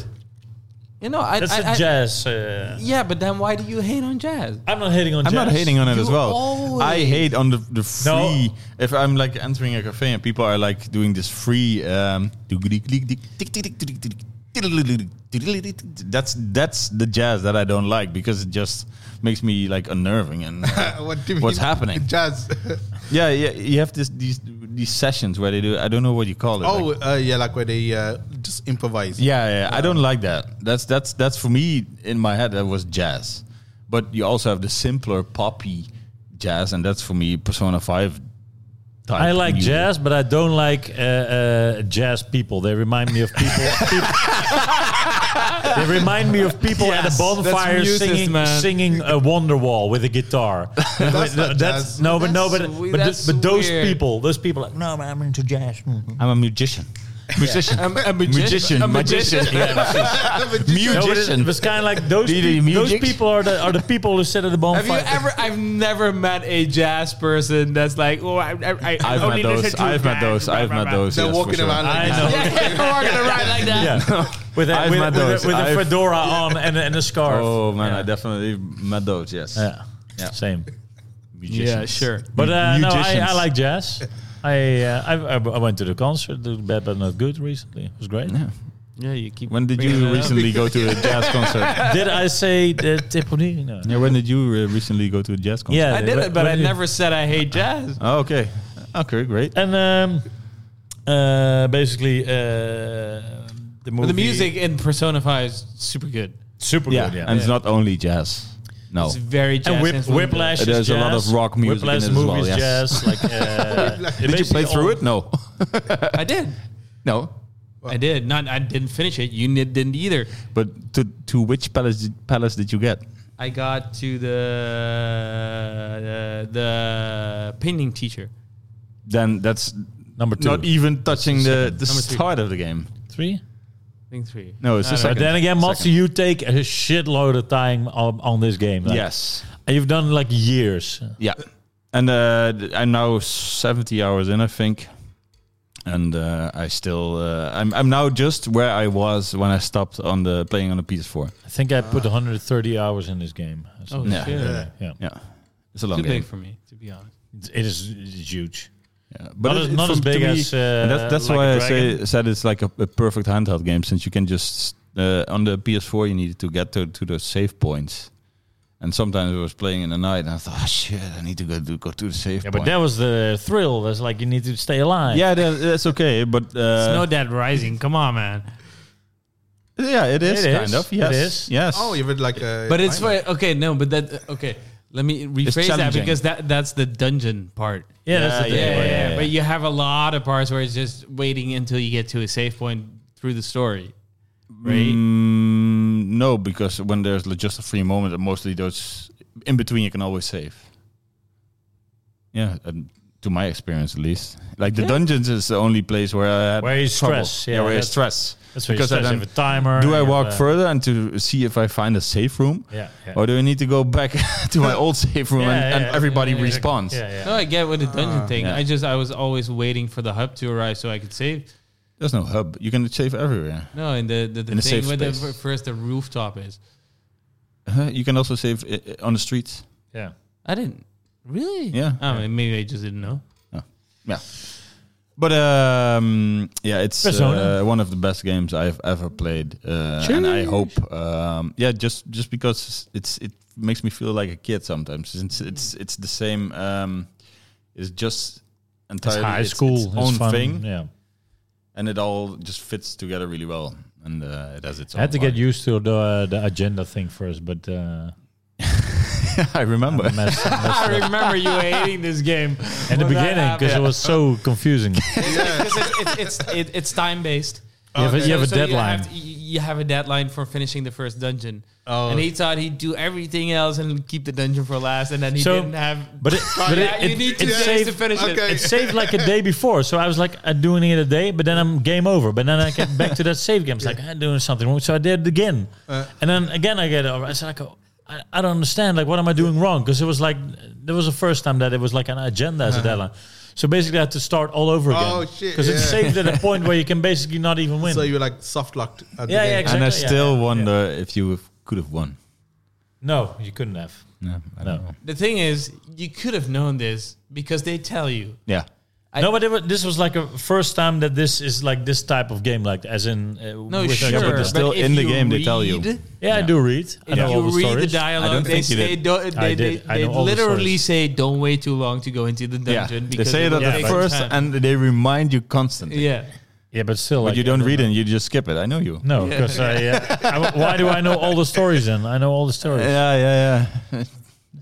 you know, I,
That's
I,
a
I-
jazz. Uh,
Yeah, but then why do you hate on jazz?
I'm not hating on.
I'm not
jazz.
hating on it
You
as well. I
always-
hate on the, the
No.
free. If I'm like entering a cafe and people are like doing this free. Um, that's that's the jazz that I don't like because it just makes me like unnerving and uh,
what do you
what's
mean?
happening?
Jazz.
Yeah, yeah. You have this these these sessions where they do. I don't know what you call it. like-
oh, uh, yeah, like where they uh, just improvise.
Yeah, yeah, I don't like that. That's that's that's for me in my head that was jazz. But you also have the simpler poppy jazz, and that's for me Persona Five. Type
I like
music.
jazz, but I don't like uh, uh, jazz people. They remind me of people. people they remind me of people at a
Yes, that's
bonfire
racist,
singing
man.
singing a Wonderwall with a guitar.
That's not
That's
jazz.
no, but no, but
That's we-
but, th-
that's
but those
weird.
people, those people, like, no, man, I'm into jazz. Mhm.
I'm a musician. Musician.
I'm a magician.
Magician.
A magician.
No, but it,
Musician.
it was kind of like those.
Do you do
peop- those
music?
people are the are the people who sit at the bonfire.
Have you ever? I've never met a jazz person that's like, oh, I, I, I
I've
only
met those.
listen to
I've met
jazz,
those.
blah,
I've
blah,
met
blah.
those.
They're
yes, for
walking
sure.
around like
I
that.
know.
Walking around like that.
Yeah, with a,
I've
with, a-
met
with a-
those.
with a
I've-
fedora on and a, and a scarf.
Oh man,
yeah.
I definitely met those. Yes.
yeah.
Yeah.
same.
Yeah, sure.
But uh, no, I,
Musicians.
I like jazz. I, uh, I I I went to the concert, the Bad But Not Good, recently. It was great.
Yeah.
Yeah, you keep.
When did
bringing it
you
up.
recently go to a jazz concert?
Did I say the tip of the- No.
Yeah, when did you uh, recently go to a jazz concert?
Yeah,
I did it, but
when
I
you-
never said I hate jazz.
Oh, okay. Okay, great.
And um, uh, basically, uh, the movie.
But the music in Persona Five is super good.
super
yeah.
good. Yeah,
and it's not only jazz. No,
It's very jazz.
And Whip,
influenced.
Whiplash. is
There's a lot
jazz.
of rock music in
Whiplash
it as well,
movies,
yes.
jazz. Like, uh,
did you play through it? No,
I did.
no.
I did not. I didn't finish it. You ni- didn't either.
But to to which palace did, palace did you get?
I got to the the painting teacher.
Then that's
Number two.
not E even touching the the
Number three.
start of the game.
Three?
I think three.
No, it's the
I don't know.
But
second.
then again, Matsu,
Second.
you take a shitload of time on, on this game. Like,
Yes.
And you've done like years.
Yeah. And uh, th- I'm now 70 hours in, I think. And uh, I still, uh, I'm, I'm now just where I was when I stopped on the playing on the PS4.
I think I put 130 hours in this game. So,
Oh
Yeah.
shit!
yeah. yeah.
Yeah, it's a long
Too
game.
big for me, to be honest.
It is it's huge.
Yeah.
Not as- not
for-
as
to
big as, uh,
and that's that's
like
why
a
I say
Dragon.
said it's like a, a perfect handheld game since you can just uh, on the PS4 you needed to get to to those save points. And sometimes I was playing in the night and I thought, oh, shit, I need to go to go to the save
Yeah, but
point.
that was the thrill. That's like you need to stay alive.
yeah, that, that's okay, but uh,
Snow Dad Rising. Come on, man.
Yeah, it is
It
kind
is.
of. Yes,
It is.
yes.
Oh, you would like a.
But it's
minor.
why- okay. No, but that okay. Let me rephrase that
challenging.
because that that's the dungeon part.
Yeah, that's the
Yeah,
thing.
Yeah,
yeah,
yeah,
yeah,
But you have a lot of parts where it's just waiting until you get to a safe point through the story, right?
Mm, no, because when there's like, just a free moment, and mostly those in between, you can always save. Yeah, and to my experience at least, like the dungeons is the only place where I had
Where you
trouble.
stress,
Yeah,
yeah,
where you
that's-
stress.
That's where you stress,
I
you have a timer.
do I
you have
walk
a-
further and to see if I find a safe room,
Yeah, yeah.
or do I need to go back to my old safe room
Yeah,
and,
yeah,
and
yeah,
everybody
yeah, yeah, exactly.
responds?
Yeah, yeah.
No, I get with the dungeon thing.
Uh, Yeah.
I just I was always waiting for the hub to arrive so I could save.
There's no hub. You can save everywhere.
No, and the the, the
In a
thing
safe
where the
space.
fir- first the rooftop is.
Uh-huh, You can also save i- i- on the streets.
yeah.
I didn't really.
Yeah.
Oh, maybe I just didn't know.
Yeah. But um, yeah, it's
Persona.
uh, one of the best games I've ever played, uh, and I hope um, yeah, just just because it's it makes me feel like a kid sometimes. It's it's it's the same. Um, it's just
It's
entirely
high
its-
school.
its
It's
own
fun.
thing,
Yeah.
and it all just fits together really well, and uh, it has its.
I had
own
to get
vibe.
used to the uh, the agenda thing first, but uh,
I remember.
mess, mess
I remember you hating this game
in the
Well, that
beginning because it
happened.
was so confusing.
because it's it's, it's, it, it's time based.
You have a, you have a
So
deadline.
You have, to- you- you have a deadline for finishing the first dungeon.
Oh.
And he thought he'd do everything else and keep the dungeon for last, and then he
So-
didn't have.
but it,
Oh,
but
Yeah,
it,
you
it,
need two
it
days
saved,
to finish
Okay.
it.
it saved like a day before. So I was like, I'm doing it a day, but then I'm game over. But then I get back to that save game. It's like, I'm doing something wrong. So I did it again.
Uh.
and then again, I get over. I said, like, oh, I, I don't understand. Like, what am I doing wrong? Because it was like, there was the first time that it was like an agenda as a deadline. So basically, I had to start all over again.
Uh-huh. Oh, shit,
Because
yeah.
it's saved at a point where you can basically not even win.
So you were like soft locked. at the
Yeah, yeah,
game.
exactly.
and I still
yeah.
wonder if you could have won.
no, you couldn't have.
No, I
No.
don't know.
The thing is, you could have known this because they tell you.
Yeah.
no, but it was, this was like a first time that this is like this type of game, like as in uh,
No,
with-
sure.
but they're still
if
in the
you
game, they tell you.
read-
Yeah, I do read. I
If
know
you
all the
read
stories.
the dialogue,
don't
they
think you
say
did.
don't,
I
they, they,
did. I
they
know all the
literally
stories.
say don't wait too long to go into the
Yeah,
dungeon.
they
because
say
it
that
will
at
take
first,
time.
and they remind you constantly.
yeah,
Yeah, but still,
But
like,
you don't read it; and you just skip it. I know you.
No, because I, uh, I- why do I know all the stories? Then I know all the stories.
Yeah, yeah, yeah.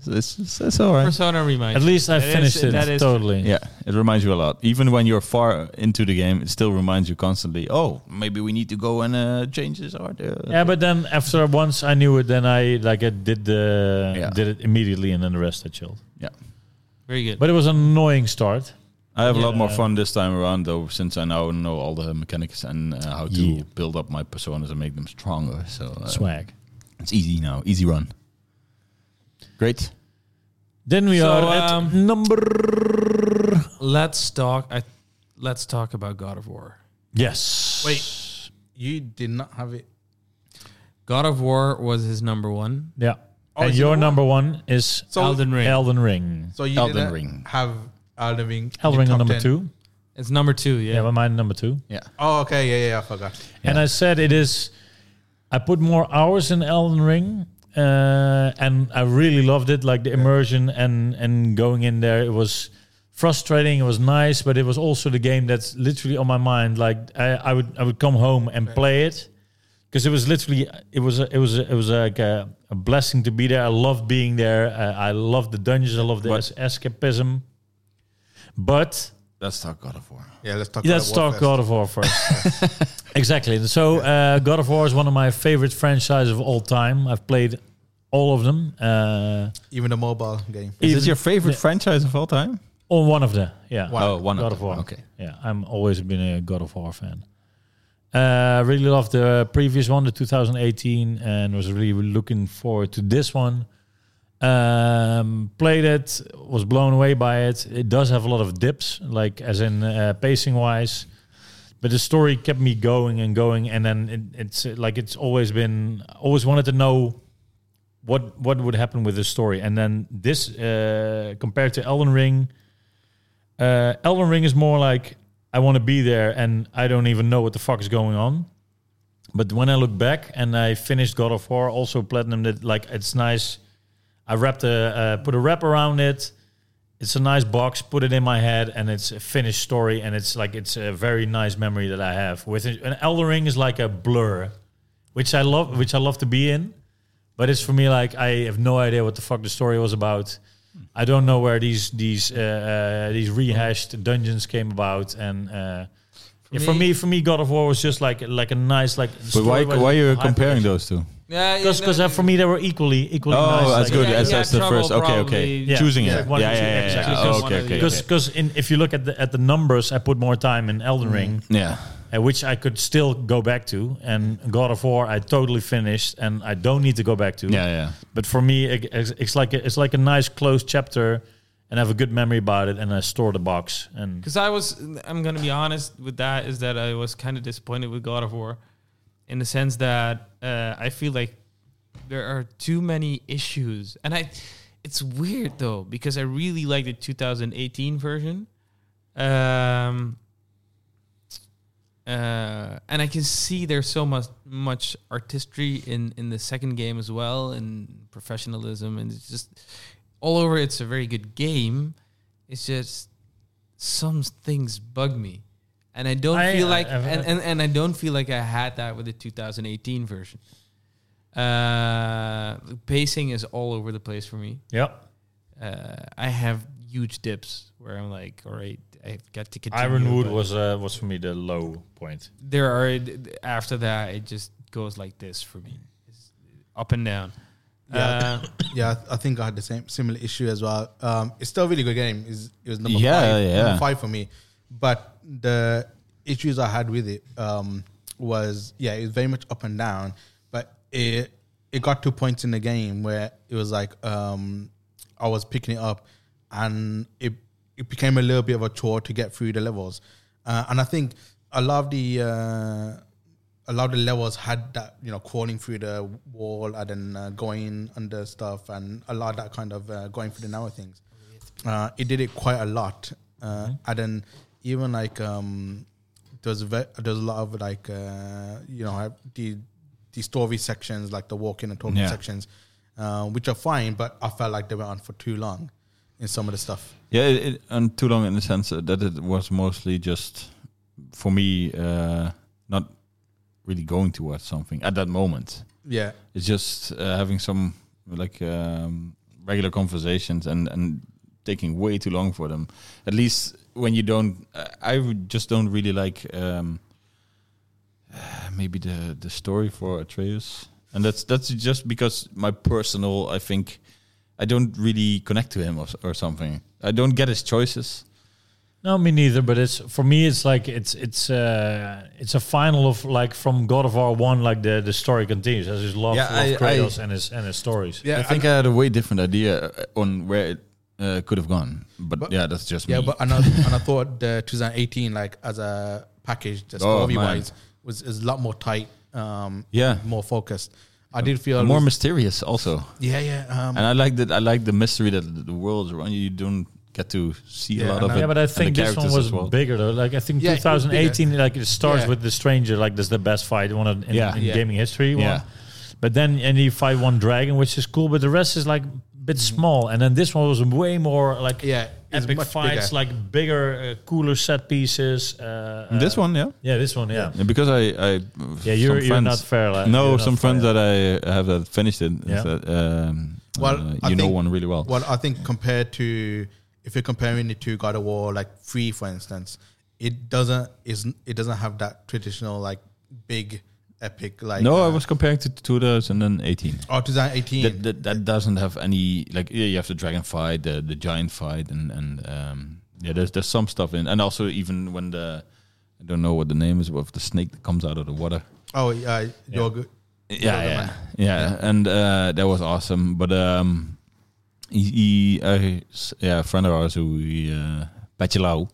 it's, it's, it's all right.
persona reminds.
At least I
That is-
finished it
that is-
totally.
Yeah, it reminds you a lot. Even when you're far into the game, it still reminds you constantly. Oh, maybe we need to go and uh, change this art. Uh,
Yeah, but then after once I knew it, then I like I did the
Yeah.
did it immediately, and then the rest I chilled.
yeah.
very good.
But it was an annoying start.
I have a lot more
Yeah.
fun this time around, though, since I now know all the mechanics and uh, how to
Yeah.
build up my personas and make them stronger. So uh,
Swag.
it's easy now, easy run. Great.
Then we
So,
are at
um,
number.
let's talk. I, let's talk about God of War.
Yes.
Wait. You did not have it.
God of War was his number one.
Yeah.
Oh,
and
is it
your
the
number one is
So-
Elden Ring.
Elden Ring.
So you
Elden
didn't
Ring.
have Elden Ring. in
Elden Ring
top
on number
10.
two.
It's number two. Yeah.
Yeah, but mine number two.
Yeah.
Oh, okay. Yeah, yeah. I forgot.
And I said it is. I put more hours in Elden Ring, uh, and I really loved it. Like the immersion and and going in there, it was frustrating. It was nice, but it was also the game that's literally on my mind. Like I, I would I would come home and play it because it was literally it was a, it was a, it was like a, a blessing to be there. I loved being there. Uh, I loved the dungeons. I loved the es- escapism, but
Let's talk God of War.
Yeah, let's talk.
Let's
God of War
talk God of War first. exactly. So, uh, God of War is one of my favorite franchises of all time. I've played all of them. Uh,
first. even the mobile game.
Is
Even-
this your favorite franchise of all time?
on one of them, yeah.
Oh, one of,
God of War.
them. Okay.
Yeah, I'm always been a God of War fan. Uh, really loved the previous one, the 2018, and was really looking forward to this one. Um, played it, was blown away by it. It does have a lot of dips, like as in uh, pacing wise, but the story kept me going and going. And then it, it's uh, like it's always been, always wanted to know what what would happen with the story. And then this uh, compared to Elden Ring, uh, Elden Ring is more like I want to be there and I don't even know what the fuck is going on. But when I look back and I finished God of War, also platinum it, like it's nice. I wrapped a uh, put a wrap around it. It's a nice box. Put it in my head, and it's a finished story. And it's like it's a very nice memory that I have. With it. an Elden Ring is like a blur, which I love, which I love to be in. But it's for me like I have no idea what the fuck the story was about. I don't know where these these uh, uh, these rehashed dungeons came about, and uh, yeah, for, me, for me, God of War was just like like a nice like.
But why,
story-wise
why are you
high
comparing
pressure.
those two?
Yeah,
Because
no,
because
no,
for me they were equally equally
Oh,
nice.
that's
like-
good.
Yeah,
that's
yeah,
that's the
trouble
first. Okay, okay.
probably-
Choosing
Yeah.
it.
One
Yeah,
and
yeah,
two,
yeah, yeah.
exactly.
Oh, okay,
Choosing one
okay.
and
okay.
Because because in if you look at the at the numbers, I put more time in Elden
Mm-hmm.
Ring,
Yeah.
uh, which I could still go back to, and God of War I totally finished, and I don't need to go back to.
Yeah, yeah.
But for me, it, it's, it's like a, it's like a nice closed chapter, and I have a good memory about it, and I store the box. And
Because I was, I'm gonna be honest with that, is that I was kind of disappointed with God of War, in the sense that uh, I feel like there are too many issues, and I, it's weird though because I really like the 2018 version, um, uh, and I can see there's so much much artistry in in the second game as well, and professionalism, and it's just all over. It's a very good game. It's just some things bug me and i don't
I-
feel
I-
like
I've-
and, and, and i don't feel like i had that with the 2018 version uh the pacing is all over the place for me
yeah,
uh i have huge dips where i'm like all right i've got to continue
Ironwood
but
was uh, was for me the low point.
there are after that it just goes like this for me it's up and down
Yeah.
Uh,
Yeah, I think I had the same similar issue as well. Um, it's still a really good game. It's, it was number
Yeah,
five,
yeah.
number five for me. But the issues I had with it um, was yeah, it was very much up and down. But it it got to points in the game where it was like um, I was picking it up, and it it became a little bit of a chore to get through the levels. Uh, and I think a lot of the uh, a lot of the levels had that you know crawling through the wall and then uh, going under stuff and a lot of that kind of uh, going through the narrow things. Uh, it did it quite a lot, uh,
Mm-hmm.
and then even like um, there's ve- there's a lot of like uh, you know I- the the story sections like the walking and talking
Yeah.
sections, uh, which are fine, but I felt like they went on for too long in some of the stuff.
Yeah, it, it, and too long in the sense that it was mostly just for me uh, not really going towards something at that moment.
Yeah,
It's just uh, having some like um, regular conversations and and taking way too long for them. At least when you don't, I I would just don't really like um, maybe the the story for Atreus, and that's that's just because my personal, I think, I don't really connect to him or, s- or something. I don't get his choices.
No, me neither. But it's for me, it's like it's it's uh it's a final of like from God of War one, like the the story continues. As his love
Yeah,
for
I-
Kratos and his and his stories.
yeah,
I think I had a way different idea uh, on where it uh, could have gone, but,
But-
yeah, that's just
Yeah,
me.
but and I, and I thought the 2018 like as a package, the
Oh,
story
man.
wise, was is a lot more tight. Um,
Yeah.
more focused. I did feel
more
more.
mysterious also.
yeah, yeah. Um,
And I like that. I like the mystery that the world around you. You don't get to see a
Yeah,
lot
and
of
I-
it.
Yeah, but I
and the
think this one
characters
was
as well.
bigger though. Like I think
Yeah, it was
2018, like it starts
Yeah.
with the stranger, like that's the best fight one in,
Yeah.
in
Yeah.
gaming history. One.
Yeah.
But then and you fight one dragon, which is cool, but the rest is like bit
Mm-hmm.
small. And then this one was way more like
Yeah, it's
epic
much
fights,
bigger.
like bigger, uh, cooler set pieces. Uh, uh,
this one, yeah.
yeah, this one, yeah.
Yeah, because I, I
Yeah,
some
you're, you're
friends-
not fair. Like,
No,
you're
some
not fair.
friends that I have that finished it.
Yeah.
That, um,
Well,
uh,
I
you know
think-
one really well.
well, I think compared to if you're comparing it to God of War, like Free, for instance, it doesn't is it doesn't have that traditional like big epic like
no,
uh,
I was comparing to 2018.
oh 2018
That, that that doesn't have any like yeah, you have the dragon fight, the the giant fight, and and um, yeah, there's there's some stuff in, and also even when the I don't know what the name is of the snake that comes out of the water.
oh yeah, you're good.
yeah,
Yoga
yeah,
Man.
yeah, and uh, that was awesome. But um, he, he uh, s- yeah, a friend of ours who we, uh, Bachelau,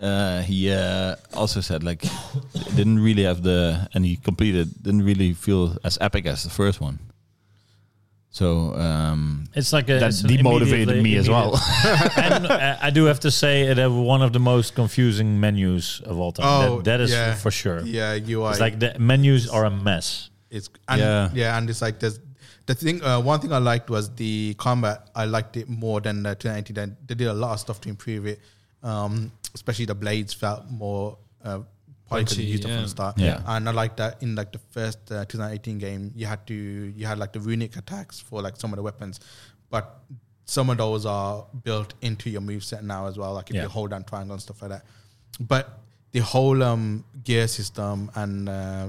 uh, he uh, also said like didn't really have the and he completed didn't really feel as epic as the first one. So um,
It's like a,
that
it's an immediately-
demotivated me as well.
and uh, I do have to say that one of the most confusing menus of all time.
oh
that, that is
yeah.
for sure.
yeah you
It's
are
like the menus are a mess.
It's and
Yeah.
yeah, and it's like there's the thing. Uh, one thing I liked was the combat. I liked it more than the 2019. Then They did a lot of stuff to improve it, um, especially the blades felt more uh, probably could
Punchy,
used them from
yeah.
the start.
Yeah.
and I liked that in like the first uh, 2018 game, you had to you had like the runic attacks for like some of the weapons, but some of those are built into your moveset now as well. Like if
Yeah.
you hold down triangle and stuff like that, but the whole um, gear system and uh,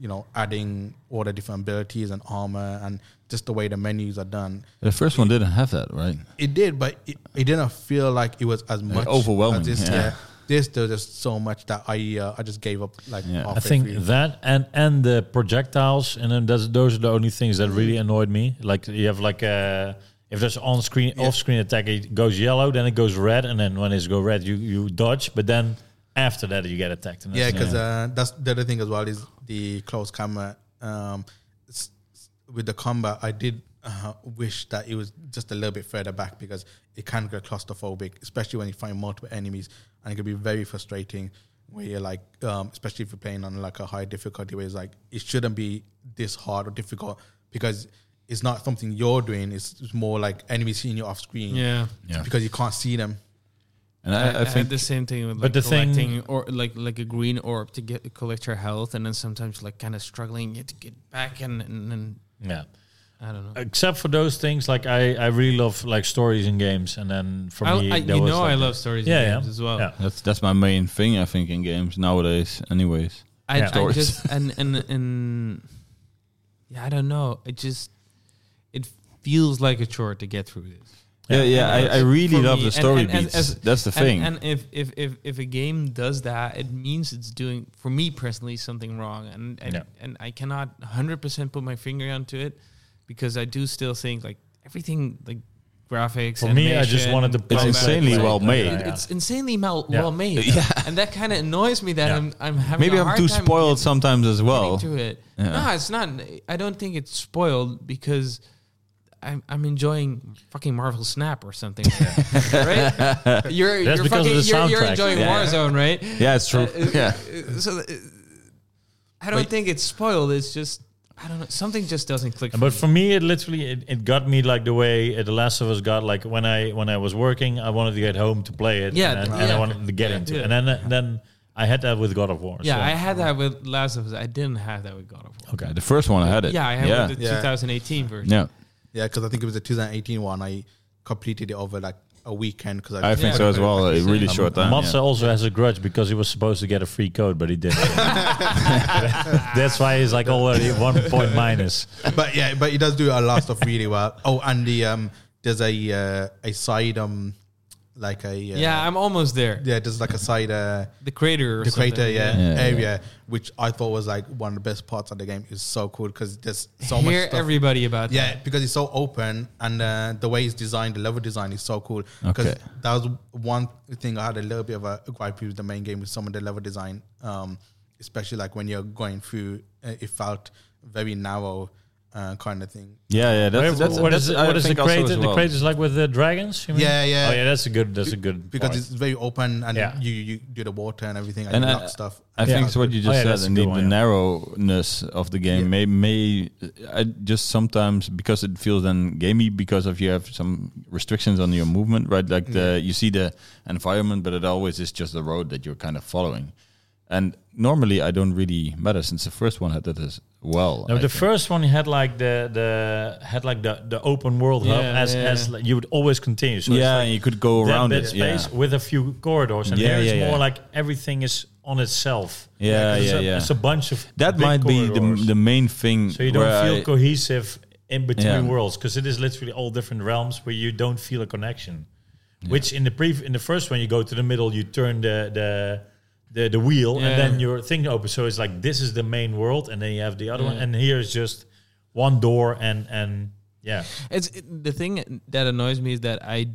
you know adding all the different abilities and armor and just the way the menus are done
the first one didn't have that, right?
it did but it, it didn't feel like it was as much
overwhelming,
as this
yeah.
this there was just so much that i uh, i just gave up like
Yeah. I
halfway
I think
through.
that and and the projectiles and then that's, those are the only things that really annoyed me. Like you have like a if there's on screen off screen attack, it goes yellow, then it goes red, and then when it's go red, you you dodge, but then after that you get attacked. And
yeah
that's-
because uh, that's the other thing as well is the close camera um, s- s- with the combat i did uh, wish that it was just a little bit further back because it can get claustrophobic especially when you find multiple enemies and it can be very frustrating where you're like um, especially if you're playing on like a high difficulty where it's like it shouldn't be this hard or difficult because it's not something you're doing it's, it's more like enemies seeing you off screen
Yeah.
Yeah.
because you can't see them
And
I,
I, I,
I
think
had the same thing with like
But the thing-
collecting or like like a green orb to get collect your health, and then sometimes like kind of struggling to get back, and and, and
yeah.
I don't know.
Except for those things, like I, I really love like stories in games, and then for
I,
me,
I,
that
you
was
know,
like-
I love stories
yeah,
and
yeah.
games as well.
Yeah.
that's that's my main thing. I think in games nowadays, anyways.
I,
Yeah.
I
Stories.
just and and and yeah, I don't know. It just it feels like a chore to get through this.
Yeah, yeah,
and
I, I really
for
love
me-
the
and-
story
and as-
beats.
as-
That's the thing.
And, and if, if if if a game does that, it means it's doing for me personally something wrong, and and,
Yeah.
and I cannot hundred percent put my finger onto it because I do still think like everything like graphics.
For me, I just
animation,
wanted to
combat,
insanely
like,
well made.
it- It's insanely mal-
Yeah.
well made, and that kind of annoys me that
Yeah.
I'm I'm having
Maybe
a
I'm
hard
too
time
spoiled
getting-
sometimes as well.
getting to it.
Oh. Yeah.
No, it's not. I don't think it's spoiled because I'm I'm enjoying fucking Marvel Snap or something, right? You're
That's
you're
because of
fucking
the
you're, you're
soundtrack.
enjoying
Yeah.
Warzone, right?
Yeah, it's true. yeah,
Uh, So uh, I don't think it's spoiled. It's just I don't know. Something just doesn't click. For
But
me.
for me, it literally it, it got me like the way uh, The Last of Us got like when I when I was working, I wanted to get home to play it,
Yeah,
and,
th-
and I
yeah.
wanted to get into, it.
Yeah.
and then then I had that with God of War.
yeah,
so-
I had that with Last of Us. I didn't have that with God of War.
okay. The first one I had it.
Yeah, I had
yeah.
with the
Yeah.
2018 version.
yeah.
yeah because i think it was the 2018 one i completed it over like a weekend because
I think so as well. A really short time.
Matze
yeah.
also has a grudge because he was supposed to get a free code, but he didn't. That's why he's like already one point minus.
but yeah, but he does do a lot of stuff really well. Oh, and the um, there's a uh, a side um, like a uh,
Yeah, I'm almost there.
yeah, there's like a side uh,
The crater or
the
something.
crater yeah,
Yeah,
area, which I thought was like one of the best parts of the game. Is so cool because there's so
Hear
much stuff.
everybody about that.
yeah, because it's so open and uh, the way it's designed, the level design is so cool. Because
Okay.
that was one thing I had a little bit of a gripe with the main game with some of the level design, um, especially like when you're going through, uh, it felt very narrow uh, kind of thing.
Yeah, yeah.
Where-
That's, that's,
what is
that's-
it-
I
what is the
think also
crater?
as
The
well.
crater is like with the dragons. You mean?
Yeah, yeah.
Oh yeah, that's a good. That's a good.
because
point.
it's very open and
Yeah.
you you do the water and everything and,
And
you
I-
lock stuff.
I
Yeah.
think it's what you
Oh,
just
yeah, that's
said,
a
and
good
the, the
one, yeah.
narrowness of the game may may I just sometimes because it feels then gamey because of you have some restrictions on your
Mm-hmm.
movement, right? Like the you see the environment, but it always is just the road that you're kind of following, And normally I don't really matter since the first one had that as well.
No,
I
the
think.
first one had like the the had like the the open world hub
Yeah,
as
yeah.
as like you would always continue. So it's
yeah,
like
you could go
that
around
bit
it. Yeah,
space with a few corridors, and
Yeah,
here it's
yeah, yeah.
more like everything is on itself.
Yeah,
It's
yeah,
a,
yeah.
It's a bunch of
that
big
might be the,
corridors.
the main thing.
so you don't
where
feel
I-
cohesive in between
Yeah.
worlds because it is literally all different realms where you don't feel a connection. Which in the pre in the first one you go to the middle, you turn the the the, the wheel,
Yeah.
and then your thing opens. So it's like this is the main world, and then you have the other one, and here is just one door, and and yeah,
It's it- the thing that annoys me is that I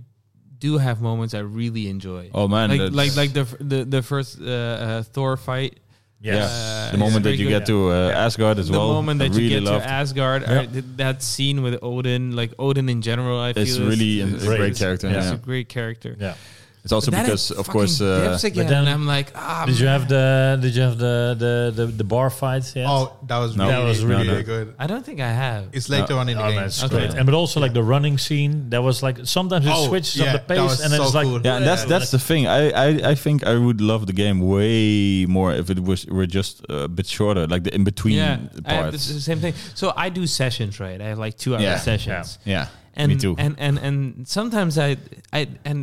do have moments I really enjoy.
oh man,
like
that's-
like like the f- the the first uh, uh, Thor fight.
yeah,
yes.
Uh,
the moment that
very
you get
good.
to uh, Asgard as
the
well.
moment
I
that
really
you get
loved.
to Asgard, I- th- that scene with Odin, like Odin in general, I feel
It's
is-
really a
is-
great
is-
character,
It's
yeah.
a great character.
yeah.
It's also
But then
because,
it
of course,
fucking
uh,
dips again,
then-
and I'm like, ah,
Did you have the Did you have the the the, the bar fights? Yet?
Oh, that was
No.
really,
That
was
really,
really-
good.
I don't think I have.
It's later on in the
Oh,
game.
man, it's
Okay.
great. And but also like the running scene, that was like sometimes it
Oh,
switches
yeah,
up the
that
pace,
was
and then
so
it's like
cool.
Yeah, and that's
Yeah,
that's the thing. I, I I think I would love the game way more if it was were just uh, a bit shorter, like the in between
yeah, I have the
parts.
s- same thing. So I do sessions, right? I have like two hour
Yeah.
sessions.
yeah,
And,
me too.
And and and sometimes I I and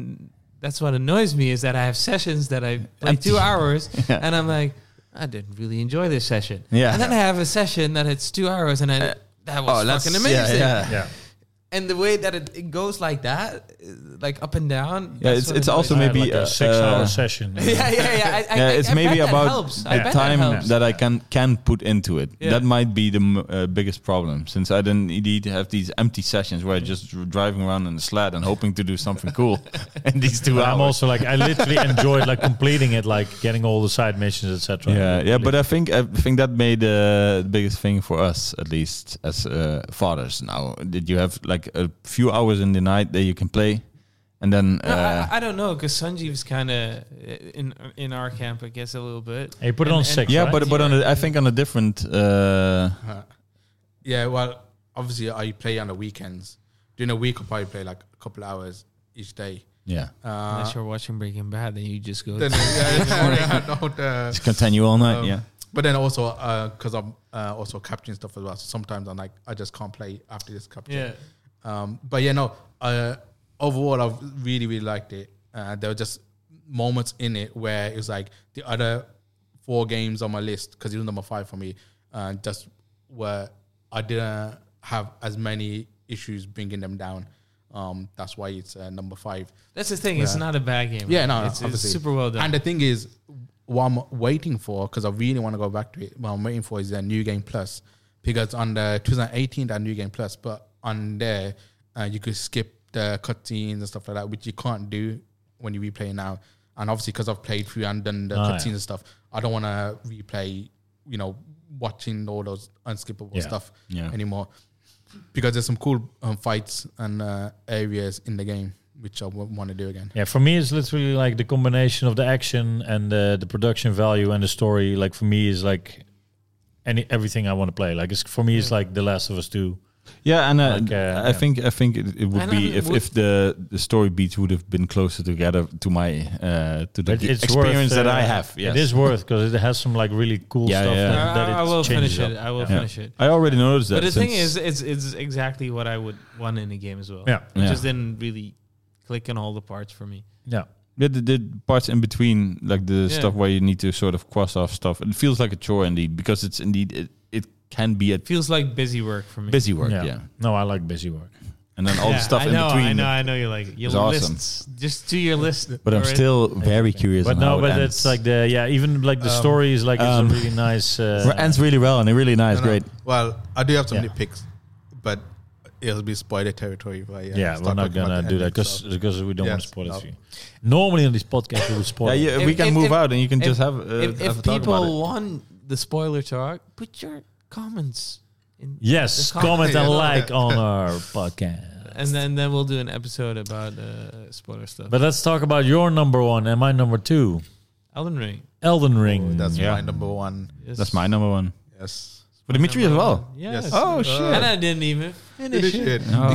that's what annoys me is that I have sessions that I play
Empty.
two hours
Yeah.
and I'm like, I didn't really enjoy this session.
Yeah. Uh, oh,
And then I have a session that it's two hours and I that was fucking amazing.
Yeah, yeah.
Oh, yeah.
And the way that it, it goes like that, uh, like up and down.
Yeah,
that's
it's
what
it's
annoys
also
me.
I had,
maybe
like, a
uh,
six-hour
uh,
session.
yeah, yeah, yeah. I, I,
yeah,
I-
it's
I
maybe
bet that
about
helps. I
the
bet that
time that,
helps.
I can can put into it.
Yeah.
That might be the m- uh, biggest problem, since I didn't indeed have these empty sessions where I just dr- driving around in a sled and hoping to do something cool in these two
But
hours.
I'm also like I literally enjoyed like completing it, like getting all the side missions, etc.
yeah, yeah, but uh, I think I think that made uh, the biggest thing for us, at least as uh, fathers. Now, did you have like a few hours in the night that you can play, and then
No,
uh,
I, I don't know because Sanjeev's kind of uh, in in our camp, I guess, a little bit.
Hey, put it on six,
yeah,
right?
but uh, but on a, I think on a different. Uh,
Yeah, well, obviously I play on the weekends. During the week, I probably play like a couple hours each day.
yeah,
Uh,
Uh-huh.
unless you're watching Breaking Bad, then you just go.
then, yeah, yeah, yeah, no, the-
just continue all night.
Oh.
um,
yeah,
But then also, because I'm uh, also capturing stuff as well. So sometimes I'm like, I just can't play after this capture.
yeah,
Um, but yeah, no. Uh, overall, I really really liked it. Uh, there were just moments in it where it was like the other four games on my list because it was number five for me. Uh, just where I didn't have as many issues bringing them down. Um, that's why it's uh, number five.
that's the thing. It's not a bad game.
Yeah, no, no,
it's, it's
obviously.
super well done.
And the thing is, what I'm waiting for, because I really want to go back to it, what I'm waiting for is a New Game Plus. Because on the 2018, that New Game Plus, but on there, uh, you could skip the cutscenes and stuff like that, which you can't do when you replay now. And obviously, because I've played through and done the
Oh,
Ah,
cutscenes
yeah.
and stuff, I don't want to replay, you know, watching all those unskippable
Yeah.
stuff
Yeah.
anymore. Because there's some cool um, fights and uh, areas in the game, which I want to do again.
Yeah, for me, it's literally like the combination of the action and uh, the, the production value and the story. Like for me, is like any everything I want to play. Like it's for me, it's like The Last of Us Two.
Yeah, and uh,
Like, uh,
I
yeah.
think I think it, it would
And,
be
um,
if,
would-
if the the story beats would have been closer together to my uh, to the
But it's
experience
worth,
that
uh,
I have. Yes.
It is worth because it has some like really cool
Yeah,
stuff
yeah.
That, that
Uh, I,
it
I will
changes
finish
up.
it. I will
Yeah.
finish it.
I already noticed that.
But the thing
since-
is, it's it's exactly what I would want in a game as well.
Yeah.
It
Yeah.
just didn't really click on all the parts for me.
Yeah,
the, the, the parts in between, like the
Yeah.
stuff where you need to sort of cross off stuff, it feels like a chore indeed because it's indeed it, it can be a
Feels like busy work for me.
busy work.
yeah,
Yeah,
No, I like busy work.
and then all
Yeah,
the stuff
I
in
know,
between.
I know, I know. You like it. your
is awesome.
lists. Just do your list.
But I'm
already.
still very curious.
But
on how
no,
it
but
ends.
it's like the yeah, even like the story is like
um,
it's a really nice. Uh,
It ends really well and it really nice,
No, no.
great.
Well, I do have some
Yeah.
nitpicks, but it'll be spoiler territory. But yeah,
yeah, we're
start
not
talking about
gonna
the
do that
ending,
because
so-
we don't want
Yes,
to spoil
no.
it for you. Normally on this podcast we would spoil.
Yeah,
it.
yeah,
If-
we can
if-
move
if-
out and you can
if-
just have uh,
if,
have a
if
talk about it.
people want the spoiler talk, put your comments in.
Yes,
The com-
comment and
Yeah.
like on our podcast.
And then, then we'll do an episode about uh, spoiler stuff.
But let's talk about your number one and my number two,
Elden Ring.
Elden Ring.
that's
Yeah.
my number one.
is-
That's my number one.
Yes,
But Dimitri as well.
Yes.
Oh shit!
And I didn't even finish it.
Oh,
Oh,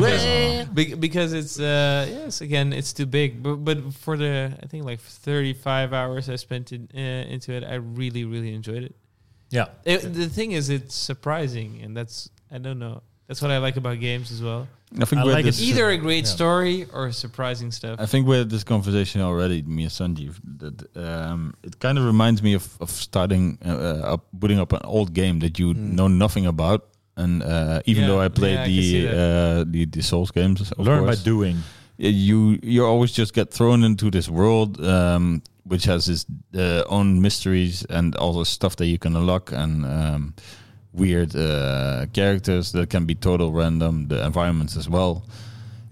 Be- because it's uh yes again it's too big but but for the I think like 35 hours I spent in, uh, into it I really really enjoyed it.
Yeah.
It- The thing is it's surprising and that's I don't know that's what I like about games as well.
I think
I
we had
like it
this,
Either a great
Yeah.
story or surprising stuff.
I think we had this conversation already, me and Sanjeev. That um, it kind of reminds me of of starting uh, uh, up, booting up an old game that you know nothing about. And uh, even
Yeah,
though I played
yeah, I can see
the, uh, the the Souls games, of
Learn by
course,
doing.
yeah, you you always just get thrown into this world um, which has its uh, own mysteries and all the stuff that you can unlock and um, weird uh, characters that can be total random the environments as well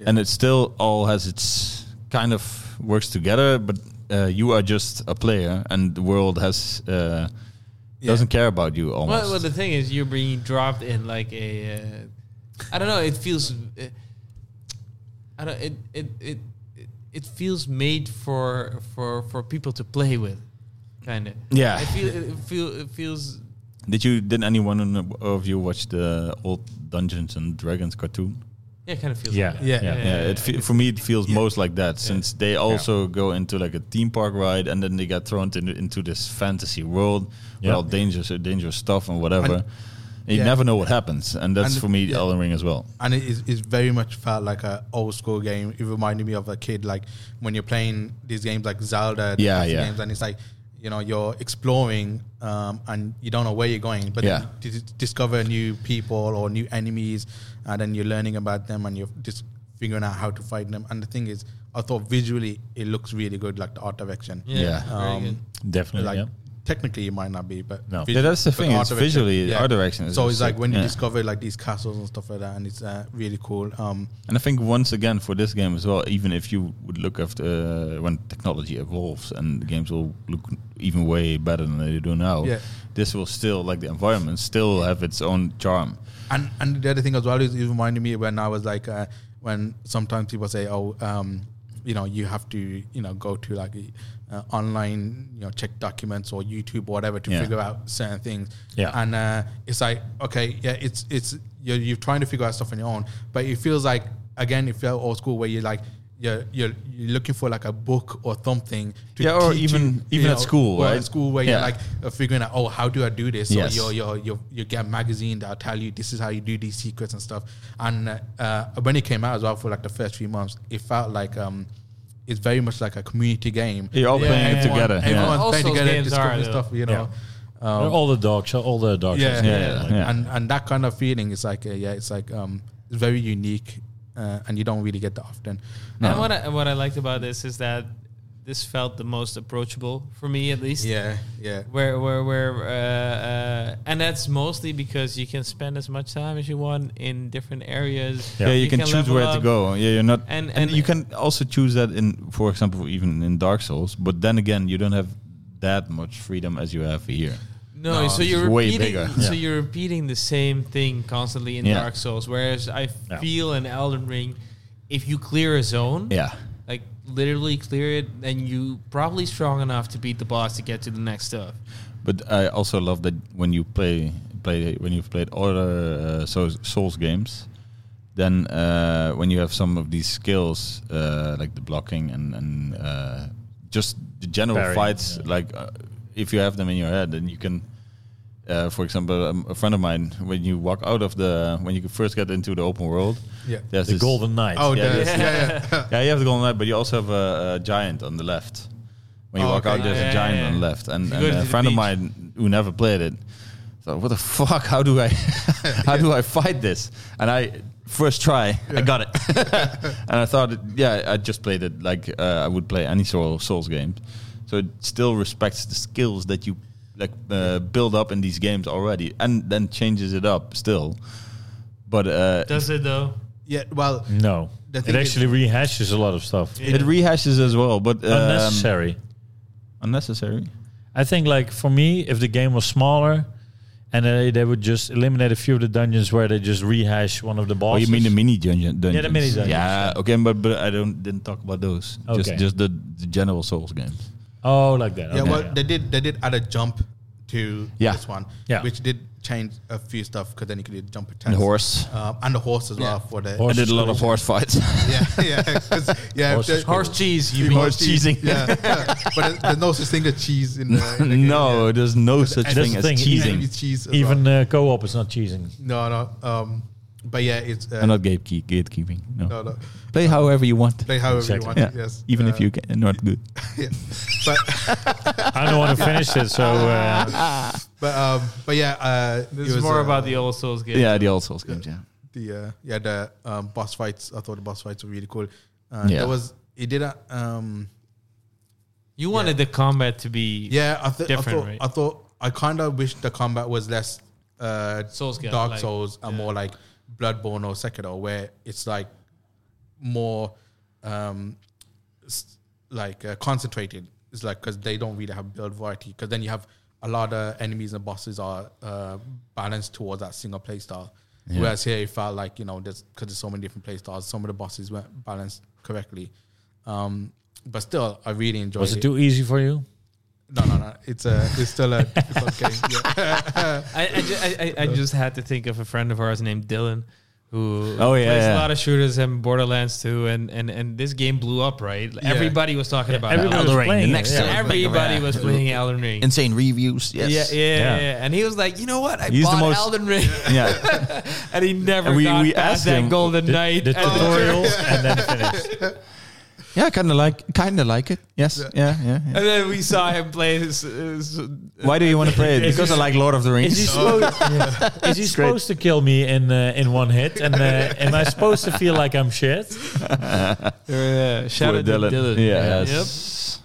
and it still all has its kind of works together but uh, you are just a player and the world has uh, doesn't care about you almost
Well, well, the thing is, you're being dropped in like a. Uh, I don't know. It feels. Uh, I don't. It it it it- it feels made for for for people to play with, kind of.
Yeah.
I feel it feel it feels.
did you did anyone of you watch the old Dungeons and Dragons cartoon
Yeah, kind of feels.
Yeah.
Like that.
Yeah.
yeah, it fe- for me it feels most like that since they also go into like a theme park ride and then they get thrown into, into this fantasy world with
Yeah.
all dangerous uh, dangerous stuff and whatever
And-
you
yeah.
never know what happens and that's
And-
for me
yeah.
Elden Ring as well
and it is, is very much felt like a old school game. It reminded me of a kid, like when you're playing these games like Zelda, the
Yeah,
classic
yeah.
games, and it's like you know you're exploring um, and you don't know where you're going, but
Yeah.
then you dis- discover new people or new enemies, and then you're learning about them and you're just figuring out how to fight them. And the thing is, I thought visually it looks really good, like the art direction.
Yeah.
Yeah.
very good.
Definitely.
like
yeah.
technically it might not be, but
No.
Yeah, that's the
but
thing,
art
it's
direction-
visually, art direction is
So
just
it's like
sick,
when you
yeah.
discover like these castles and stuff like that, and it's uh, really cool. Um,
and I think once again for this game as well even if you would look after uh, when technology evolves and the games will look even way better than they do now
Yeah.
this will still like the environment still have its own charm
and and the other thing as well is it reminded me when I was like uh, when sometimes people say, oh, um, you know, you have to you know go to like uh, online, you know, check documents or YouTube or whatever to
Yeah.
figure out certain things.
Yeah.
and uh, it's like okay, yeah, it's it's you're, you're trying to figure out stuff on your own, but it feels like again, if you're old school where you're like. You're, you're, you're looking for like a book or something to
Yeah, or
teach you,
even-
you
even at school,
or
right?
at school where
Yeah.
you're like uh, figuring out oh how do I do this
Yes.
so you're, your your your get magazine that'll tell you this is how you do these secrets and stuff. And uh, uh, when it came out as well for like the first few months, it felt like um, it's very much like a community game.
You're all playing it together, yeah.
Everyone's
All
playing
Souls
together,
games
discovering
are, though.
stuff. You know. Um,
all the dogs, all the dogs.
yeah, yeah,
yeah,
like-
yeah.
and and that kind of feeling is like uh, yeah, it's like um, it's very unique, uh, and you don't really get that often.
And what I, what I liked about this is that this felt the most approachable for me, at least.
Yeah, yeah,
Where, where, where, uh, uh, and that's mostly because you can spend as much time as you want in different areas.
Yeah, you, can, choose
level
where to
up.
go. Yeah, you're not, and,
And-
and
and-
you can also choose that in, for example, even in Dark Souls. But then again, you don't have that much freedom as you have here.
No,
No,
so
it's
you're
way
repeating,
bigger.
So
Yeah.
you're repeating the same thing constantly in
Yeah.
Dark Souls. Whereas I
Yeah.
feel in Elden Ring, if you clear a zone,
Yeah,
like literally clear it, then you probably strong enough to beat the boss to get to the next stuff.
but I also love that when you play play when you've played other uh, Souls, Souls games, then uh, when you have some of these skills uh, like the blocking and and uh, just the general
Parry,
fights,
yeah.
like uh, if you have them in your head, then you can. Uh, for example, um, a friend of mine, when you walk out of the, when you first get into the open world,
yeah.
there's
The
this-
Golden Knight.
Oh,
Yeah,
yeah,
yeah.
yeah, yeah.
Yeah, you have the golden light, but you also have a, a giant on the left. When you
Oh,
walk
okay.
out, there's a
Yeah,
giant
yeah,
on the
yeah.
left, and,
You
and
go to
a
the
friend of
beach.
mine who never played it thought, "What the fuck? How do I, how do I fight this?" And I first try, I got it, and I thought, yeah, I just played it like uh, I would play any Soul, Souls game, so it still respects the skills that you like uh, build up in these games already, and then changes it up still. But uh,
Does it though?
yeah. Well,
No.
The
It
thing is-
actually rehashes a lot of stuff.
it rehashes as well, but um,
Unnecessary.
Unnecessary.
I think, like, for me, if the game was smaller and they, they would just eliminate a few of the dungeons where they just rehash one of the
Oh,
bosses.
you mean the mini dungeon? Dungeons.
Yeah, the mini dungeons,
Yeah, okay, but but I don't didn't talk about those. Just
Okay.
just the, the general Souls games.
Oh, like that.
Yeah,
okay,
well, they did. They did add a jump to
Yeah.
this one,
Yeah.
which did change a few stuff because then you could do jump attacks.
And horse.
Um, and the horse as well for the
I did a lot of horse fights.
yeah yeah 'cause- yeah
Horse is
the-
Horse cheese. You
you
mean.
horse cheesing.
yeah, yeah. but there's- there's no such thing as cheese in the, in the game,
no,
yeah.
there's no such
And that's
thing
the
as
thing,
cheesing.
Maybe cheese as
Even uh, co-op is not cheesing.
well. no no um but yeah it's uh,
I'm not gatekeep, gatekeeping. No.
no, no.
Play however you want.
play however
Exactly.
you want
yeah.
yes
Even
Uh,
if you can, not good.
yeah. but
I don't want to finish it, so uh,
but um but yeah uh
This
it
is
was,
more
uh,
about the old Souls game.
Yeah, the old Souls games. Yeah.
the uh, yeah the um, boss fights. I thought the boss fights were really cool. Uh,
Yeah.
There was it did a, um
You wanted the combat to be.
yeah I, th- I
Different,
thought
right?
I thought I kind of wish the combat was less uh
Souls-like,
Dark
like-
Souls and more like Bloodborne or Sekiro where it's like more um s- like uh, concentrated. It's like because they don't really have build variety because then you have a lot of enemies and bosses are uh, balanced towards that single play style. Whereas here it felt like you know there's because there's so many different play styles, some of the bosses weren't balanced correctly. Um, but still, I really enjoyed
was it too easy for you?
no, no, no. It's a, it's still a, it's a game. Yeah.
I, I, ju- I, I I just had to think of a friend of ours named Dylan, who
Oh, yeah,
plays
yeah.
a lot of shooters and Borderlands too, and and and this game blew up, right? Like,
Yeah.
Everybody was talking about
everybody
it.
was playing it,
next
yeah.
time.
Everybody was playing Elden Ring.
Insane reviews. Yes.
Yeah, yeah,
Yeah.
yeah, And he was like, you know what? I
He's the
bought
most-
Elden Ring,
yeah.
and he never
And we-
got
we
past
asked
that
him
Golden
The,
Knight.
the
and-
tutorial and then finish.
Yeah, kind of like, kind of like it. Yes. Yeah. Yeah. yeah.
And then we saw him play. His, his,
Why do you want to play it?
Is
Because I
this-
like Lord of the Rings.
Is he supposed, is he supposed to kill me in uh, in one hit? And uh, am I supposed to feel like I'm shit?
uh, shout
Poor
out to Dylan.
Yeah.
Yep.
Yes.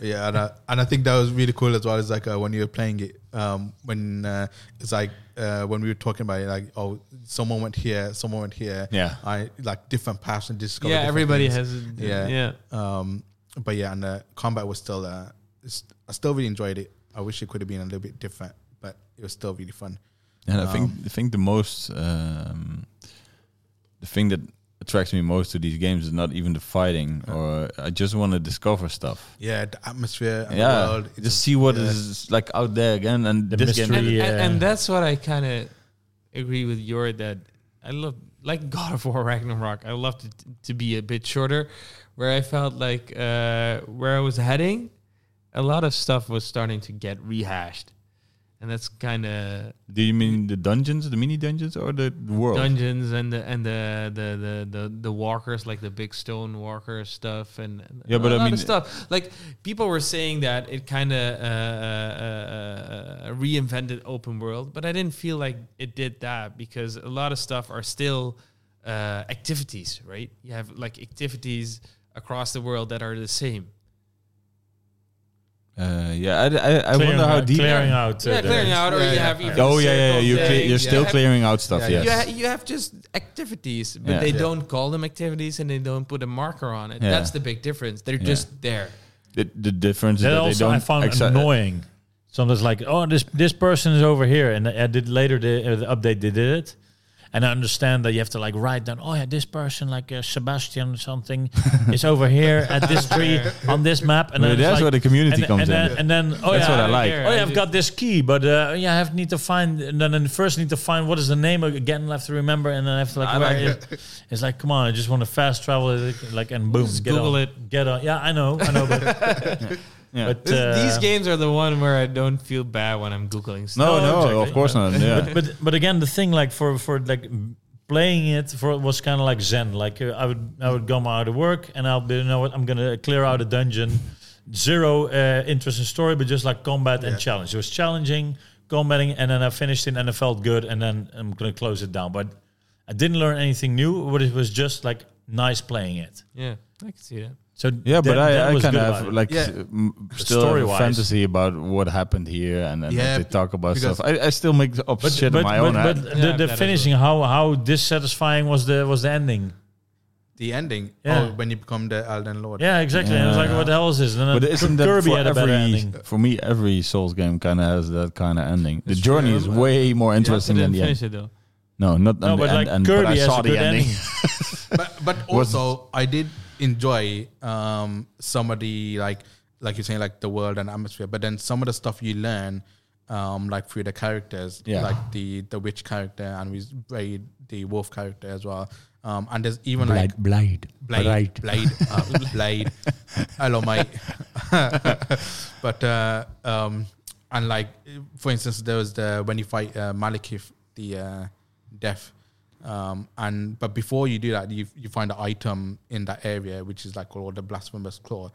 yeah and, I, and I think that was really cool as well. It's like uh, when you were playing it, um, when uh, it's like uh, when we were talking about it, like oh, someone went here, someone went here.
Yeah.
I like different paths and discovered.
Yeah,
different
everybody
things.
has. Yeah,
Yeah.
yeah.
Um, but yeah, and the combat was still. Uh, it's, I still really enjoyed it. I wish it could have been a little bit different, but it was still really fun.
And I think I think the most um, the thing that attracts me most to these games is not even the fighting, or I just want to discover stuff.
Yeah, the atmosphere. And
yeah,
the world, it's
just see what is
yeah.
like out there again, and
The
this
mystery.
game.
and,
Yeah.
and, and that's what I kind of agree with your that I love like God of War Ragnarok. I loved it to be a bit shorter, where I felt like uh, where I was heading, a lot of stuff was starting to get rehashed, and that's kind of
Do you mean the dungeons, the mini dungeons, or the world?
dungeons and the and the the, the the the walkers like the big stone walker stuff and and
Yeah, but
a
I
lot
mean-
of stuff like people were saying that it kind of uh, uh, uh, uh, reinvented open world, but I didn't feel like it did that because a lot of stuff are still uh, activities, right? You have like activities across the world that are the same.
Uh, yeah, I, I, I
Clearing
wonder how
out-
deep.
clearing out. uh,
Yeah,
the-
clearing out, or
Yeah,
you
yeah.
have even
Oh yeah, yeah, yeah. You
circle
cle-
thing,
you're still
have-
clearing out stuff.
Yeah,
yes.
you, ha- you have just activities, but
Yeah.
they
Yeah.
don't call them activities and they don't put a marker on it.
Yeah.
That's the big difference. They're
Yeah.
just there.
The, the difference is
That
that they
also
don't.
I found
exa-
annoying. Sometimes like, oh, this this person is over here, and I did later the, uh, the update they did it, and I understand that you have to like write down, oh yeah, this person like uh, Sebastian something is over here at this tree on this map,
Well,
and then it's
that's
like-
where the community
and,
comes
and
in.
Then, and then oh
That's
yeah,
what I like.
Oh yeah, I've got this key, but uh, yeah, I have need to find, and then I first need to find what is the name again. I have to remember, and then I have to like,
I
where
like
it- It's like, come on, I just want to fast travel, it, like, and boom,
Just
get
Google
on,
it.
get on. Yeah, I know, I know, but.
Yeah.
But
This-
uh,
These games are the one where I don't feel bad when I'm googling stuff.
No,
No,
no,
exactly.
of course not. Yeah.
but but again, the thing like for for like playing it for was kind of like zen. Like uh, I would I would come out of work and I'll be you know what I'm gonna clear out a dungeon. Zero uh, interest in story, but just like combat and challenge. It was challenging, combating, and then I finished it and I felt good, and then I'm gonna close it down. But I didn't learn anything new. But it was just like nice playing it.
Yeah, I can see that.
So
Yeah,
that-
but I,
that
I
was
kind
good
of
about
have
it.
like
Yeah.
s- m- still have a
Story-wise.
fantasy about what happened here, and then
Yeah,
they talk about
because-
stuff. I, I still make up shit in my own
but
head.
Yeah,
the,
that
the
is
finishing how how dissatisfying was the was the ending.
The ending.
Yeah.
Oh, when you become the Elden Lord.
Yeah, exactly. And I was like, what the hell is this? And then
But isn't that
uh, Kirby
for
had a better
every
ending.
for me every Souls game kind of has that kind of ending. The journey is way more interesting than
didn't
the
finish
end.
it though.
No, not
No,
on the
but
end,
like
end,
Kirby
but I
has
saw
a good
the ending.
ending.
but but also I did enjoy um some of the like like you're saying like the world and atmosphere, but then some of the stuff you learn um, like through the characters,
Yeah.
like the the witch character, and we played the wolf character as well. Um, and there's even like
blade,
Blade, Blade, uh, Blade. Hello, mate. but uh, um, and like for instance, there was the when you fight uh, Malekith, the uh, death. Um, and but before you do that, you you find an item in that area which is like called the blasphemous claw,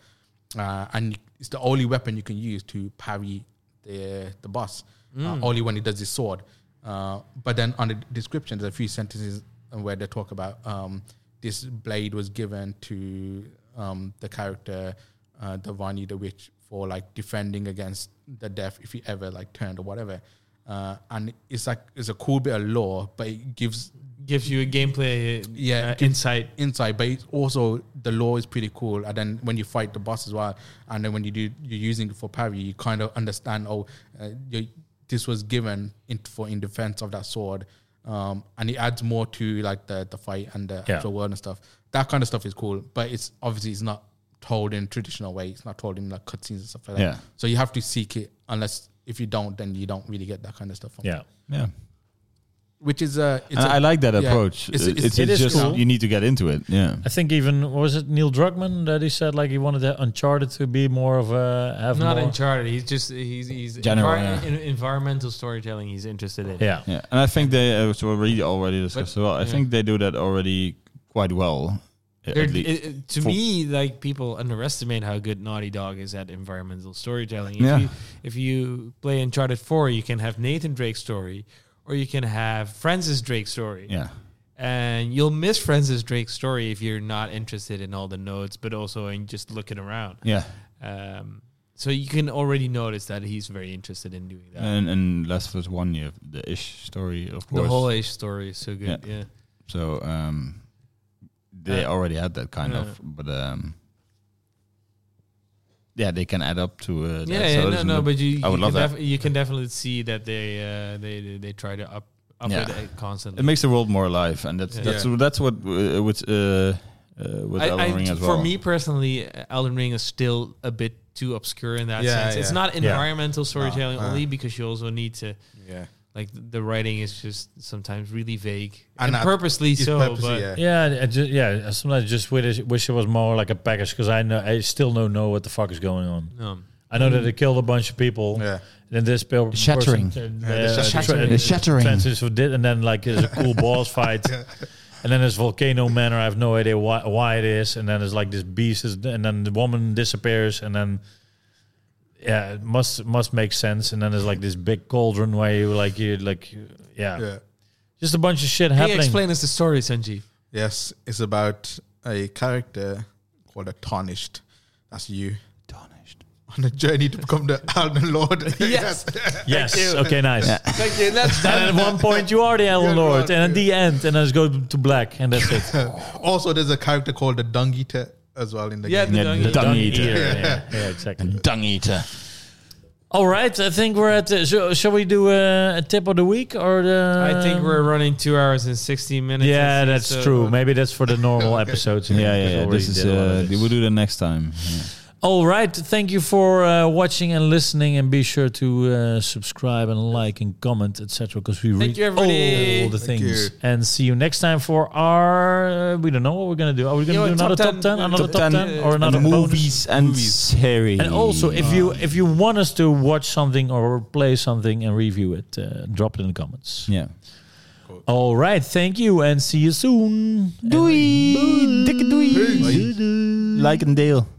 uh, and it's the only weapon you can use to parry the the boss. Uh, only when he does his sword. Uh, but then on the description, there's a few sentences where they talk about um, this blade was given to um, the character uh, Davani the witch for like defending against the death if he ever like turned or whatever. Uh, and it's like it's a cool bit of lore, but it gives
Gives you a gameplay uh,
Yeah, gives-
insight.
inside, but it's also the law is pretty cool. And then when you fight the boss as well, and then when you do you're using it for parry, you kind of understand. Oh, uh, you, this was given in, for in defense of that sword, um, and it adds more to like the the fight and the
Yeah.
actual world and stuff. That kind of stuff is cool, but it's obviously it's not told in traditional way. It's not told in like cutscenes and stuff like that.
Yeah.
So you have to seek it. Unless if you don't, then you don't really get that kind of stuff. From
Yeah.
Yeah.
Which is uh, it's
And I
a-
like that
yeah,
approach.
it's-
It's,
it's-
it's,
it
is
just
cool.
you need to get into it. Yeah.
I think even was it Neil Druckmann that he said like he wanted that Uncharted to be more of a have
Not
more,
Uncharted. He's just he's he's
General,
envi-
yeah.
in- environmental storytelling. He's interested in.
yeah.
Yeah. And I think they uh, so we already discussed as well. I
yeah.
think they do that already quite well. at
They're-
least.
it- it- to
for-
me, like people underestimate how good Naughty Dog is at environmental storytelling. If,
Yeah.
you, if you play Uncharted Four, you can have Nathan Drake's story, or you can have Francis Drake's story.
yeah.
and you'll miss Francis Drake's story if you're not interested in all the notes, but also in just looking around.
Yeah.
Um, so you can already notice that he's very interested in doing that.
And and Last of Us One, you have the ish story, of
the
course.
whole age story is so good. Yeah.
so um, they
Uh,
already had that kind
yeah.
of, but um, yeah, they can add up to uh, that.
Yeah,
So
yeah, no,
there's
no,
no-
but you,
I would
you,
love
can
that.
def- you can definitely see that they uh, they they- they try to up up
Yeah.
it uh, constantly.
it makes the world more alive, and that's
Yeah.
that's that's what uh, with uh, uh, with
I-
Elden
I-
Ring as well.
For me personally, Elden Ring is still a bit too obscure in that
Yeah,
sense. It's
yeah.
not
Yeah.
environmental storytelling
uh.
only because you also need to
yeah.
like the writing is just sometimes really vague
And
and,
that-
purposely
It's
so.
purposely,
but
yeah.
Yeah, I just, yeah. I Sometimes I just wish, wish it was more like a package because I know I still don't know what the fuck is going on.
no.
I know that they killed a bunch of people.
Yeah.
Then this people
Shattering.
the shattering.
The shattering.
for did, and then like there's a cool boss fight, and then there's volcano manor. I have no idea why, why it is, and then it's like this beast, is, and then the woman disappears, and then yeah, it must must make sense, and then there's like this big cauldron where you like you like yeah,
yeah.
just a bunch of shit
Hey,
happening.
explain us the story, Sanjeev.
Yes, it's about a character called a tarnished. That's you. Tarnished. On a journey to become the Elden Lord.
Yes.
Yes. Okay. Nice.
Thank you. That's
and at one point you are the Elden
Yeah,
Lord,
right,
and at the end, and then it's go to black, and that's it.
also, there's a character called the Dung Eater as well in the
Yeah,
game.
the dung-
Dung
eater.
eater, Yeah, yeah, exactly.
Dung eater.
All right, I think we're at. Uh, so, shall we do a, a tip of the week or the?
I think
Um,
we're running two hours and sixteen minutes.
Yeah,
It's-
that's
so-
true. Maybe that's for the normal episodes.
yeah, yeah,
Because
yeah.
we
This
already
is
did a lot of
uh,
this.
we'll do that next time. Yeah.
All right, thank you for uh, watching and listening, and be sure to uh, subscribe and like and comment, etc. Because we read
you, everybody.
all the
Thank
things.
you.
And see you next time for our. Uh, we don't know what we're gonna do. Are we gonna do
Yeah, top
another top
10,
ten,
uh,
another
top
top
10,
ten,
uh,
or another bonus?
and series.
And also, if you if you want us to watch something or play something and review it, uh, drop it in the comments.
yeah.
All right, thank you, and see you soon.
Doei. Dikke doei. Like and deel.